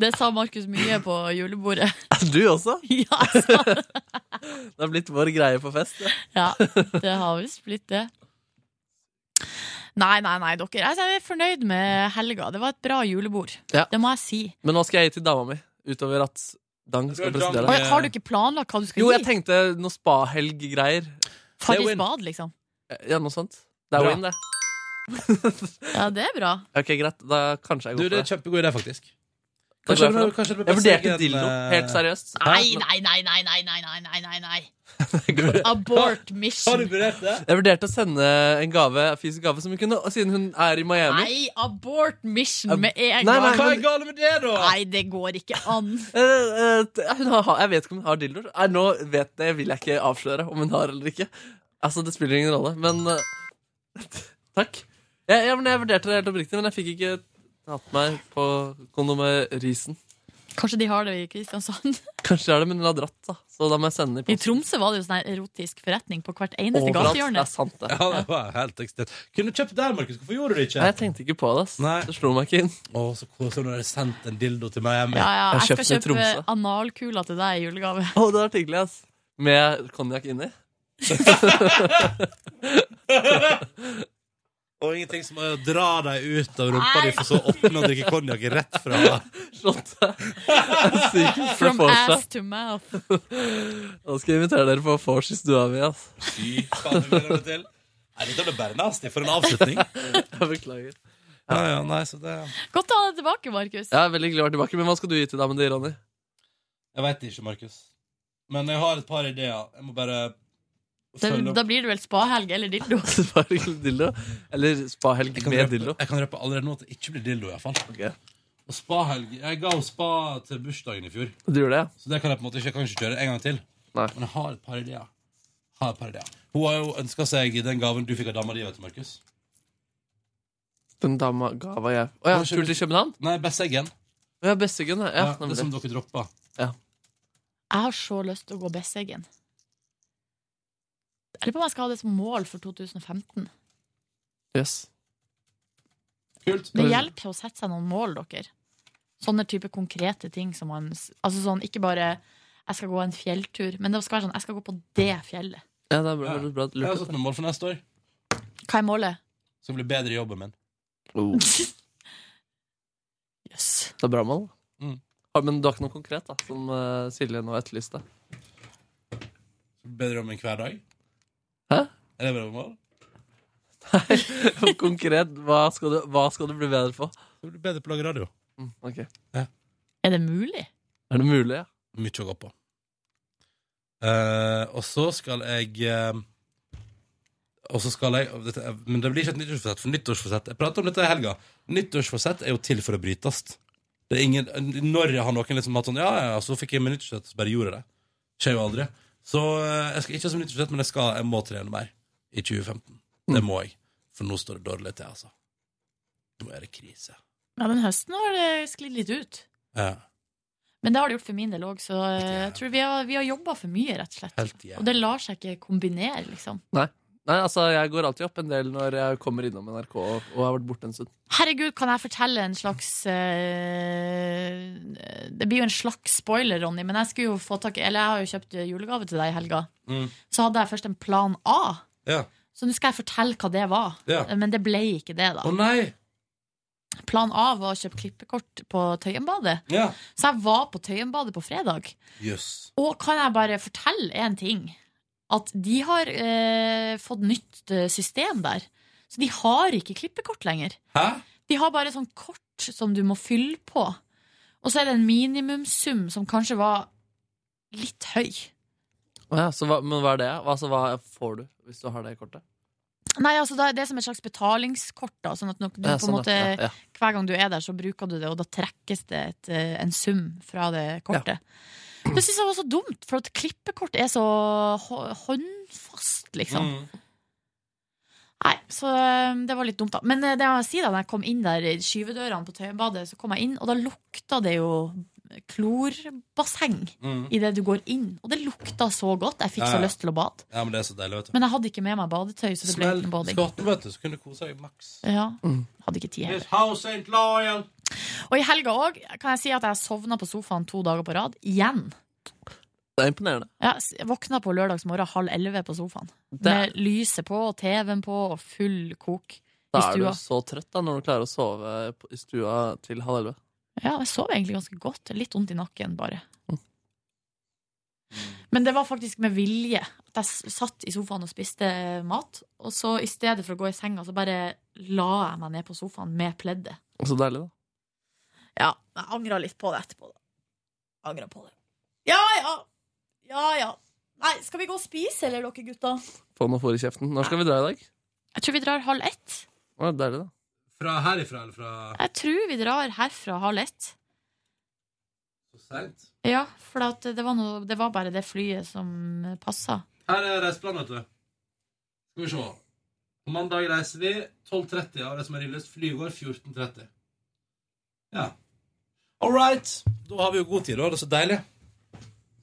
C: Det sa Markus mye på julebordet.
G: Du også?
C: ja, jeg sa det.
G: Det har blitt vår greie på fest. det.
C: ja, det har visst blitt det. Nei, nei, nei, dere. Altså, Jeg er fornøyd med helga. Det var et bra julebord.
G: Ja.
C: Det må jeg si.
G: Men hva skal jeg gi til dama mi? Utover at Dang skal
B: Du er Dang.
G: presentere
C: Oi,
G: deg.
B: Eh.
C: har du ikke planlagt hva du skal
G: Jo, jeg
C: gi?
G: tenkte noe spahelg-greier.
B: Det er
C: Farris
B: win.
C: bad, liksom.
G: Ja, noe sånt. Det er
B: Bra.
G: win, det.
C: Ja, det er bra.
G: Ok, greit. Da kanskje jeg
B: Du, det
G: går for
B: er
G: det.
B: kjempegod idé, faktisk.
G: Hva går jeg for da?
B: kanskje det blir
G: Jeg vurderte
B: best egen,
G: dildo.
B: eh,
G: Helt seriøst.
C: Nei, nei, nei, nei, nei, nei, nei, nei, nei, nei.
B: Har-
C: Abort
B: Har du
C: mission.
B: vurdert det?
G: Jeg vurderte å sende en gave, en fysisk gave som hun kunne, og siden hun er i Miami.
C: Nei, abort mission
G: Ab-
C: med en
G: Nei,
C: gang.
G: nei,
B: Hva er galt med det, da?
C: Nei, det går ikke an.
G: Eh, eh, t- hun har, jeg vet ikke om hun har dildoer. Nei, nå vet jeg, vil jeg ikke avsløre om hun har eller ikke. Altså, Det spiller ingen rolle, men eh, Takk. Jeg, jeg, men jeg vurderte det helt oppriktig, men jeg fikk ikke tatt meg på kondomerisen.
C: Kanskje de har det i Kristiansand?
G: Kanskje er det, men hun har dratt, da. Så da må jeg sende den
C: I
G: i posten.
C: Tromsø var det jo sånn her erotisk forretning på hvert eneste
G: Overalt. Det
C: gatehjørne.
G: er sant, det.
B: Ja, det var helt ekstremt. Kunne du kjøpt der, Markus? Hvorfor gjorde du det
G: Nei,
B: ikke?
G: jeg tenkte ikke på det. ass.
B: Nei.
G: Det slo meg ikke inn.
B: Å, så koselig når dere sendte en dildo til Miami.
C: Ja, ja,
G: Jeg
C: jeg
G: kjøpte
C: skal
G: den i
C: kjøpe
G: Tromsø.
C: analkula til deg i julegave.
G: Å, det var hyggelig, ass. Med konjakk inni.
B: Og ingenting som å dra deg ut av rumpa di for så å åpne og drikke konjakk rett fra
G: Slått det. Sykeste
C: From
G: vorset.
C: ass to mouth.
G: Da skal jeg invitere dere på vors i stua mi, ass.
B: Fy faen, det gleder jeg meg til. Nei, dette ble bare nasty for en avslutning.
G: Jeg beklager.
B: Ja, ja, nei, så det
C: Godt å ha deg tilbake, Markus.
G: Jeg er veldig glad å være tilbake, men hva skal du gi til damen din, Ronny?
B: Jeg veit ikke, Markus. Men jeg har et par ideer. Jeg må bare
C: Da,
B: følge opp.
C: da blir det vel spahelg eller dildo.
G: Spahelg eller dildo? Eller spahelg
B: Jeg kan,
G: med
B: røpe,
G: dildo?
B: jeg kan røpe allerede nå at det ikke blir dildo, iallfall.
G: Ok.
B: Og spahelg Jeg ga henne spa til bursdagen i fjor,
G: Du gjør det, ja?
B: så det kan jeg på en måte ikke, jeg kan ikke kjøre en gang til.
G: Nei.
B: Men jeg har et par ideer. Har et par ideer. Hun har jo ønska seg den gaven du fikk av dama di, vet du, Markus.
G: Den dama gava jeg Å ja, tur til København?
B: Nei, Besseggen.
G: Å ja, Besseggen, ja.
B: Ja,
G: ja
B: det sånn-
G: nemlig.
B: som dere droppa.
C: Jeg har så lyst til å gå Besseggen. Jeg lurer på om jeg skal ha det som mål for 2015.
G: Yes.
B: Kult.
C: Det hjelper å sette seg noen mål, dere. Sånne type konkrete ting som man Altså sånn, ikke bare 'jeg skal gå en fjelltur', men det skal være sånn 'jeg skal gå på det fjellet'.
G: Ja, det er bra.
B: Ja. altså-
G: det er bra.
B: Jeg har
G: Lurt.
B: satt meg mål for neste år.
C: Hva er målet?
B: Skal bli bedre i jobben min.
D: Oh.
C: Jøss. yes.
G: Det er bra mål.
B: Mm.
G: Ja, men du har ikke noe konkret, da, som eh, Silje nå etterlyste?
B: Skal bli bedre i jobben min hver dag.
G: Hæ?
B: Er det bra mål?
G: konkret, hva skal, du, hva skal du bli bedre på?
B: Skal bli bedre på å lage radio.
G: Mm, ok.
C: Er det mulig?
G: Er det mulig, ja?
B: Mye å gå på. Eh, og så skal jeg eh, Og så skal jeg dette, er- Men det blir ikke et nyttårsforsett, for nyttårsforsett Jeg prater om dette i helga. Nyttårsforsett er jo til for å brytes. Det er ingen, når har noen liksom hatt sånn Ja, ja, ja, så fikk jeg meg nyttårsforsett, så bare gjorde jeg det. Skjer jo aldri. Så eh, jeg skal ikke ha som nyttårsforsett, men jeg, skal, jeg må trene mer i 2015. Det må jeg. For nå står det dårlig til, altså. Nå er det krise.
C: Ja, den høsten har det sklidd litt ut.
B: Ja,
C: Men det har det gjort for min del òg, så eh, jeg tror vi har, vi har jobba for mye, rett og slett.
B: helt jævlig.
C: Og det lar seg ikke kombinere, liksom.
G: Nei, altså, jeg går alltid opp en del når jeg kommer innom NRK og, og har vært borte en stund.
C: Herregud, kan jeg fortelle en slags eh, Det blir jo en slags spoiler, Ronny, men jeg skulle jo få tak i Eller jeg har jo kjøpt julegave til deg i helga.
B: Mm.
C: Så hadde jeg først en plan A.
B: Ja.
C: Så nå skal jeg fortelle hva det var.
B: Ja.
C: Men det ble ikke det,
B: Å
C: da.
B: nei!
C: Plan A var å kjøpe klippekort på Tøyenbadet.
B: Ja.
C: Så jeg var på Tøyenbadet på fredag.
B: Jøss.
C: Og kan jeg bare fortelle en ting? At de har eh, fått nytt eh, system der. Så de har ikke klippekort lenger.
B: Hæ?
C: De har bare sånn kort som du må fylle på. Og så er det en minimumsum som kanskje var litt høy.
G: Å Ja, så hva, men hva er det? Hva- Altså, hva får du hvis du har det kortet?
C: Nei, altså det er- det er som et slags betalingskort, da, sånn at nok- du på
G: Ja,
C: en
G: sånn,
C: måte
G: ja, ja, ja.
C: hver gang du er der, så bruker du det, og da trekkes det et, eh, en sum fra det kortet. Det syns jeg var så dumt, for at klippekort er så hå- håndfast, liksom.
G: Mm.
C: Nei, så eh, det var litt dumt, da. Men eh, det jeg må si da når jeg kom inn der i skyvedørene på Tøyenbadet, så kom jeg inn, og da lukta det jo klorbasseng
B: Mm.
C: idet du går inn. Og det lukta så godt. Jeg fikk
B: Ja, ja.
C: så lyst til å bade.
B: Ja, men det er så deilig, vet du.
C: Men jeg hadde ikke med meg badetøy, så det ble
B: Smell
C: ikke noe bading.
B: skotten, vet du, så kunne du kose deg maks.
C: Ja, hadde ikke tid heller.
B: This house ain't loyal.
C: Og i helga òg kan jeg si at jeg sovna på sofaen to dager på rad. Igjen.
G: Det er imponerende.
C: Jeg s- våkna på lørdagsmorgen halv elleve på sofaen.
G: er-
C: Med lyset på og TV-en på og full kok i
G: Da er du
C: stua.
G: så trøtt da når du klarer å sove på- i stua til halv elleve.
C: Ja, jeg sov egentlig ganske godt. Litt vondt i nakken, bare. Men det var faktisk med vilje. At jeg s- satt i sofaen og spiste mat. Og så i stedet for å gå i senga, så bare la jeg meg ned på sofaen med pleddet.
G: Så deilig, da.
C: Ja, jeg angra litt på det etterpå. Da. Angra på det. Ja ja. Ja ja. Nei, skal vi gå og spise, eller, dere gutta?
G: Få noe fôr i kjeften. Når skal vi dra i dag?
C: Jeg tror vi drar halv ett.
G: Å, deilig, da.
B: Fra herifra eller fra
C: Jeg tror vi drar herfra halv ett.
B: så seint?
C: Ja, for at det, var noe, det var bare det flyet som passa.
B: Her er reiseplanen, vet du. Skal vi se. På mandag reiser vi 12.30 av det som er innløst. Flyet går 14.30. Ja. All right. Da har vi jo god tid, da. Det er så deilig.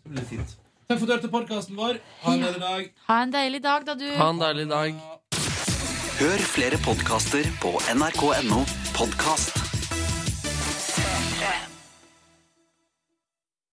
B: Det blir fint. Takk for at du hørte podkasten vår. Ha en bedre dag.
C: Ha en deilig dag, da, du.
G: Ha en deilig dag.
H: Hør flere podkaster på nrk.no podkast.